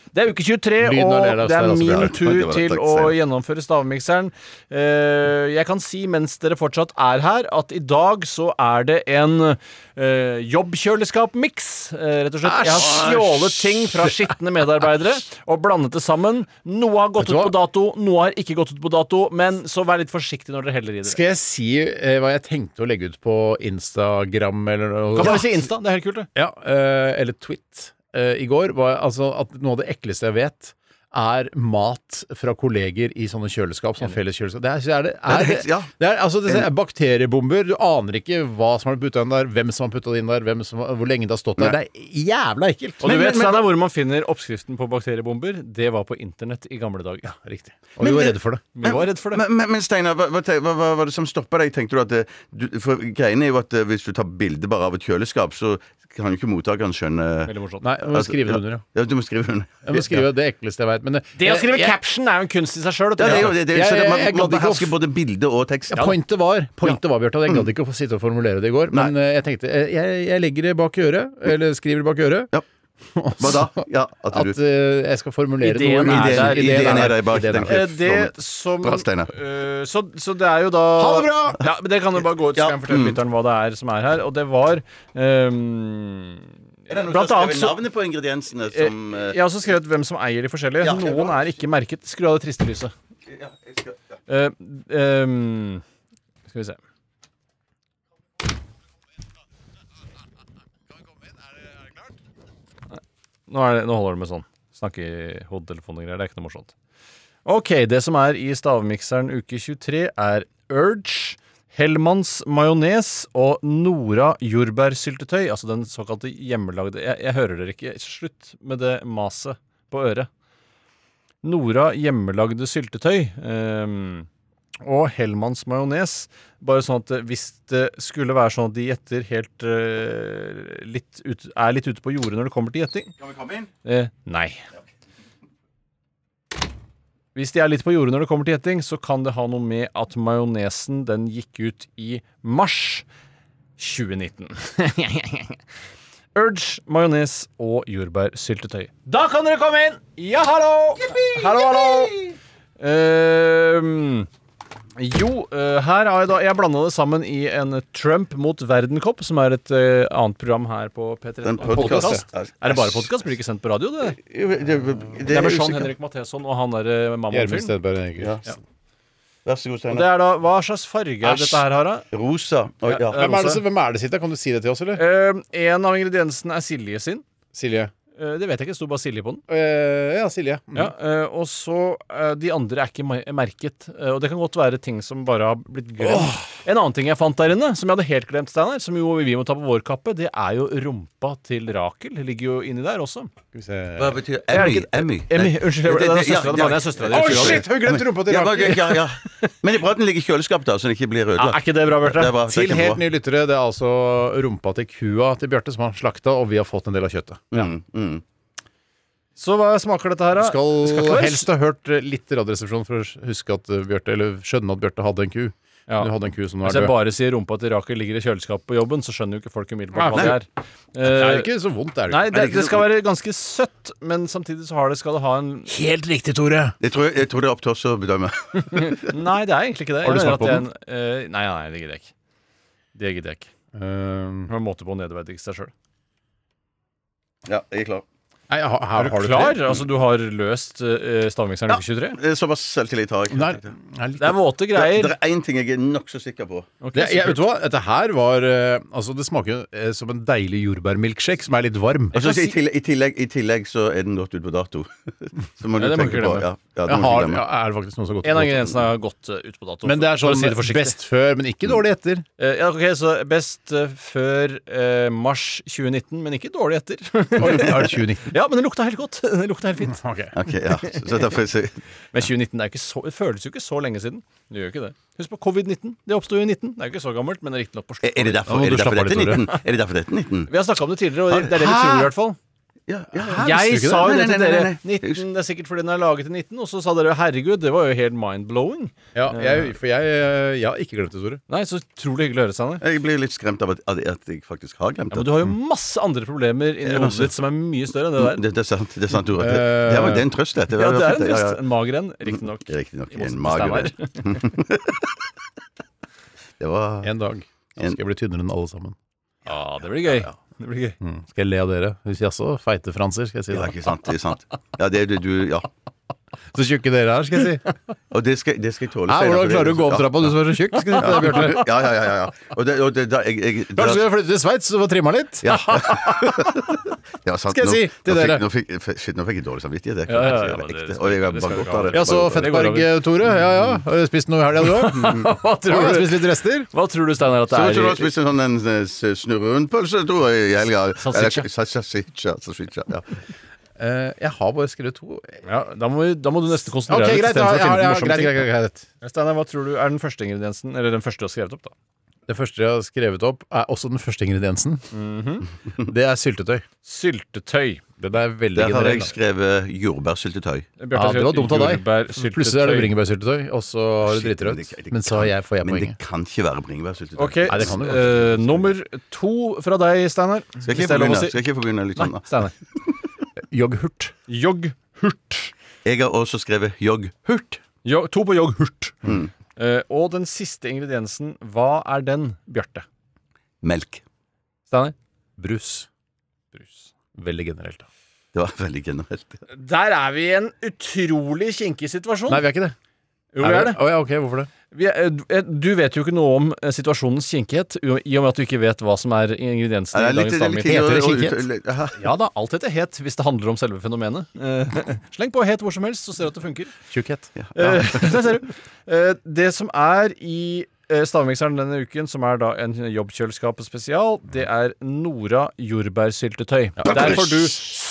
Speaker 6: Det er uke 23,
Speaker 5: Lyden var
Speaker 6: og
Speaker 5: lealaust
Speaker 6: det er
Speaker 5: der, altså,
Speaker 6: min
Speaker 8: Bjarte. Det
Speaker 6: tur
Speaker 8: var det,
Speaker 6: til
Speaker 8: takk,
Speaker 6: å
Speaker 8: Stein.
Speaker 6: gjennomføre stavmikseren. Eh, Jeg kan si mens dere fortsatt er her, at i dag så er det en eh, jobbkjøleskapmiks, eh, rett og slett. Jeg har stjålet ting fra skitne medarbeidere og blandet det sammen. Noe har gått
Speaker 5: Vet
Speaker 6: ut
Speaker 5: du
Speaker 6: på
Speaker 5: hva?
Speaker 6: dato, noe har ikke gått ut på dato, men så vær litt forsiktig når dere heller i det.
Speaker 5: Skal jeg si eh, hva jeg tenkte å legge ut på Instagram eller noe?
Speaker 6: Kan bare si Insta, det er helt kult, det.
Speaker 5: Ja, eh, eller Twit eh, i går, var altså at noe av det ekleste jeg vet er mat fra kolleger i sånne kjøleskap. Sånne felleskjøleskap. Det er, så er, det, er,
Speaker 8: det er- ja.
Speaker 5: det er, altså, det er bakteriebomber. Du aner ikke hva som har blitt putta inn der, hvem som har putta det inn der, hvem som, hvor lenge det har stått der. Det er jævla ekkelt.
Speaker 6: Og du vet, Steinar, hvor man finner oppskriften på bakteriebomber? Det var på internett i gamle dager.
Speaker 5: Riktig. Og vi var redde for det.
Speaker 6: Vi var redd for det.
Speaker 8: Men, men, men Steinar, hva, hva, te- hva, hva var det som stoppa deg? Tenkte du at det, du, For greien er jo at eh, hvis du tar bilde bare av et kjøleskap, så kan jo ikke mottakeren skjønne
Speaker 6: Veldig morsomt.
Speaker 5: Nei, jeg må
Speaker 8: Altså,
Speaker 5: skrive det under, ja.
Speaker 8: ja. Du må skrive under.
Speaker 5: Jeg må skrive det ekleste jeg veit. Men eh,
Speaker 6: Det å skrive
Speaker 5: jeg- jeg-
Speaker 6: caption er jo en kunst i seg sjøl.
Speaker 8: Ja, det er jo det. det er jo,
Speaker 5: Jeg-
Speaker 8: så det, man
Speaker 5: jeg- jeg
Speaker 8: må
Speaker 5: gadd ikke å
Speaker 8: beherske
Speaker 5: f-
Speaker 8: både bilde og tekst.
Speaker 5: Ja, Mm. pointet var, pointet var Bjørte, at jeg gadd ikke å få sitte og formulere det i går. Men eh, jeg tenkte eh, jeg, jeg legger det bak øret, eller skriver det bak øret.
Speaker 8: Ja.
Speaker 5: Og
Speaker 8: Hva da?
Speaker 5: så-
Speaker 8: Ja, at
Speaker 5: At
Speaker 8: du-
Speaker 5: eh, jeg skal formulere
Speaker 6: Ideen
Speaker 5: noe.
Speaker 6: er
Speaker 5: Ideen-
Speaker 6: der,
Speaker 5: ideen
Speaker 8: ideen er der bak
Speaker 5: ideen er
Speaker 8: den
Speaker 5: der.
Speaker 8: klipp.
Speaker 6: Eh, Det som
Speaker 8: Bra, Steinar.
Speaker 6: Eh, så, så det er jo da
Speaker 5: Ha det bra!
Speaker 6: Ja, men Det kan jo bare gå ut, så kan jeg fortelle lytteren hva det er som er her. Og det var ehm, Blant annet så
Speaker 8: navnet på ingrediensene
Speaker 6: Eh, Jeg har også skrevet hvem som eier de forskjellige.
Speaker 8: Ja.
Speaker 6: Noen er ikke merket. Skru av det triste lyset. Eh, ehm, skal vi se. Nei. Nå, er det, nå holder det med sånn. Snakke i hodetelefonen og greier. Det er ikke noe morsomt. Ok, det som er i stavmikseren uke 23, er Urge. Hellmanns majones og Nora jordbærsyltetøy. Altså den såkalte hjemmelagde jeg, jeg hører dere ikke. Slutt med det maset på øret. Nora hjemmelagde syltetøy. ehm, og Hellmanns majones. Bare sånn at eh, hvis det skulle være sånn at de gjetter helt eh, litt ut, Er litt ute på jordet når det kommer til gjetting
Speaker 8: Kan vi komme inn?
Speaker 6: Eh, nei. Hvis de er litt på jordet når det kommer til gjetting, så kan det ha noe med at majonesen den gikk ut i mars 2019. Urge, majones og jordbærsyltetøy. Da kan dere komme inn! Ja, hallo! Hallo, hallo! Ehm, jo, eh, her har jeg da Jeg blanda det sammen i en Trump mot verden-kopp, som er et eh, annet program her på P3.
Speaker 8: Den podcast.
Speaker 6: Podcast. Er det bare podkast? Blir det ikke sendt på radio, det?
Speaker 8: Jo, Det, det, det
Speaker 6: Det
Speaker 8: er
Speaker 6: er med Sean
Speaker 8: usikker-
Speaker 6: Henrik Matheson og han derre
Speaker 5: Gjermund
Speaker 6: mammon-fyren.
Speaker 5: Stedberg Eger.
Speaker 8: Ja. Vær så god,
Speaker 6: Det
Speaker 8: Steinar.
Speaker 6: er da Hva slags farge er dette her, Harald?
Speaker 8: Rosa. Oi, ja.
Speaker 5: Hvem er det som- hvem er det sitt? da? Kan du si det til oss, eller?
Speaker 6: Eh, en av ingrediensene er Silje sin.
Speaker 5: Silje.
Speaker 6: Eh, det vet jeg ikke. Det sto bare Silje på den.
Speaker 5: Eh, ja, Silje. Mm.
Speaker 6: Ja, eh, og så eh, De andre er ikke mer- merket. Eh, og det kan godt være ting som bare har blitt glemt. En annen ting jeg fant der inne, som jeg hadde helt glemt, Steinar, som jo vi må ta på vår kappe, det er jo rumpa til Rakel. Det ligger jo inni der også.
Speaker 5: Skal vi se.
Speaker 8: Hva betyr Emmy? Emmy.
Speaker 6: Emmy,
Speaker 8: Nei.
Speaker 6: unnskyld, det var-
Speaker 8: Det-
Speaker 6: det var søstera, det
Speaker 8: det- ja, ja.
Speaker 6: var- det er søstera di,
Speaker 8: Å,
Speaker 6: jeg tror det var
Speaker 5: Shit, hun glemte rumpa til
Speaker 8: Ja,
Speaker 5: Rakel!
Speaker 8: bare- ja, ja. Men det er bra at den ligger i kjøleskapet, da, så den ikke blir
Speaker 6: Ja, er
Speaker 8: ødelagt.
Speaker 6: ikke det bra, Bjarte?
Speaker 8: Det er bra.
Speaker 5: Til
Speaker 8: kjempebra.
Speaker 5: helt nye lyttere, det er altså rumpa til kua til Bjarte som han slakta, og vi har fått en del av kjøttet.
Speaker 8: Mm, mm.
Speaker 6: Så hva smaker dette her, da?
Speaker 5: Skal,
Speaker 6: ikke være-
Speaker 5: helst ha hørt eh, litt Radioresepsjonen for å huske at eh, Bjarte, eller skjønne at Bjarte hadde en ku.
Speaker 6: Ja.
Speaker 5: Du hadde en ku som nå
Speaker 6: Hvis
Speaker 5: er
Speaker 6: jeg
Speaker 5: død.
Speaker 6: bare sier rumpa til Rakel ligger i kjøleskapet på jobben, så skjønner jo ikke folk umiddelbart hva
Speaker 5: Nei,
Speaker 6: det er.
Speaker 5: Det
Speaker 6: Eh,
Speaker 5: er ikke så vondt, er det
Speaker 6: Nei,
Speaker 5: ikke?
Speaker 6: det, det skal være ganske søtt, men samtidig så har det, skal det ha en
Speaker 5: Helt riktig, Tore!
Speaker 8: Jeg, tror, jeg tror det er opp til oss å bedømme.
Speaker 6: Nei, det er egentlig ikke det.
Speaker 5: Har du
Speaker 6: Jeg mener
Speaker 5: smakt
Speaker 6: at
Speaker 5: på
Speaker 6: det er en- eh, nei, nei, det gidder jeg ikke. Det gidder jeg ikke. Det
Speaker 5: Eh,
Speaker 6: var en måte på å nedverdige seg sjøl.
Speaker 8: Ja, jeg er klar.
Speaker 5: nei, ha- her
Speaker 6: Er du
Speaker 5: har du
Speaker 6: klar? Altså, du har løst uh, stavmikseren
Speaker 8: Ja.
Speaker 6: uke 23?
Speaker 8: Eh, Såpass selvtillit har jeg.
Speaker 5: Nei,
Speaker 8: Det,
Speaker 5: nei, litt-
Speaker 6: Det er våte
Speaker 8: det
Speaker 6: greier.
Speaker 8: er én ting jeg er nokså sikker på.
Speaker 6: Ok,
Speaker 5: det, jeg,
Speaker 6: så
Speaker 5: vet du hva? Dette her var eh, Altså, det smaker jo, eh, som en deilig jordbærmilkshake som er litt varm.
Speaker 8: Og
Speaker 6: kan
Speaker 8: så, Altså, i,
Speaker 6: si-
Speaker 8: tillegg, i, tillegg, I tillegg så er den gått ut på dato. Så må
Speaker 6: Ja,
Speaker 8: du
Speaker 6: det må
Speaker 8: tenke
Speaker 6: ikke glemme.
Speaker 8: på ja, ja, det
Speaker 5: Jeg
Speaker 8: må du
Speaker 5: har,
Speaker 8: glemme.
Speaker 5: ja, er det faktisk noen som har gått
Speaker 6: En av ingrediensene har gått eh, ut på dato.
Speaker 5: Men det er
Speaker 6: for å
Speaker 5: sånn
Speaker 6: si det forsiktig.
Speaker 5: best før, men ikke dårlig etter.
Speaker 6: Eh, ja, ok, så Best eh, før eh, mars 2019, men ikke dårlig etter.
Speaker 5: Oi, er det 2019?
Speaker 6: ja, men det lukta helt godt. Det lukta helt fint.
Speaker 5: Ok.
Speaker 8: Ok, ja. Så- Så derfor så-
Speaker 6: Men 2019 er jo ikke så, det føles jo ikke så lenge siden. Det gjør jo ikke det. Husk på covid-19. Det oppsto jo i 19. Det er jo ikke så gammelt, men riktignok på
Speaker 8: Er
Speaker 6: slutt.
Speaker 8: er det derfor,
Speaker 5: må
Speaker 8: er
Speaker 5: du
Speaker 8: det derfor
Speaker 5: slappe av
Speaker 8: dette er
Speaker 5: litt, Tore.
Speaker 8: 19? Er det derfor dette er 19?
Speaker 6: Vi har snakka om det tidligere, og det er det vi tror i hvert fall.
Speaker 8: Ja, ja, ja.
Speaker 6: Jeg
Speaker 5: visste du ikke
Speaker 6: sa jo
Speaker 8: det?
Speaker 6: det
Speaker 8: Nei,
Speaker 6: til
Speaker 8: nei, nei,
Speaker 6: dere.
Speaker 8: nei, nei.
Speaker 6: 19, Det er sikkert fordi den er laget i 19, og så sa dere 'herregud', det var jo helt mind-blowing.
Speaker 5: Ja, jeg, for jeg, eh, jeg har ikke glemt det, Tore.
Speaker 6: Nei, så utrolig hyggelig å høre, Steinar.
Speaker 8: Jeg blir litt skremt av at, at at jeg faktisk har glemt
Speaker 6: Ja, men
Speaker 8: det.
Speaker 6: du har jo masse andre problemer inni
Speaker 8: Ja,
Speaker 6: hodet
Speaker 8: masse.
Speaker 6: ditt som er mye større enn det der.
Speaker 8: Mm, Det, det er sant. Det er sant, Tore. Det, det, var- det er en trøst, dette.
Speaker 6: Ja, det er en
Speaker 8: fint, Mm,
Speaker 6: trøst. En mager en, riktignok.
Speaker 8: ja. Riktignok
Speaker 6: I motsetning
Speaker 8: en
Speaker 6: til
Speaker 8: mager
Speaker 6: Steinar.
Speaker 8: Det var
Speaker 5: En dag så skal jeg bli tynnere enn alle sammen. Mm.
Speaker 6: Ja, det blir gøy. Det blir gøy.
Speaker 5: Skal jeg le av dere? Hvis jaså, feite franser, skal jeg si
Speaker 8: Ja,
Speaker 5: da.
Speaker 8: ikke sant. Det er sant. Ja, det er du, du Ja.
Speaker 5: Så tjukke dere er, skal jeg si.
Speaker 8: Og det skal, det skal jeg tåle.
Speaker 5: Ja, hvordan
Speaker 8: Steinar, for
Speaker 5: klarer
Speaker 8: det-
Speaker 5: du å gå opp
Speaker 8: ja.
Speaker 5: trappa, du som er så tjukk? Skal jeg si til deg, Bjarte.
Speaker 8: Ja, ja, ja. ja, ja. Og det, og det da, jeg, jeg, da,
Speaker 5: Kanskje du skal flytte til Sveits og få trimma litt?
Speaker 8: ja. Ja, sant.
Speaker 5: Skal jeg
Speaker 8: Nå-
Speaker 5: si til
Speaker 8: nå fikk-
Speaker 5: dere.
Speaker 8: Nå fikk, f- shit, nå fikk jeg dårlig samvittighet. Jeg,
Speaker 6: Ja, ja, ja,
Speaker 8: jeg,
Speaker 6: men det-
Speaker 8: ekte. Og jeg har
Speaker 6: det skal vi
Speaker 8: bare godt
Speaker 6: ikke ha.
Speaker 8: av det.
Speaker 5: Ja, så
Speaker 8: Bare-
Speaker 6: Det går
Speaker 5: Fettberg, eh, Tore. Ja ja. Har du spist noe i helga, du òg?
Speaker 6: Hva tror
Speaker 5: Har du
Speaker 6: du,
Speaker 5: spist litt rester?
Speaker 6: hva tror du Steinar, at
Speaker 8: Så jeg
Speaker 6: det
Speaker 8: tror du har
Speaker 6: er i
Speaker 8: spist en sånn en, eh, s- snurrerundpølse tror jeg, i helga. Eller-
Speaker 6: Salsiccia.
Speaker 8: Salsiccia. salsiccia, Ja.
Speaker 5: Eh, Jeg har bare skrevet to.
Speaker 6: ja, da, må, vi- da må du nesten konsentrere
Speaker 5: Ok,
Speaker 6: deg
Speaker 5: greit.
Speaker 6: istedenfor
Speaker 5: Ja,
Speaker 6: å
Speaker 5: ja, ja,
Speaker 6: finne på morsomme
Speaker 5: greit, greit,
Speaker 6: ting.
Speaker 5: greit, greit.
Speaker 6: Steinar, hva tror du er den første ingrediensen? Eller den første du har skrevet opp, da?
Speaker 5: Det første jeg har skrevet opp, er også den første ingrediensen. Det er syltetøy.
Speaker 6: Syltetøy.
Speaker 5: Mhm. Den er veldig
Speaker 8: Der har
Speaker 5: generell.
Speaker 8: jeg skrevet jordbærsyltetøy.
Speaker 6: Bjarte
Speaker 5: Ja,
Speaker 6: har
Speaker 5: det var
Speaker 6: skrevet
Speaker 5: dumt av deg.
Speaker 6: jordbærsyltetøy.
Speaker 5: Plutselig er det bringebærsyltetøy, og så har du
Speaker 8: Shit, men det-
Speaker 5: dritrødt.
Speaker 8: det
Speaker 5: Men så
Speaker 8: kan-
Speaker 5: har jeg, får jeg
Speaker 8: Men det
Speaker 5: poenget.
Speaker 8: kan ikke være bringebærsyltetøy.
Speaker 6: Ok,
Speaker 5: Nei, det kan det
Speaker 6: s-
Speaker 5: jo ikke.
Speaker 6: eh, nummer to fra deg, Steinar.
Speaker 8: Skal jeg
Speaker 6: Hvis
Speaker 8: ikke
Speaker 6: det er lov
Speaker 8: få
Speaker 6: å
Speaker 8: begynne?
Speaker 6: si.
Speaker 8: Skal jeg ikke få begynne litt sånn? da?
Speaker 6: Steinar.
Speaker 5: Yoghurt.
Speaker 6: Jogghurt.
Speaker 8: Jeg har også skrevet jogghurt.
Speaker 6: Jo, to på jogghurt.
Speaker 8: Mm.
Speaker 6: Eh, og den siste ingrediensen, hva er den, Bjarte?
Speaker 8: Melk.
Speaker 6: Steinar?
Speaker 5: Brus. Veldig generelt. da.
Speaker 8: Det var veldig generelt.
Speaker 6: Der er vi i en utrolig kinkig situasjon.
Speaker 5: Nei, vi er ikke det.
Speaker 6: jo, vi er det.
Speaker 5: Å ja, ok, hvorfor det?
Speaker 6: Vi er, eh, du- eh, du vet jo ikke noe om eh, situasjonens kinkighet, u- i og med at du ikke vet hva som er ingrediensene
Speaker 8: Ja,
Speaker 6: i dagens stavmikser.
Speaker 5: tidlig å-
Speaker 6: Ja da, alt heter het hvis det handler om selve fenomenet. Eh, sleng på het hvor som helst, så ser du at det funker.
Speaker 5: Tjukkhet.
Speaker 6: Eh, der ser du. Eh, det som er i eh, Stavmikseren denne uken, som er da en jobbkjøleskapet spesial, det er Nora jordbærsyltetøy. Der får du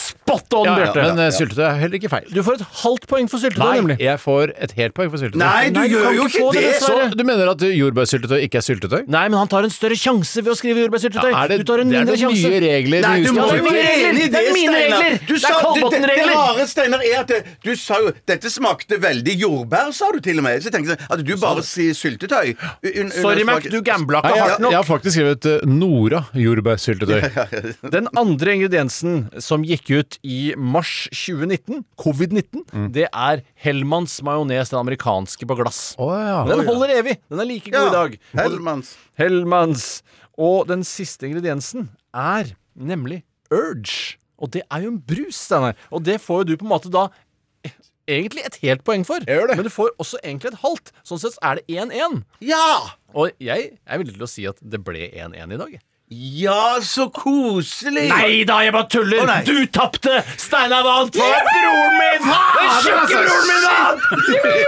Speaker 6: spot on,
Speaker 5: Ja, ja,
Speaker 6: Bjarte.
Speaker 5: men eh, syltetøy er heller ikke feil.
Speaker 6: Du får et halvt poeng for syltetøy,
Speaker 5: Nei,
Speaker 6: nemlig.
Speaker 5: jeg får et helt poeng for syltetøy.
Speaker 7: Nei, du
Speaker 6: kan
Speaker 7: gjør jo
Speaker 6: ikke få
Speaker 7: ikke
Speaker 6: det,
Speaker 7: det!
Speaker 5: Så du mener at jordbærsyltetøy ikke er syltetøy?
Speaker 6: Nei, men han tar en større sjanse ved å skrive jordbærsyltetøy.
Speaker 5: Er det,
Speaker 6: du tar en
Speaker 5: det er
Speaker 6: mindre
Speaker 5: det
Speaker 6: sjanse.
Speaker 5: nye regler?
Speaker 7: Nei, du
Speaker 5: nye
Speaker 7: må
Speaker 6: det
Speaker 7: jo
Speaker 5: syltetøy?
Speaker 6: er mine
Speaker 7: være
Speaker 6: regler!
Speaker 7: enig i
Speaker 6: Det er mine
Speaker 7: Steinar.
Speaker 6: regler!
Speaker 7: Du
Speaker 6: Det
Speaker 7: sa-
Speaker 6: er Kolbotn-regler.
Speaker 7: Det, det rare, Steinar, er at det, du sa jo Dette smakte veldig jordbær, sa du til og med. Så jeg tenkte
Speaker 8: sånn,
Speaker 7: jeg at du bare sier syltetøy. Un- un-
Speaker 6: Sorry, Mac, du gambla
Speaker 5: Nei,
Speaker 6: ikke
Speaker 5: jeg,
Speaker 6: hardt nok.
Speaker 5: jeg har faktisk skrevet eh, Nora jordbærsyltetøy.
Speaker 6: Den andre ingrediensen som gikk ut i mars 2019, covid-19,
Speaker 5: Mm.
Speaker 6: det er Hellmanns majones, den amerikanske på glass.
Speaker 5: Å, ja.
Speaker 6: Den holder evig. Den er like god i dag.
Speaker 8: Hellmanns.
Speaker 6: Hellmanns. Og den siste ingrediensen er nemlig Urge. Og det er jo en brus, Steinar. Og det får jo du på en måte da eh, egentlig et helt poeng for.
Speaker 5: gjør det.
Speaker 6: Men du får også egentlig et halvt. Sånn sett er det 1-1.
Speaker 7: Ja!
Speaker 6: Og jeg er villig til å si at det ble 1-1 i dag.
Speaker 7: Ja, så koselig!
Speaker 6: Nei da, jeg bare tuller!
Speaker 7: nei.
Speaker 6: du tapte! Steinar vant! Det var broren min! Den
Speaker 5: altså.
Speaker 8: altså-
Speaker 6: tjukke broren min vant!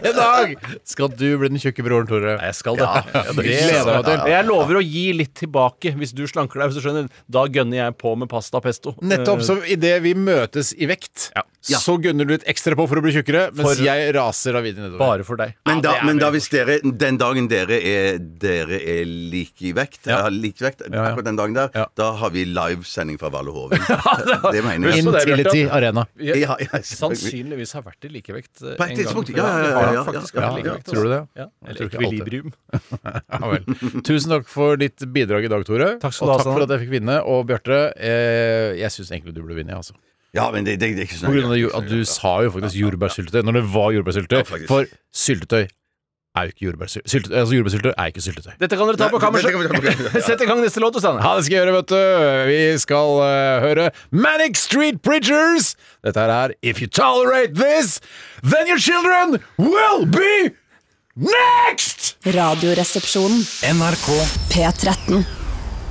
Speaker 5: En dag skal du bli den tjukke broren, Tore.
Speaker 6: Jeg skal det.
Speaker 5: det gleder jeg meg til.
Speaker 6: Og jeg lover å gi litt tilbake hvis du slanker deg. hvis du skjønner Da gønner jeg på med pasta pesto.
Speaker 5: Nettopp.
Speaker 6: Eh,
Speaker 5: Så idet vi møtes i vekt, så gunner du litt ekstra på for å bli tjukkere, mens
Speaker 6: For-
Speaker 5: jeg raser av videre nedover.
Speaker 6: Bare for deg.
Speaker 8: Men, da,
Speaker 5: det er
Speaker 8: men da
Speaker 5: veldig
Speaker 8: hvis dere, den dagen dere er, dere er like i vekt, ja. lik vekt akkurat den dagen der,
Speaker 5: Ja.
Speaker 8: da har vi livesending fra Valle Hovin. det mener jeg.
Speaker 6: Husk på det, Bjarte.
Speaker 5: Intility Arena.
Speaker 6: Jeg
Speaker 8: Ja, ja,
Speaker 6: sannsynligvis har vært i likevekt eh,
Speaker 8: På et
Speaker 6: en
Speaker 8: tidspunkt,
Speaker 6: gang.
Speaker 8: ja, ja, ja,
Speaker 6: Vi har
Speaker 8: ja,
Speaker 6: faktisk
Speaker 8: ja,
Speaker 6: vært i
Speaker 8: ja,
Speaker 5: ja.
Speaker 6: likevekt,
Speaker 5: Tror du det?
Speaker 6: altså. Ja,
Speaker 5: Jeg tror
Speaker 6: eller
Speaker 5: ikke alltid.
Speaker 6: ekvilibrium.
Speaker 5: Ja vel. Tusen takk for ditt bidrag i dag, Tore.
Speaker 6: Takk skal du
Speaker 5: og
Speaker 6: ha,
Speaker 5: takk for
Speaker 6: Steinar.
Speaker 5: at jeg fikk vinne. Og Bjarte, eh, jeg syns egentlig du burde vinne, jeg, altså.
Speaker 8: ja, men det, det, det er ikke sånn så
Speaker 5: På grunn av det,
Speaker 8: nøye.
Speaker 5: jo- at du sa jo faktisk jordbærsyltetøy når det var jordbærsyltetøy.
Speaker 8: faktisk.
Speaker 5: For syltetøy er jo ikke jordbærsyltetøy. Altså, jordbærsyltetøy er ikke syltetøy.
Speaker 6: Dette kan dere ta på kammerset.
Speaker 8: Dette kan vi ta på kammerset.
Speaker 6: Sett i gang neste låt, du, Steinar.
Speaker 5: Ja, det skal jeg gjøre, vet du. Vi skal eh, høre Manic Street Preachers. Dette her er If you tolerate this, then your children will be next!
Speaker 1: Radioresepsjonen. NRK P13.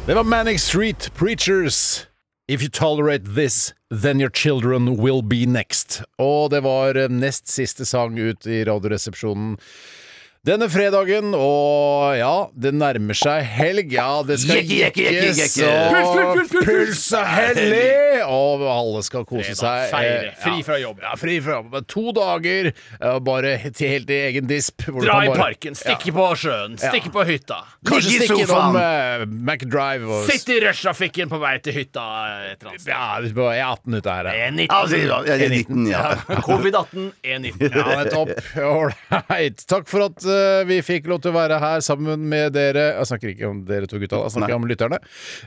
Speaker 5: Det var Manic Street Preachers. If you tolerate this, then your children will be next. Og det var eh, nest siste sang ut i Radioresepsjonen denne fredagen. Og ja, det nærmer seg helg. Ja, det skal
Speaker 8: Jekke, jekke, jekke,
Speaker 5: jekkes
Speaker 8: jekke.
Speaker 5: og puls og hellig! Og alle skal kose seg.
Speaker 6: feire,
Speaker 5: Eh,
Speaker 6: fri
Speaker 5: ja,
Speaker 6: fra jobb.
Speaker 5: Ja, fri fra jobb. To dager, eh, bare til helt i egen disp. hvor du
Speaker 6: Dra
Speaker 5: kan
Speaker 6: i
Speaker 5: bare-
Speaker 6: parken, stikke på sjøen, stikke på hytta.
Speaker 5: Kanskje
Speaker 8: Ligge i
Speaker 5: stikke innom
Speaker 8: sofaen.
Speaker 5: eh, McDrive og
Speaker 6: Sitt i rushtrafikken på vei til hytta eh, et eller annet sted.
Speaker 5: Ja, jeg er 18 ute her. Ja. altså.
Speaker 6: En
Speaker 8: Ja,
Speaker 6: nitten.
Speaker 8: det var- ja, det er 19, ja.
Speaker 6: Covid-18 E19.
Speaker 5: Ja, nettopp. Ålreit. Takk for at eh, vi fikk lov til å være her sammen med dere. Jeg snakker ikke om dere to gutta, jeg snakker om lytterne.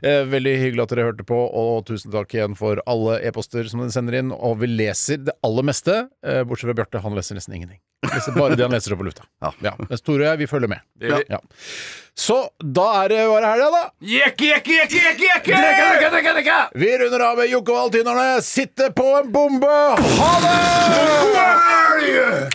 Speaker 5: Eh, veldig hyggelig at dere hørte på, og tusen takk igjen for alle e-poster som dere sender inn. Og vi leser det aller meste, eh, bortsett fra Bjarte. Han leser nesten ingenting. Han Leser bare det han leser opp på lufta.
Speaker 8: Ja.
Speaker 5: Ja. Mens Tore og jeg, vi følger med. Ja. Så da er det bare helga, da.
Speaker 6: Jekke, jekke, jekke, jekke, jekke!
Speaker 5: Vi runder av med Jokke og Altinerne. Sitte på en bombe! Ha det!